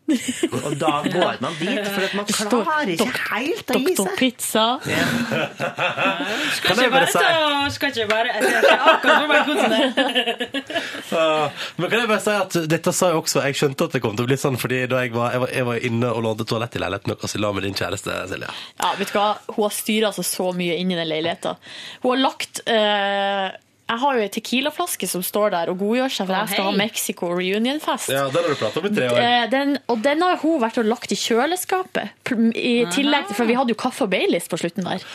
[SPEAKER 3] Og da går man dit, for at man klarer ikke helt å gi seg.
[SPEAKER 6] Pizza.
[SPEAKER 2] Kan jeg bare si
[SPEAKER 5] Skal ikke bare Jeg ser ikke akkurat hvor mange kosene er.
[SPEAKER 2] Uh, men kan jeg bare si at dette sa jeg også, jeg skjønte at det kom til å bli sånn, fordi da jeg var, jeg var, jeg var inne og lånte toalett i leiligheten deres i lag med din kjæreste, Silja.
[SPEAKER 6] Ja, vet du hva? Hun har styra seg så mye inn i den leiligheta. Hun har lagt eh, Jeg har jo ei Tequila-flaske som står der og godgjør seg, for jeg skal
[SPEAKER 2] hei.
[SPEAKER 6] ha Mexico reunion-fest.
[SPEAKER 2] Ja, den har du pratet om i tre år.
[SPEAKER 6] Eh, Den, og den har hun vært og lagt i kjøleskapet. pl- I tillegg, for vi hadde jo kaffe og Baileys på slutten der.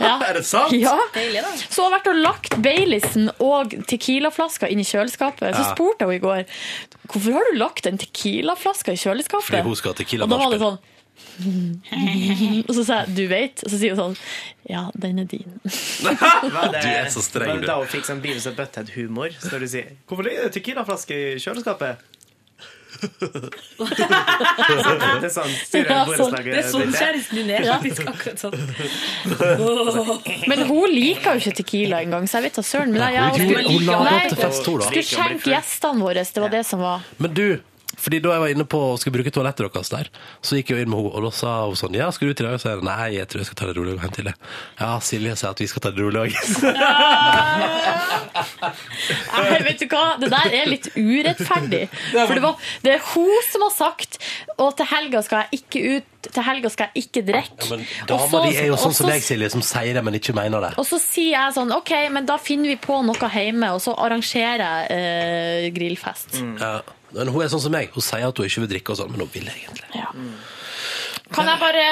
[SPEAKER 2] Er det sant?
[SPEAKER 6] Ja.
[SPEAKER 5] Deilig, da.
[SPEAKER 6] Så hun har vært og lagt Baileysen og Tequila-flaska inn i kjøleskapet. Så
[SPEAKER 2] Ja.
[SPEAKER 6] spurte jeg henne i går hvorfor har du lagt den Tequila-flaska i kjøleskapet.
[SPEAKER 2] Fordi hun skal ha Tequila
[SPEAKER 6] Og da var det sånn Og så sa jeg 'du vet', og så sier hun sånn 'ja, den er din'.
[SPEAKER 3] Var det-
[SPEAKER 2] Du er så streng,
[SPEAKER 3] var
[SPEAKER 2] du.
[SPEAKER 3] det Da hun fikk sånn Beavis and Butthead-humor. Så når du sier 'Hvorfor ligger det Tequila-flaske i kjøleskapet?' det er sånn styrer
[SPEAKER 6] Ja, sånn.
[SPEAKER 3] borettslaget.
[SPEAKER 5] Det er sånn
[SPEAKER 3] bildet.
[SPEAKER 5] kjæresten din er. Faktisk akkurat sånn.
[SPEAKER 6] Men hun liker jo ikke Tequila engang, så jeg vet da søren. Men
[SPEAKER 2] Nei,
[SPEAKER 6] jeg, jeg,
[SPEAKER 2] hun gjorde- hun la det opp til
[SPEAKER 6] Nei,
[SPEAKER 2] fest, hun, da.
[SPEAKER 6] skulle skjenke gjestene våre, det var det som var
[SPEAKER 2] Men du, fordi da jeg var inne på og skulle bruke toalettet deres der, så gikk jeg jo inn med henne, og da sa hun sånn, ja, skal du ut i dag? Og så jeg, nei, jeg tror jeg skal ta det rolig og hjem til det. Ja, Silje sier at vi skal ta det rolig også.
[SPEAKER 6] Nei, vet du hva? Det der er litt urettferdig. For det, var, det er hun som har sagt Og til helga skal jeg ikke ut, til helga skal jeg ikke drikke.
[SPEAKER 2] Men
[SPEAKER 6] Og så-
[SPEAKER 2] damer, de er jo
[SPEAKER 6] og
[SPEAKER 2] sånn
[SPEAKER 6] så-
[SPEAKER 2] som deg, Silje, som sier det, men ikke mener det.
[SPEAKER 6] Og så sier jeg sånn OK, men da finner vi på noe hjemme, og så arrangerer jeg eh, grillfest.
[SPEAKER 2] Ja. Men hun er sånn som meg, hun sier at hun ikke vil drikke og sånn, men hun vil egentlig.
[SPEAKER 6] Kan jeg bare,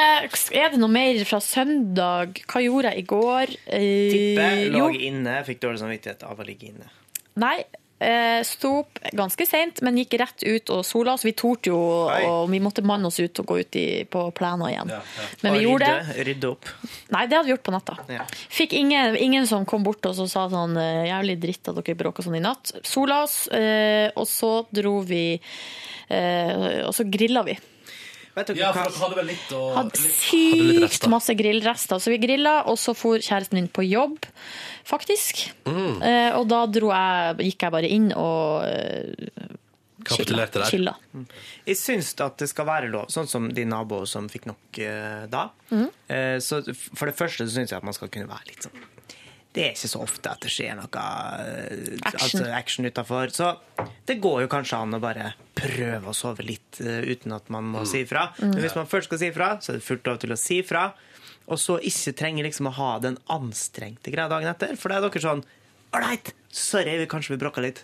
[SPEAKER 6] Er det noe mer fra søndag? Hva gjorde jeg i går? Eh,
[SPEAKER 3] Tippe lå
[SPEAKER 6] jo,
[SPEAKER 3] inne, fikk dårlig samvittighet av å ligge inne.
[SPEAKER 6] Nei. eh, Sto opp ganske seint, men gikk rett ut og sola oss. Vi torde jo, og vi måtte manne oss ut og gå ut i, på plena igjen. Men vi
[SPEAKER 3] Og
[SPEAKER 6] gjorde det.
[SPEAKER 3] rydde, Rydde opp.
[SPEAKER 6] Nei, det hadde vi gjort på natta. Fikk ingen, ingen som kom bort og så sa sånn eh, Jævlig dritt at dere bråka sånn i natt. Sola oss, eh, og så dro vi eh, Og så grilla vi.
[SPEAKER 3] Vet dere
[SPEAKER 2] Ja,
[SPEAKER 3] hva?
[SPEAKER 2] for dere hadde vel litt å
[SPEAKER 6] Hadde
[SPEAKER 2] hadde litt
[SPEAKER 6] sykt
[SPEAKER 2] rester.
[SPEAKER 6] masse grillrester. Så vi grilla, og så for kjæresten min på jobb, faktisk.
[SPEAKER 2] Mm.
[SPEAKER 6] Eh, og da dro jeg, gikk jeg bare inn og eh,
[SPEAKER 3] Kapitulerte der.
[SPEAKER 6] chilla.
[SPEAKER 3] Jeg syns at det skal være lov, sånn som de naboer som fikk nok eh, da.
[SPEAKER 6] Mhm.
[SPEAKER 3] Eh, så for det første så syns jeg at man skal kunne være litt sånn Det er ikke så ofte at det skjer noe eh,
[SPEAKER 6] Action.
[SPEAKER 3] Altså action utafor. Så det går jo kanskje an å bare prøve å sove litt eh, uten at man må si ifra.
[SPEAKER 11] Mm.
[SPEAKER 3] Men hvis man først skal si ifra, så er det fullt lov til å si ifra. Og så ikke trenger liksom å ha den anstrengte greia dagen etter. For da er dere sånn Ålreit, sorry, vi kanskje vi bråka litt.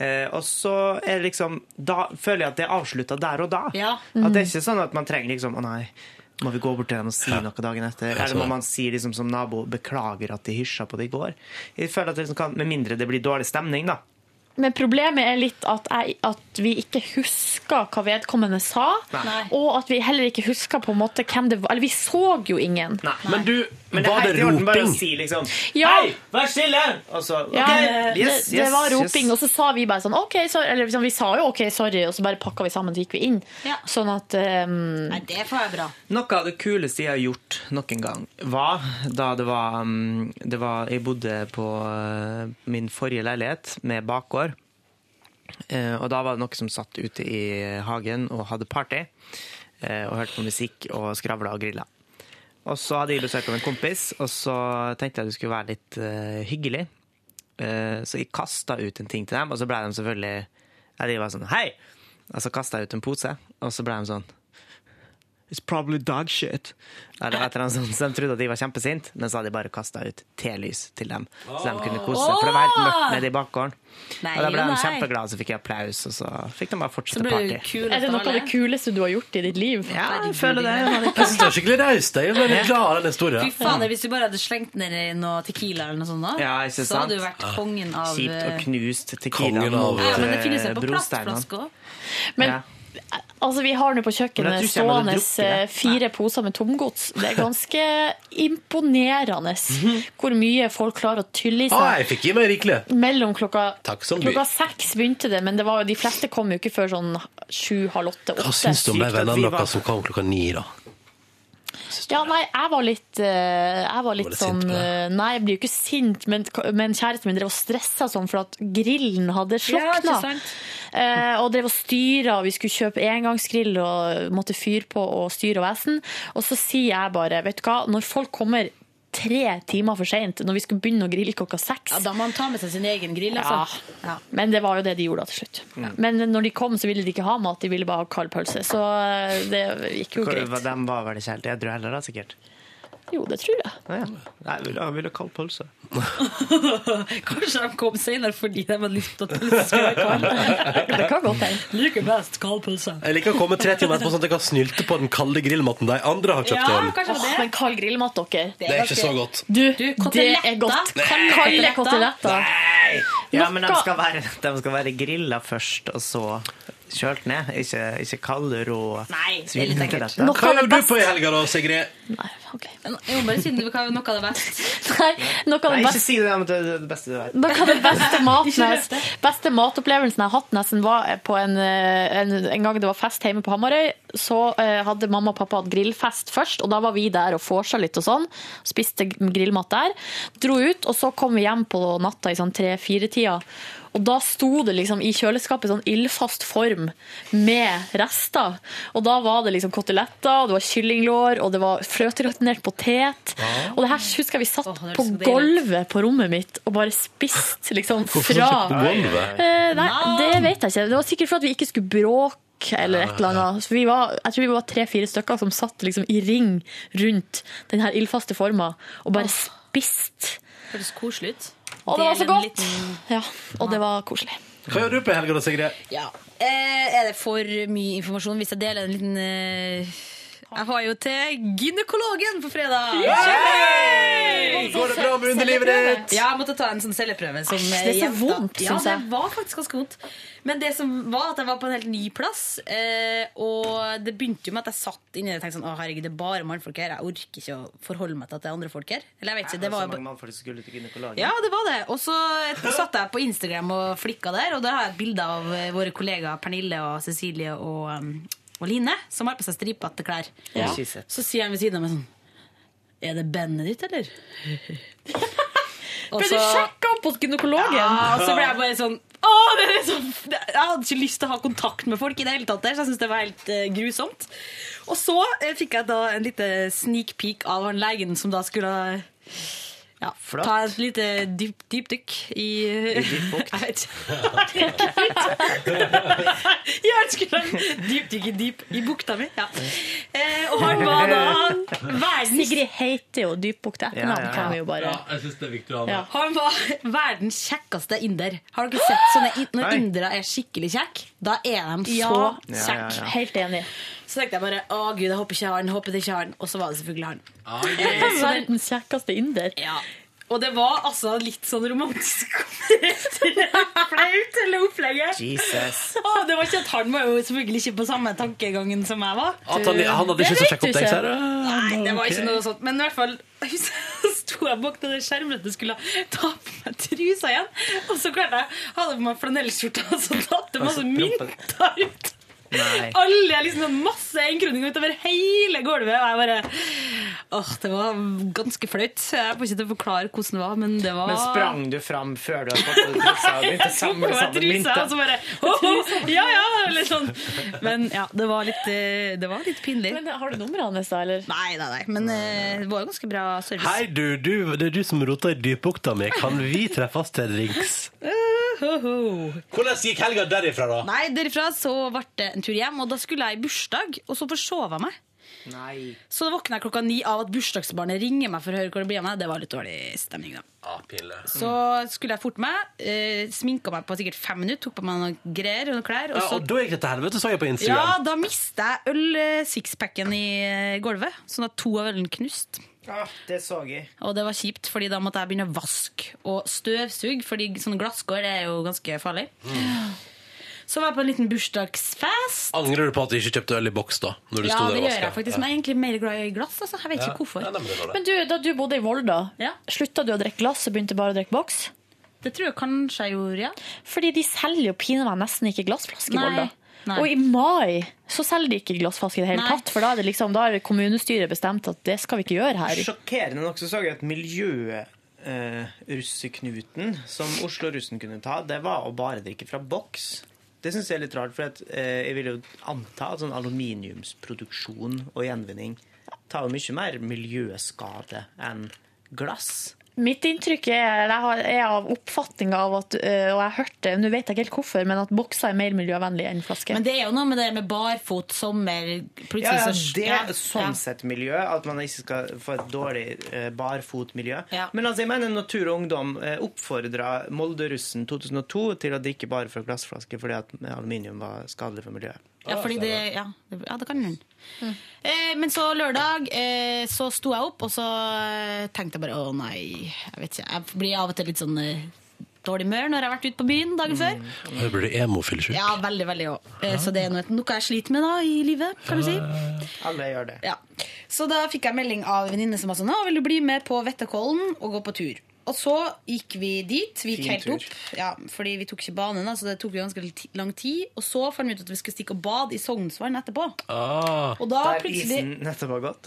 [SPEAKER 3] Eh, og så er det liksom Da føler jeg at det er avslutta der og da. At
[SPEAKER 6] Mhm.
[SPEAKER 3] det er ikke sånn at man trenger liksom Å nei, må vi gå bort til dem og si noe dagen etter?
[SPEAKER 2] Ja,
[SPEAKER 3] Eller
[SPEAKER 2] sånn.
[SPEAKER 3] må man si liksom som nabo Beklager at de hysja på det i går? Jeg føler at det liksom kan, Med mindre det blir dårlig stemning, da.
[SPEAKER 6] Men problemet er litt at, jeg, at vi ikke husker hva vedkommende sa.
[SPEAKER 3] Nei.
[SPEAKER 6] Og at vi heller ikke husker på en måte hvem det var. Eller vi så jo ingen.
[SPEAKER 3] Men du, men det
[SPEAKER 2] var
[SPEAKER 3] er helt
[SPEAKER 2] det
[SPEAKER 3] i orden bare å
[SPEAKER 2] roping?
[SPEAKER 3] si liksom
[SPEAKER 6] Ja.
[SPEAKER 3] Hei, vær stille! Og så
[SPEAKER 6] Ja,
[SPEAKER 3] «Ok,
[SPEAKER 6] det,
[SPEAKER 3] yes,
[SPEAKER 6] det
[SPEAKER 3] yes,
[SPEAKER 6] var
[SPEAKER 3] yes».
[SPEAKER 6] roping, og så sa vi bare sånn OK, sorry. Eller liksom, vi sa jo OK, sorry, og så bare pakka vi sammen og gikk vi inn. Sånn at ehm,
[SPEAKER 5] Nei, det får jeg bra.
[SPEAKER 3] Noe av det kuleste jeg har gjort noen gang, var da det var, um, eh, det var Jeg bodde på uh, min forrige leilighet med bakgård. Eh, og da var det noen som satt ute i hagen og hadde party. eh, Og hørte på musikk og skravla og grilla. Og så hadde jeg besøk av en kompis, og så tenkte jeg det skulle være litt eh, hyggelig. Eh, Så jeg kasta ut en ting til dem, og så ble de selvfølgelig ja, De var sånn Hei! Og så kasta jeg ut en pose, og så ble de sånn It's probably dog shit. Eller et eller annet sånt. Så de trodde at de var kjempesinte, men så hadde de bare kasta ut telys til dem. Så de kunne kose seg. For det var helt mørkt nede i bakgården.
[SPEAKER 7] Nei,
[SPEAKER 3] og da ble
[SPEAKER 7] jo,
[SPEAKER 3] de
[SPEAKER 7] nei.
[SPEAKER 3] kjempeglade, så fikk jeg applaus, og så fikk de bare fortsette party.
[SPEAKER 7] Er det noe av det kuleste du har gjort i ditt liv?
[SPEAKER 3] Ja, jeg føler det.
[SPEAKER 2] Jeg synes det er skikkelig raust. Jeg er veldig glad av den
[SPEAKER 5] Fy
[SPEAKER 2] historien.
[SPEAKER 5] fader, hvis du bare hadde slengt ned i noe tequila eller noe sånt, da,
[SPEAKER 3] Ja, ikke sant?
[SPEAKER 5] så hadde
[SPEAKER 3] Ah,
[SPEAKER 5] du vært kongen av eh,
[SPEAKER 3] Kjipt og knust tequila
[SPEAKER 2] Kongen av-
[SPEAKER 3] mot
[SPEAKER 5] Ja, men det finnes
[SPEAKER 3] eh,
[SPEAKER 5] jo på
[SPEAKER 3] brosteinene.
[SPEAKER 5] plastflaske òg.
[SPEAKER 6] Men
[SPEAKER 3] Ja.
[SPEAKER 6] altså, vi har nå på
[SPEAKER 3] Men
[SPEAKER 6] kjøkkenet
[SPEAKER 3] jeg tror ikke jeg
[SPEAKER 6] stående
[SPEAKER 3] hadde drukket
[SPEAKER 6] eh, fire poser med tomgods. Det er ganske imponerende
[SPEAKER 3] Mhm.
[SPEAKER 6] hvor mye folk klarer å tylle i
[SPEAKER 2] Å,
[SPEAKER 6] seg.
[SPEAKER 2] Ah, jeg fikk i meg rikelig.
[SPEAKER 6] Mellom klokka,
[SPEAKER 2] Takk som
[SPEAKER 6] klokka
[SPEAKER 2] by.
[SPEAKER 6] seks begynte det, men det var jo, de fleste kom jo ikke før sånn sju, halv åtte, åtte.
[SPEAKER 2] Hva syns du om de vennene deres som kom klokka ni, da?
[SPEAKER 6] Ja, nei, jeg var litt, eh, jeg var litt
[SPEAKER 2] litt
[SPEAKER 6] sånn
[SPEAKER 2] sint på
[SPEAKER 6] eh, Nei, jeg blir jo ikke sint, men, men kjæresten min drev og stressa sånn for at grillen hadde
[SPEAKER 5] Ja,
[SPEAKER 6] slokna.
[SPEAKER 5] ikke sant?
[SPEAKER 6] Eh, og drev og styra, og vi skulle kjøpe engangsgrill og måtte fyre på og styre og vesen. Og så sier jeg bare, vet du hva, når folk kommer tre timer for seint, når vi skulle begynne å grille klokka seks
[SPEAKER 5] Ja, da må han ta med seg sin egen grill, altså. Ja.
[SPEAKER 6] Men det var jo det de gjorde da til slutt. Men når de kom, så ville de ikke ha mat, de ville bare ha kald pølse. Så eh, det gikk jo
[SPEAKER 3] Hvor-
[SPEAKER 6] greit.
[SPEAKER 3] hva- De var vel ikke helt edru heller, da, sikkert.
[SPEAKER 6] Jo, det tror jeg.
[SPEAKER 3] Ja, ja. Nei, jeg ville, jeg ville kald pølse.
[SPEAKER 5] Kanskje de kom senere fordi de hadde lyst til at pølsen skulle være kald.
[SPEAKER 6] Det kan godt hende.
[SPEAKER 5] Liker best kald pølse.
[SPEAKER 2] Jeg liker å komme tre timer etterpå sånn at jeg kan snylte på den kalde grillmatten de andre har kjøpt inn.
[SPEAKER 6] Åh, Men kald grillmat, dere.
[SPEAKER 2] Det er ikke så godt.
[SPEAKER 6] Du, det
[SPEAKER 5] koteletter.
[SPEAKER 6] er godt.
[SPEAKER 5] Nei.
[SPEAKER 6] Kalde koteletter.
[SPEAKER 3] Ja, men de
[SPEAKER 6] Noe-
[SPEAKER 3] skal være, de skal være grilla først, og så kjølt ned. Ikke, ikke kalde, rå
[SPEAKER 5] Nei, det er litt ekkelt.
[SPEAKER 3] svinekoteletter.
[SPEAKER 5] Noe
[SPEAKER 2] Hva gjør du på i helga da, Sigrid?
[SPEAKER 5] Jeg må bare si det var noe av det beste.
[SPEAKER 6] Nei, noe
[SPEAKER 3] Nei,
[SPEAKER 6] av det
[SPEAKER 3] ikke
[SPEAKER 6] beste
[SPEAKER 3] si det, men det er det beste du vet.
[SPEAKER 6] noe av den beste, maten,
[SPEAKER 5] Ikke
[SPEAKER 6] jeg- beste matopplevelsen jeg har hatt nesten var på en, eh, en, en gang det var fest hjemme på Hamarøy. Så eh, hadde mamma og pappa hatt grillfest først, og da var vi der og vorsa litt og sånn. Spiste grillmat der. Dro ut, og så kom vi hjem på natta i sånn tre-fire-tida. Og da sto det liksom i kjøleskapet i sånn ildfast form med rester. Og da var det liksom koteletter, det var kyllinglår, og det var fløteratinert potet. Og det her husker jeg vi satt
[SPEAKER 5] det
[SPEAKER 6] på
[SPEAKER 5] så deilig ut.
[SPEAKER 6] gulvet på rommet mitt og bare spiste liksom
[SPEAKER 2] Hvorfor satt du
[SPEAKER 6] fra
[SPEAKER 2] på gulvet?
[SPEAKER 6] Eh, nei, det vet jeg ikke. Det var sikkert for at vi ikke skulle bråke eller et eller annet. Så vi var, jeg tror vi var tre-fire stykker som satt liksom i ring rundt den her ildfaste forma og bare spiste.
[SPEAKER 5] Høres koselig ut.
[SPEAKER 6] Og det var så
[SPEAKER 5] Del en
[SPEAKER 6] godt!
[SPEAKER 5] liten-
[SPEAKER 6] Ja, og det var koselig.
[SPEAKER 2] Hva gjør du på i helga da, Sigrid?
[SPEAKER 5] Ja. Eh, er det for mye informasjon hvis jeg deler en liten eh... Jeg var jo til gynekologen på fredag!
[SPEAKER 2] Yay! Går det bra med underlivet ditt?
[SPEAKER 5] Ja, jeg måtte ta en sånn celleprøve. Som
[SPEAKER 6] Æsj, det er så
[SPEAKER 5] jenta-
[SPEAKER 6] vondt,
[SPEAKER 5] Ja,
[SPEAKER 6] synes
[SPEAKER 5] det
[SPEAKER 6] jeg.
[SPEAKER 5] var faktisk ganske vondt. Men det som var at jeg var på en helt ny plass, eh, og det begynte jo med at jeg satt inni det og tenkte sånn Å, herregud, det er bare mannfolk her. Jeg orker ikke å forholde meg til at det er andre folk her. Eller jeg vet ikke, det var jo
[SPEAKER 3] så
[SPEAKER 5] bare
[SPEAKER 3] mange mannfolk som skulle til gynekologen.
[SPEAKER 5] ja, det var det. Og så satt jeg på Instagram og flikka der, og der har jeg et bilde av eh, våre kollegaer Pernille og Cecilie og, um, og Line, som har på seg stripete klær.
[SPEAKER 3] Ja.
[SPEAKER 5] Så sier han ved siden av meg sånn Er det bandet ditt, eller? Og
[SPEAKER 6] Ble du
[SPEAKER 5] så-
[SPEAKER 6] sjekka opp hos gynekologen?
[SPEAKER 5] Ja, og så ble jeg bare sånn å, det er liksom, Jeg hadde ikke lyst til å ha kontakt med folk i det hele tatt. der, Så jeg syntes det var helt eh, grusomt. Og så eh, fikk jeg da en lite sneak peek av han legen som da skulle ja,
[SPEAKER 3] Flott.
[SPEAKER 5] ta et lite dyp- dypdykk i
[SPEAKER 3] I dyp bukt?
[SPEAKER 5] Jeg vet ikke. Jeg skulle ha en dypdykk i, dyp, i bukta mi. Ja. Eh, og han var da verdens
[SPEAKER 6] Sigrid heter jo Dypbukt til etternavn,
[SPEAKER 5] Ja, ja, ja.
[SPEAKER 6] kan vi jo bare
[SPEAKER 2] jeg syns det er viktig å
[SPEAKER 6] Ja.
[SPEAKER 5] Han var verdens kjekkeste inder. Har dere sett sånne in- Når
[SPEAKER 6] Nei.
[SPEAKER 5] indere er skikkelig kjekke, da er de
[SPEAKER 6] Ja,
[SPEAKER 5] så
[SPEAKER 6] ja,
[SPEAKER 5] kjekke.
[SPEAKER 6] ja, ja. Helt enig.
[SPEAKER 5] Så tenkte jeg bare å gud, jeg håper ikke han, håper det ikke han. Og så var det selvfølgelig han. Eh, så den-
[SPEAKER 6] Verdens kjekkeste inder.
[SPEAKER 5] og det var altså litt sånn romantisk flaut, hele opplegget.
[SPEAKER 3] Jesus.
[SPEAKER 5] Å, det var ikke at Han var jo selvfølgelig ikke på samme tankegangen som jeg var.
[SPEAKER 2] At han- han hadde
[SPEAKER 5] Det
[SPEAKER 2] ikke så
[SPEAKER 5] vet
[SPEAKER 2] sjekket opp
[SPEAKER 5] du
[SPEAKER 2] deg,
[SPEAKER 5] ikke.
[SPEAKER 2] sier du?
[SPEAKER 5] Nei, det var
[SPEAKER 2] Ok.
[SPEAKER 5] ikke noe sånt. Men i hvert fall jeg husker jeg sto jeg bak den skjermen og skulle ta på meg trusa igjen. Og så klarte jeg hadde på meg flanellskjorta, og så datt det masse mynter ut.
[SPEAKER 3] Altså, Nei.
[SPEAKER 5] Alle liksom sånn masse enkroninger utover hele gulvet. Og jeg bare Åh, Det var ganske flaut. Jeg får ikke til å forklare hvordan det var, men det var
[SPEAKER 3] Men sprang du fram før du hadde fått på deg trusa og begynte å samle sammen
[SPEAKER 5] trusa, og
[SPEAKER 3] mynter?
[SPEAKER 5] så bare ho, ho, Ja, ja! Eller sånn. Men ja, det var litt, eh, det var litt pinlig. Men
[SPEAKER 6] Har du nummeret hans, da? eller?
[SPEAKER 5] Nei, nei, nei. Men eh, det var jo ganske bra service.
[SPEAKER 2] Hei, du, du, det er du som roter i dypbukta mi. Kan vi treffes til drinks?
[SPEAKER 5] Eh, ho, ho.
[SPEAKER 2] Hvordan gikk helga derifra, da?
[SPEAKER 5] Nei, derifra så ble det en tur hjem, og da skulle jeg i bursdag, og så forsov jeg meg.
[SPEAKER 3] Nei.
[SPEAKER 5] Så da våkna jeg klokka ni av at bursdagsbarnet ringer meg for å høre hvor det blir av meg. Det var litt dårlig stemning, da.
[SPEAKER 2] Ah,
[SPEAKER 5] Så skulle jeg forte meg. Eh, sminka meg på sikkert fem minutter, tok på meg noen greier og noen klær.
[SPEAKER 2] Ja,
[SPEAKER 5] Og så
[SPEAKER 2] og da gikk det til helvete, så jeg på
[SPEAKER 5] Ja,
[SPEAKER 2] Instagram.
[SPEAKER 5] da mista jeg øl-sixpacken i eh, gulvet, sånn at to av ølene knust.
[SPEAKER 3] Ja, det så jeg.
[SPEAKER 5] Og det var kjipt, fordi da måtte jeg begynne å vaske og støvsuge, fordi sånn glasskår er jo ganske farlig. Så var jeg på en liten bursdagsfest.
[SPEAKER 2] Angrer du på at du ikke kjøpte øl i boks, da? Når du
[SPEAKER 5] Ja,
[SPEAKER 2] sto der
[SPEAKER 5] det
[SPEAKER 2] og
[SPEAKER 5] gjør jeg
[SPEAKER 2] vasket?
[SPEAKER 5] faktisk,
[SPEAKER 2] Ja.
[SPEAKER 5] men jeg er egentlig mer glad i glass. Altså. Jeg vet
[SPEAKER 2] Ja.
[SPEAKER 5] ikke hvorfor.
[SPEAKER 2] Ja, nei, men det er bra, det.
[SPEAKER 7] Men du, da du bodde i Volda, slutta du å drikke glass og begynte bare å drikke boks?
[SPEAKER 5] Det tror jeg kanskje jeg gjorde, ja.
[SPEAKER 7] Fordi de selger jo pinadø meg nesten ikke glassflasker i
[SPEAKER 5] Nei,
[SPEAKER 7] Volda.
[SPEAKER 5] nei.
[SPEAKER 7] Og i mai så selger de ikke glassflasker i det hele
[SPEAKER 5] Nei.
[SPEAKER 7] tatt, for da er det liksom, da er kommunestyret bestemt at det skal vi ikke gjøre her.
[SPEAKER 3] Sjokkerende nok så så jeg at miljøet eh, russeknuten som Oslo-russen kunne ta, det var å bare drikke fra boks. Det syns jeg er litt rart, for at, eh, jeg vil jo anta at sånn aluminiumsproduksjon og gjenvinning tar jo mye mer miljøskade enn glass.
[SPEAKER 7] Mitt inntrykk er, jeg har- er av oppfatninga av at, øh, og jeg har hørt det, nå vet jeg ikke helt hvorfor, men at bokser er mer miljøvennlig enn flasker.
[SPEAKER 5] Men det er jo noe med det med barfot, sommer
[SPEAKER 3] Ja, ja,
[SPEAKER 5] så-
[SPEAKER 3] det
[SPEAKER 5] Ja,
[SPEAKER 3] er sånn sett miljø, at man ikke skal få et dårlig eh, barfotmiljø. Men altså, jeg mener Natur og Ungdom eh, oppfordra Molde-russen 2002 til å drikke bare fra glassflasker fordi at aluminium var skadelig for miljøet.
[SPEAKER 5] Ja, fordi det, ja, det, ja, det kan hende.
[SPEAKER 3] Mm.
[SPEAKER 5] Eh, men så lørdag eh, så sto jeg opp, og så eh, tenkte jeg bare å nei, jeg vet ikke. Jeg blir av og til litt sånn eh, dårlig humør når jeg har vært ute på
[SPEAKER 2] Mm.
[SPEAKER 5] byen dagen før.
[SPEAKER 2] Da blir du emofilsjuk.
[SPEAKER 5] Ja, veldig, veldig også. Eh, Så det er noe, noe jeg sliter med da i livet, kan du si.
[SPEAKER 3] Alle gjør det.
[SPEAKER 5] Ja. Så da fikk jeg melding av en venninne som var sånn Å, vil du bli med på Vetterkollen og gå på tur? Og så gikk vi dit. Vi gikk
[SPEAKER 7] Fin
[SPEAKER 5] helt
[SPEAKER 7] tur.
[SPEAKER 5] opp. Ja, fordi vi tok ikke banen, da, så det tok jo ganske li- lang tid. Og så fant vi ut at vi skulle stikke og bade i Sognsvann etterpå.
[SPEAKER 2] Ah.
[SPEAKER 5] Og da
[SPEAKER 3] Der
[SPEAKER 5] plutselig-
[SPEAKER 3] isen nettopp har gått.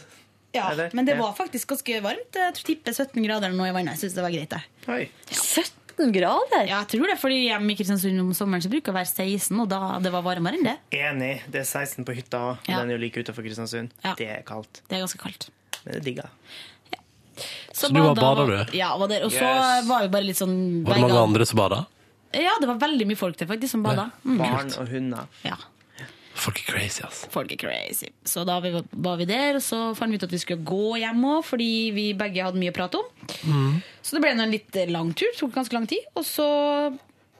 [SPEAKER 5] Ja,
[SPEAKER 3] Eller?
[SPEAKER 5] Men det
[SPEAKER 3] Ja.
[SPEAKER 5] var faktisk ganske varmt. Jeg tror tipper 17 grader eller noe i vannet. Jeg synes det var greit, det.
[SPEAKER 3] Oi.
[SPEAKER 7] 17 grader?
[SPEAKER 5] Ja, jeg tror det. fordi hjemme i Kristiansund om sommeren så bruker det å være 16, og da det var varmere enn det.
[SPEAKER 3] Enig. Det er 16 på hytta òg.
[SPEAKER 5] Ja.
[SPEAKER 3] Den er jo like utenfor Kristiansund. Det er kaldt.
[SPEAKER 5] Det er ganske kaldt.
[SPEAKER 3] Men det er digga.
[SPEAKER 2] Så du var
[SPEAKER 5] da-
[SPEAKER 2] bader, du?
[SPEAKER 5] Ja, var der. Og så
[SPEAKER 3] Yes.
[SPEAKER 5] var vi bare litt sånn
[SPEAKER 2] Var det mange
[SPEAKER 5] begge-
[SPEAKER 2] andre som bada?
[SPEAKER 5] Ja, det var veldig mye folk der faktisk som bada.
[SPEAKER 3] Barn og hunder.
[SPEAKER 5] Ja.
[SPEAKER 2] Folk er crazy, ass.
[SPEAKER 5] Folk er crazy. Så da vi, var vi der, og så fant vi ut at vi skulle gå hjem òg, fordi vi begge hadde mye å prate om.
[SPEAKER 2] Mm.
[SPEAKER 5] Så det ble nå en litt eh, lang tur, det tok ganske lang tid. Og så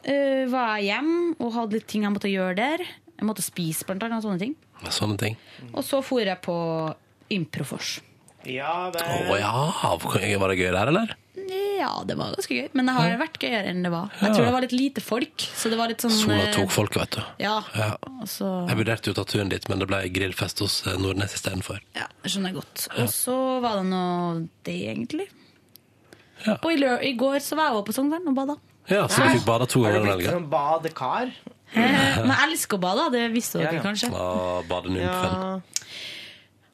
[SPEAKER 5] eh, var jeg hjem og hadde litt ting jeg måtte gjøre der. Jeg måtte spise, blant annet. og Sånne ting.
[SPEAKER 2] Sånne ting.
[SPEAKER 5] Og så for jeg på Improfors.
[SPEAKER 3] Ja
[SPEAKER 2] Å ja, var det gøy der, eller?
[SPEAKER 5] Ja, det var ganske gøy, men det har vært gøyere enn det var.
[SPEAKER 2] Ja.
[SPEAKER 5] Jeg tror det var litt lite folk, så det var litt sånn
[SPEAKER 2] Sola
[SPEAKER 5] eh,
[SPEAKER 2] tok folk, vet du.
[SPEAKER 5] Ja.
[SPEAKER 2] Ja.
[SPEAKER 5] Og så
[SPEAKER 2] Jeg vurderte jo å ta turen dit, men det ble grillfest hos eh, Nordnes istedenfor.
[SPEAKER 5] Ja, skjønner jeg godt. Og så var det nå det, egentlig. Og i, lø i går så var jeg også på Sogndalen og bada.
[SPEAKER 2] Ja, så du fikk bada to
[SPEAKER 3] Har
[SPEAKER 2] ganger
[SPEAKER 3] du
[SPEAKER 2] den
[SPEAKER 3] blitt
[SPEAKER 2] helga.
[SPEAKER 3] sånn badekar?
[SPEAKER 5] Men jeg elsker å bade, det visste dere kanskje.
[SPEAKER 2] Å, Badenymfen.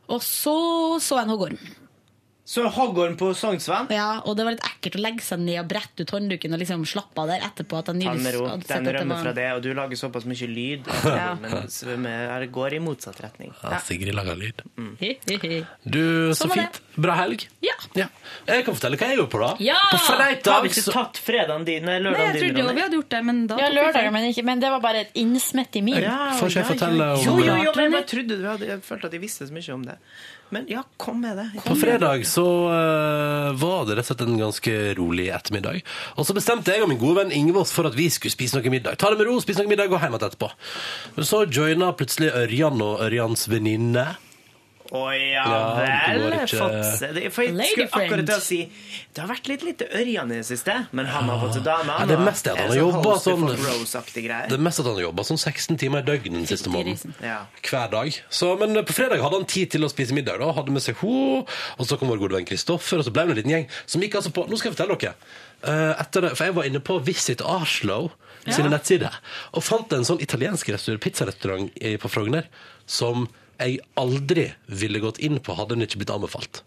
[SPEAKER 5] Og så så jeg en hoggorm.
[SPEAKER 3] Så hoggorm på Sognsvann?
[SPEAKER 5] Ja, og det var litt ekkelt å legge seg ned og brette ut håndduken og liksom slappe av der etterpå. At jeg
[SPEAKER 3] Ta den med
[SPEAKER 5] nylig
[SPEAKER 3] ro.
[SPEAKER 5] hadde sett at
[SPEAKER 3] Den
[SPEAKER 5] det
[SPEAKER 3] rømmer
[SPEAKER 5] var-
[SPEAKER 3] fra det, og du lager såpass mye lyd.
[SPEAKER 5] Ja.
[SPEAKER 3] Men svømmer her går i motsatt retning.
[SPEAKER 2] Ja, Sigrid laga lyd.
[SPEAKER 5] Hi-hi-hi.
[SPEAKER 2] Du, så
[SPEAKER 5] Sånn var
[SPEAKER 2] fint. Bra helg.
[SPEAKER 5] Ja.
[SPEAKER 2] Jeg kan fortelle hva jeg gjorde på, da.
[SPEAKER 5] Ja!
[SPEAKER 2] På
[SPEAKER 3] Har
[SPEAKER 2] fredag
[SPEAKER 3] vi ikke tatt fredagen din? Nei,
[SPEAKER 5] Nei, jeg
[SPEAKER 3] lørdagen din,
[SPEAKER 5] trodde jo vi hadde gjort det, men da
[SPEAKER 7] Ja,
[SPEAKER 5] tok vi
[SPEAKER 7] lørdager,
[SPEAKER 5] feil.
[SPEAKER 7] men, ikke, men det var bare et innsmett i min.
[SPEAKER 3] Ja,
[SPEAKER 2] Får ikke jeg
[SPEAKER 3] ja,
[SPEAKER 2] fortelle
[SPEAKER 3] ja.
[SPEAKER 2] om-
[SPEAKER 3] Jo, jo, jo, men jeg bare trodde du hadde Jeg følte at jeg visste så mye om det. Men ja, kom med det.
[SPEAKER 2] På fredag så eh, var det rett og slett en ganske rolig ettermiddag. Og så bestemte jeg og min gode venn Ingve oss for at vi skulle spise noe middag. Ta det med ro, spise noe middag, gå hjem igjen etterpå. Men så joina plutselig Ørjan og Ørjans venninne.
[SPEAKER 3] Å ja
[SPEAKER 2] Ja, det
[SPEAKER 3] vel,
[SPEAKER 2] går ikke-
[SPEAKER 3] Fotse. Det- For jeg
[SPEAKER 5] Lady
[SPEAKER 3] skulle akkurat til å
[SPEAKER 5] friend.
[SPEAKER 3] si Det har vært litt lite Ørjan i det siste, men han har fått seg dame.
[SPEAKER 2] Ja, det er mest det at han har jobba sånn
[SPEAKER 3] Rose-aktige
[SPEAKER 2] Det
[SPEAKER 3] greier.
[SPEAKER 2] er mest at han har jobba sånn 16 timer i døgnet den siste måneden.
[SPEAKER 3] Ja.
[SPEAKER 2] Hver dag. Så, men på fredag hadde han tid til å spise middag. da Hadde med seg ho, og så kom vår gode venn Kristoffer, og så ble vi en liten gjeng som gikk altså på Nå skal jeg fortelle dere. Eh, etter det, for jeg var inne på Visit Arslow sine nettsider og fant en sånn italiensk restaurant, pizzarestaurant i- på Frogner som jeg aldri ville gått inn på hadde den ikke blitt anbefalt.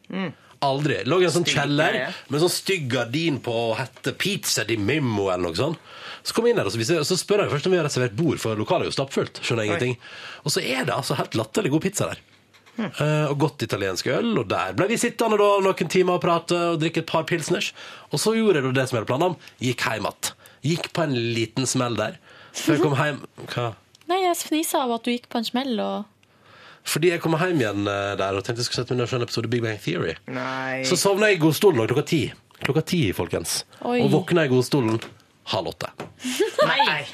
[SPEAKER 2] Aldri. Lå i en sånn
[SPEAKER 3] Stygg
[SPEAKER 2] kjeller
[SPEAKER 3] greie.
[SPEAKER 2] med en sånn stygg gardin på og hette Pizza di Mimmo eller noe sånt. Så kom jeg inn der, og så, viser, så spør jeg først om vi har reservert bord, for lokalet er jo stappfullt. Skjønner jeg
[SPEAKER 3] Oi.
[SPEAKER 2] ingenting. Og så er det altså helt latterlig god pizza der. Eh, og godt italiensk øl, og der ble vi sittende da noen timer og prate og drikke et par pilsners. Og så gjorde jeg da det som jeg hadde planer om, gikk hjem igjen. Gikk på en liten smell der. Før jeg kom hjem Hva?
[SPEAKER 7] Nei, jeg fnisa av at du gikk på en smell og
[SPEAKER 2] Fordi jeg kom hjem igjen eh, der og tenkte jeg skulle sette meg ned og se en episode Big Bang Theory.
[SPEAKER 3] Nei.
[SPEAKER 2] Så sovna jeg i godstolen da, klokka ti. Klokka ti, folkens.
[SPEAKER 3] Oi.
[SPEAKER 2] Og våkna i godstolen halv åtte.
[SPEAKER 3] Nei.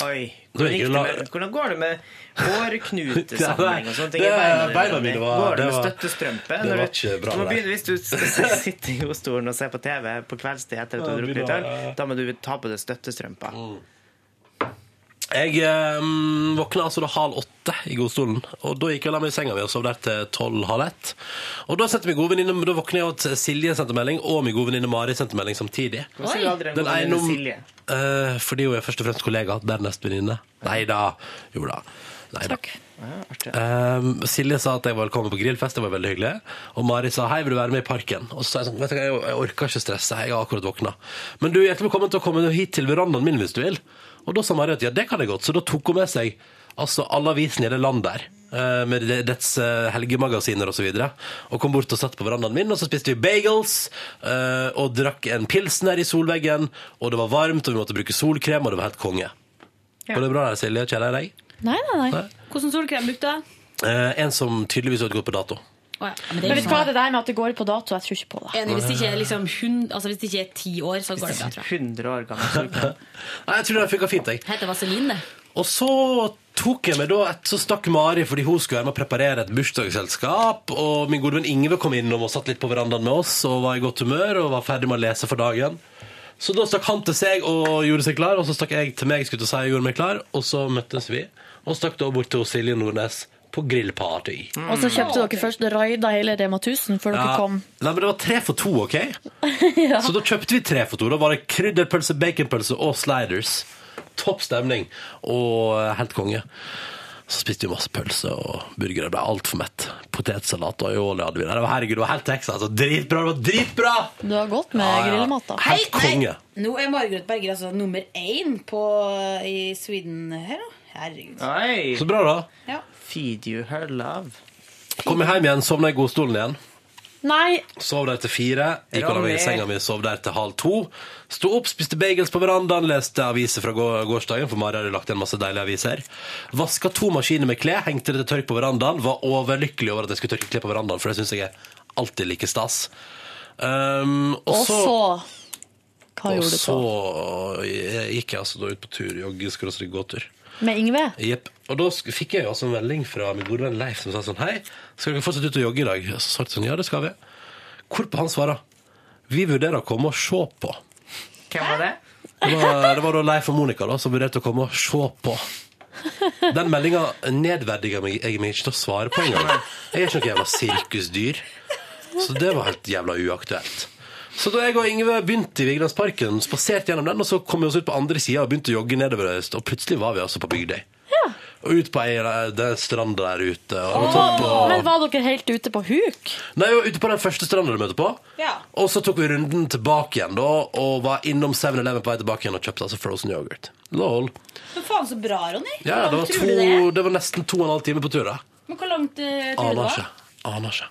[SPEAKER 3] Oi.
[SPEAKER 2] Nå
[SPEAKER 3] Hvordan,
[SPEAKER 2] gikk det
[SPEAKER 3] gikk det
[SPEAKER 2] la-
[SPEAKER 3] med, hvordan går det med
[SPEAKER 2] Ja, nei,
[SPEAKER 3] hårknutesammenheng og sånne ting?
[SPEAKER 2] det-
[SPEAKER 3] i
[SPEAKER 2] beina mine var-
[SPEAKER 3] Går det
[SPEAKER 2] det
[SPEAKER 3] med
[SPEAKER 2] var-
[SPEAKER 3] støttestrømpe?
[SPEAKER 2] det
[SPEAKER 3] når
[SPEAKER 2] var
[SPEAKER 3] du-
[SPEAKER 2] ikke bra,
[SPEAKER 3] du må
[SPEAKER 2] det.
[SPEAKER 3] begynne- Hvis du s- sitter i godstolen og ser på TV på kveldstid etter at du
[SPEAKER 2] Ja, Mm.
[SPEAKER 3] har drukket litt
[SPEAKER 2] begynner-
[SPEAKER 3] øl, da må du ta på deg støttestrømpa.
[SPEAKER 2] Jeg eh, våkna altså da halv åtte i godstolen, og da gikk jeg og la meg i senga mi og sov der til tolv, halv ett. Og da, sendte min gode venninne- da våkna jeg at Silje sendte melding, og min gode venninne Mari sendte melding samtidig.
[SPEAKER 3] Hvorfor sier du aldri en
[SPEAKER 2] Den
[SPEAKER 3] god venninne
[SPEAKER 2] ene om-
[SPEAKER 3] Silje?
[SPEAKER 2] Eh, fordi hun er først og fremst kollega, dernest venninne. Nei da. Jo da. Nei da. Um, Silje sa at jeg var velkommen på grillfest, det var veldig hyggelig. Og Mari sa hei, vil du være med i parken? Og så sa jeg sånn, vet du hva, jeg, jeg orker ikke stresse, jeg har akkurat våkna. Men du er hjertelig velkommen til å komme hit til verandaen min hvis du vil. Og da sa Mari at ja, det kan jeg godt. Så da tok hun med seg altså, alle avisene i det landet der. eh, Med det- dets eh, helgemagasiner og så videre. Og kom bort og satt på verandaen min, og så spiste vi bagels. eh, Og drakk en pilsner i solveggen. Og det var varmt, og vi måtte bruke solkrem, og det var helt konge.
[SPEAKER 5] Ja.
[SPEAKER 2] Var det bra der, Silje? Kjenner jeg deg?
[SPEAKER 7] Nei, nei, nei.
[SPEAKER 5] Hvordan solkrem brukte du?
[SPEAKER 2] Eh, en som tydeligvis har gått på dato.
[SPEAKER 5] Oh, ja.
[SPEAKER 7] Men vet du hva, det der med at det går ut på dato, jeg tror ikke på det.
[SPEAKER 5] Enig, hvis det ikke er liksom hun- altså hvis det ikke er ti år, så går det bra, tror jeg.
[SPEAKER 3] 100 år gammel.
[SPEAKER 2] Nei, jeg tror det funka fint, jeg.
[SPEAKER 5] Heter Vaseline, det.
[SPEAKER 2] Og så tok jeg meg da et, så stakk Mari fordi hun skulle være med å preparere et bursdagsselskap. Og min gode venn Ingve kom innom og satt litt på verandaen med oss og var i godt humør og var ferdig med å lese for dagen. Så da stakk han til seg og gjorde seg klar, og så stakk jeg til meg skulle til å si og gjorde meg klar, og så møttes vi. Og stakk da bort til Silje Nordnes på grillparty.
[SPEAKER 7] Og så kjøpte dere først raida hele Rema 1000 før dere
[SPEAKER 2] Ja.
[SPEAKER 7] kom.
[SPEAKER 2] Nei, men det var tre for to, OK? Så da kjøpte vi tre for to. Da var det krydderpølse, baconpølse og sliders. Topp stemning. Og eh, helt konge. Så spiste vi masse pølse og burgere. Ble altfor mett. Potetsalat og aioli hadde vi der. Det var, herregud, det var helt Texas. Altså, dritbra! Det var dritbra!
[SPEAKER 7] Du har godt med
[SPEAKER 2] Ja, ja.
[SPEAKER 7] grillmat, da.
[SPEAKER 2] Helt konge.
[SPEAKER 17] Nå er Margaret Berger altså nummer én på, eh, i Sweden her, da. Herregud.
[SPEAKER 3] Oi.
[SPEAKER 2] Så bra, da.
[SPEAKER 17] Ja.
[SPEAKER 3] Feed you her love.
[SPEAKER 2] Kom jeg hjem igjen, sovna i godstolen igjen.
[SPEAKER 7] Nei,
[SPEAKER 2] Sov der til fire. Gikk og la meg i
[SPEAKER 3] Ronny.
[SPEAKER 2] senga mi, sov der til halv to. Sto opp, spiste bagels på verandaen, leste aviser fra gå- gårsdagen, for Mari hadde lagt igjen masse deilige aviser. Vaska to maskiner med klær, hengte det til tørk på verandaen. Var overlykkelig over at jeg skulle tørke klær på verandaen, for det syns jeg er alltid like stas. Um,
[SPEAKER 7] og så Hva
[SPEAKER 2] og
[SPEAKER 7] gjorde du
[SPEAKER 2] så
[SPEAKER 7] så?
[SPEAKER 2] gikk jeg altså da ut på tur, jogge, skråstrek, gåtur.
[SPEAKER 7] Med Ingve?
[SPEAKER 2] Jepp. Og da sk- fikk jeg jo altså en melding fra min gode venn Leif som sa sånn Hei, skal dere fortsette ut og jogge i dag? Så svarte jeg sånn, ja, det skal vi. Hvorpå han svarer Vi vurderer å komme og se på.
[SPEAKER 3] Hvem var det?
[SPEAKER 2] Det var, det var da Leif og Monica da, som vurderte å komme og se på. Den meldinga nedverdiger meg jeg meg ikke til å svare på engang. Jeg er ikke noe jævla sirkusdyr. Så det var helt jævla uaktuelt. Så da jeg og Ingve begynte i Vigelandsparken, spaserte gjennom den, og så kom vi oss ut på andre sida og begynte å jogge nedover øst, og plutselig var vi altså på Bygdøy. Og ut på ei der- den stranda der ute. Og det var topp, og...
[SPEAKER 7] Men var dere helt ute på huk?
[SPEAKER 2] Nei, vi var ute på den første stranda du møter på.
[SPEAKER 7] Ja.
[SPEAKER 2] Og så tok vi runden tilbake igjen da, og var innom 7-Eleven på vei tilbake igjen og kjøpte altså frozen yoghurt. Lol.
[SPEAKER 17] Men faen så bra, Ronny. Hvor
[SPEAKER 2] Ja,
[SPEAKER 17] langt
[SPEAKER 2] det var,
[SPEAKER 17] tror
[SPEAKER 2] to,
[SPEAKER 17] du det er?
[SPEAKER 2] det var nesten to og en halv time på tur, da.
[SPEAKER 17] Men hvor langt eh, tror du det
[SPEAKER 2] Aner
[SPEAKER 17] var?
[SPEAKER 2] ikke. Aner ikke.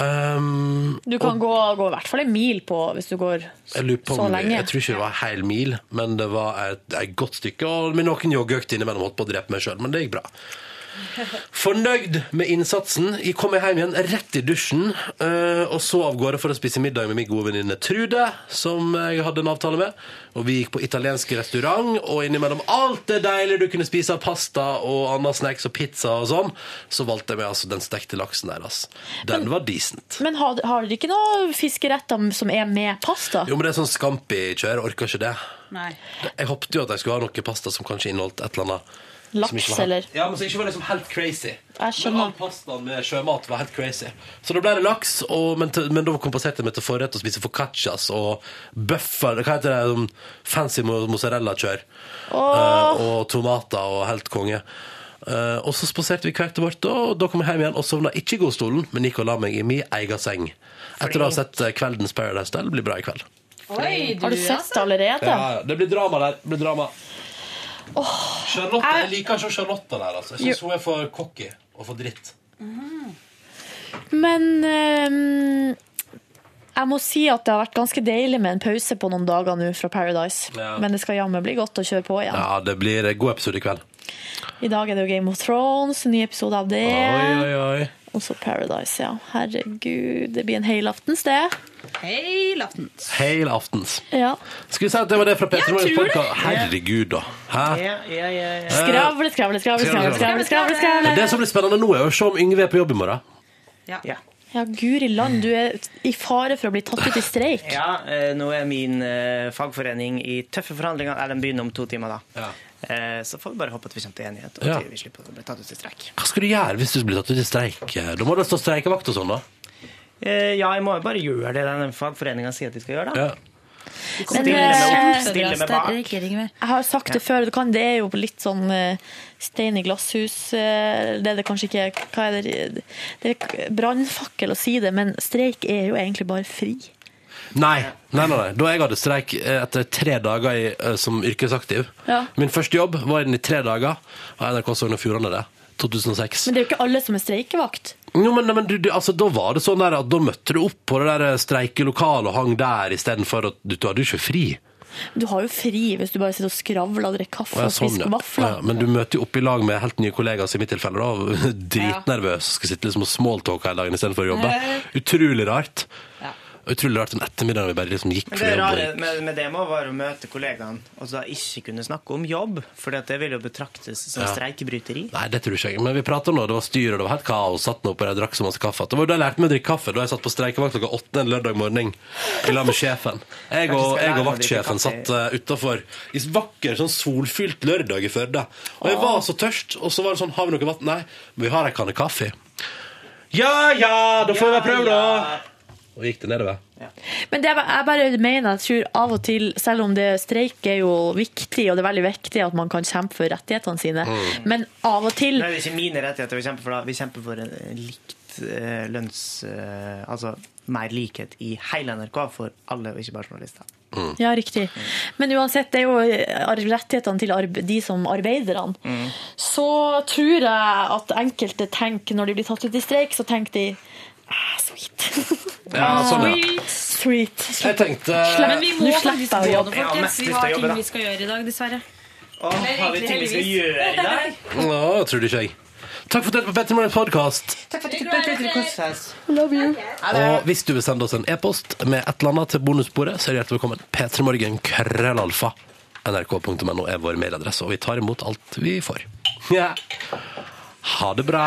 [SPEAKER 2] Um,
[SPEAKER 7] Du kan gå, gå i hvert fall en mil på hvis du går
[SPEAKER 2] jeg lurer på
[SPEAKER 7] så
[SPEAKER 2] om vi,
[SPEAKER 7] lenge.
[SPEAKER 2] jeg tror ikke det var en hel mil, men det var et, et godt stykke. Og med noen joggeøkter innimellom holdt på å drepe meg sjøl, men det gikk bra. Fornøyd med innsatsen. Jeg kom hjem igjen rett i dusjen, eh, og så av gårde for å spise middag med min gode venninne Trude, som jeg hadde en avtale med. Og vi gikk på italiensk restaurant, og innimellom alt det deilige du kunne spise av pasta og andre snacks og pizza og sånn, så valgte jeg meg altså den stekte laksen der, altså. Den var decent.
[SPEAKER 7] Men har, har dere ikke noen fiskeretter som er med pasta?
[SPEAKER 2] Jo, men det er sånn scampi-kjør, orker ikke det.
[SPEAKER 7] Nei.
[SPEAKER 2] Jeg håpte jo at jeg skulle ha noe pasta som kanskje inneholdt et eller annet.
[SPEAKER 7] Laks,
[SPEAKER 2] som ikke var helt-
[SPEAKER 7] eller?
[SPEAKER 2] Ja, men som ikke var liksom helt crazy.
[SPEAKER 7] Jeg
[SPEAKER 2] Men all pastaen med sjømat var helt crazy. Så da ble det laks, og, men, til, men da kompenserte jeg meg til forrett og spise foccaccias og bøffer, hva heter det, sånn fancy mo- mozzarella-kjør.
[SPEAKER 7] Åh.
[SPEAKER 2] Eh, og tomater og helt konge. Eh, og så spaserte vi hvert til vårt, og da kom jeg hjem igjen og sovna ikke i godstolen, men gikk og la meg i min egen seng. Etter å ha sett eh, kveldens Paradise Del. Blir bra i kveld.
[SPEAKER 6] Oi, Har du sett det allerede?
[SPEAKER 2] Ja, ja. Det blir drama der. Det blir drama. Charlotte, Jeg liker ikke Charlotte der. Altså. Jeg syns hun er for cocky og for dritt.
[SPEAKER 6] Men ehm, jeg må si at det har vært ganske deilig med en pause på noen dager nå fra Paradise.
[SPEAKER 2] Ja.
[SPEAKER 6] Men det skal jammen bli godt å kjøre på igjen.
[SPEAKER 2] Ja, det blir en god episode i kveld.
[SPEAKER 6] I dag er det jo Game of Thrones, en ny episode av det.
[SPEAKER 2] Oi, oi, oi.
[SPEAKER 6] Og så Paradise, ja. Herregud, det blir en helaftens, det.
[SPEAKER 17] Helaftens.
[SPEAKER 2] Helaftens.
[SPEAKER 6] Ja.
[SPEAKER 2] Skal vi si at det var det fra Petter
[SPEAKER 6] Jeg
[SPEAKER 2] Morgens
[SPEAKER 6] tror det.
[SPEAKER 2] podcast? Herregud, da. Hæ?
[SPEAKER 6] Skravle, skravle, skravle, skravle, skravle, skravle, skravle.
[SPEAKER 2] Det som blir spennende nå, er å se om Yngve er på jobb i morgen.
[SPEAKER 6] Ja. guri land, du er i fare for å bli tatt ut i streik.
[SPEAKER 3] Ja, eh, nå er min eh, fagforening i tøffe forhandlinger. Eller den begynner om to timer, da. Eh, Så får vi bare håpe at vi kommer til enighet, og
[SPEAKER 2] Ja.
[SPEAKER 3] at vi slipper å bli tatt ut i streik.
[SPEAKER 2] Hva skal du gjøre hvis du blir tatt ut i streik? Da må du stå streikevakt og sånn, da.
[SPEAKER 3] Eh, Ja, jeg må jo bare gjøre det den fagforeninga sier at de skal gjøre, da.
[SPEAKER 2] Ja.
[SPEAKER 6] Men,
[SPEAKER 3] Stille
[SPEAKER 6] eh,
[SPEAKER 3] meg opp, stille meg bak.
[SPEAKER 6] Jeg har sagt det før, du kan, det er jo litt sånn eh, stein i glasshus. eh, Det er det kanskje ikke hva er det, det er brannfakkel å si det, men streik er jo egentlig bare fri.
[SPEAKER 2] Nei, nei, nei, nei. Da jeg hadde streik eh, etter tre dager i, eh, som yrkesaktiv
[SPEAKER 6] Ja.
[SPEAKER 2] Min første jobb var inn i tre dager av NRK Sogn og Fjordane, det. 2006.
[SPEAKER 6] Men det er jo ikke alle som er streikevakt.
[SPEAKER 2] Jo, men, men du, du, altså, da var det sånn der at da møtte du opp på det der eh, streikelokalet og hang der istedenfor at du, du hadde jo ikke fri.
[SPEAKER 6] Du har jo fri hvis du bare sitter og skravler og drikker kaffe
[SPEAKER 2] Å, ja, sånn,
[SPEAKER 6] og spiser
[SPEAKER 2] ja.
[SPEAKER 6] vafler.
[SPEAKER 2] Ja, men du møter jo opp i lag med helt nye kollegaer, som i mitt tilfelle, da. Dritnervøs. Skal sitte liksom og smalltalke hele dagen istedenfor å jobbe.
[SPEAKER 3] Eh.
[SPEAKER 2] Utrolig rart. Utrolig rart den ettermiddagen vi bare liksom gikk
[SPEAKER 3] Men
[SPEAKER 2] fra
[SPEAKER 3] det
[SPEAKER 2] jobb. og
[SPEAKER 3] rare
[SPEAKER 2] gikk.
[SPEAKER 3] med, med det må være å møte kollegaene og da ikke kunne snakke om jobb, for det vil jo betraktes som
[SPEAKER 2] Ja.
[SPEAKER 3] streikebryteri.
[SPEAKER 2] Nei, det tror ikke jeg. Men vi pratet om det, det var styr, og det var helt kaos. Satt nå oppe der og drakk så masse kaffe. Det var jo da jeg lærte meg å drikke kaffe. Da jeg satt på streikevakt klokka åtte en lørdag morgen i lag med sjefen. Jeg og, jeg og vaktsjefen satt uh, utafor i vakker, sånn solfylt lørdag i Førde. Og jeg var så tørst, og så var det sånn Har vi noe vann? Nei, men vi har ei kanne kaffe. Ja ja, da får vi prøve, da! Og gikk det nedover.
[SPEAKER 6] Men det er bare- jeg bare mener, jeg tror av og til, selv om det streik er jo viktig, og det er veldig viktig at man kan kjempe for rettighetene sine,
[SPEAKER 3] Mm.
[SPEAKER 6] men av og til
[SPEAKER 3] Nei, det er ikke mine rettigheter vi kjemper for, da. Vi kjemper for en eh, likt eh, lønns... eh, altså mer likhet i hele NRK for alle, og ikke bare journalister.
[SPEAKER 6] Ja, riktig. Men uansett, det er jo ar- rettighetene til arbe- de som arbeiderne. Så tror jeg at enkelte tenker, når de blir tatt ut i streik, så tenker de ah, sweet.
[SPEAKER 2] Ja, sånn, ja.
[SPEAKER 6] Sweet.
[SPEAKER 2] Jeg tenkte
[SPEAKER 6] Slepp-
[SPEAKER 5] Men vi må
[SPEAKER 6] Nå
[SPEAKER 5] faktisk
[SPEAKER 6] slipper jeg
[SPEAKER 5] gå
[SPEAKER 6] å
[SPEAKER 5] nå,
[SPEAKER 6] jobbe.
[SPEAKER 5] folkens.
[SPEAKER 2] lyst
[SPEAKER 5] Vi
[SPEAKER 2] til å
[SPEAKER 5] har
[SPEAKER 2] jobbe,
[SPEAKER 5] ting
[SPEAKER 2] da.
[SPEAKER 5] vi skal gjøre i dag, dessverre.
[SPEAKER 3] har vi ting vi skal gjøre i dag?
[SPEAKER 2] Nå, trodde ikke jeg. Takk for at du hørte på Petter Morgens podkast.
[SPEAKER 3] Takk for at du tok deg til å kose oss.
[SPEAKER 6] Love you.
[SPEAKER 2] Og hvis du vil sende oss en e-post med et eller annet til bonusbordet, så er du hjertelig velkommen. P3morgen krøllalfa nrk.no er vår mailadresse, og vi tar imot alt vi får. Ja. Ha det bra.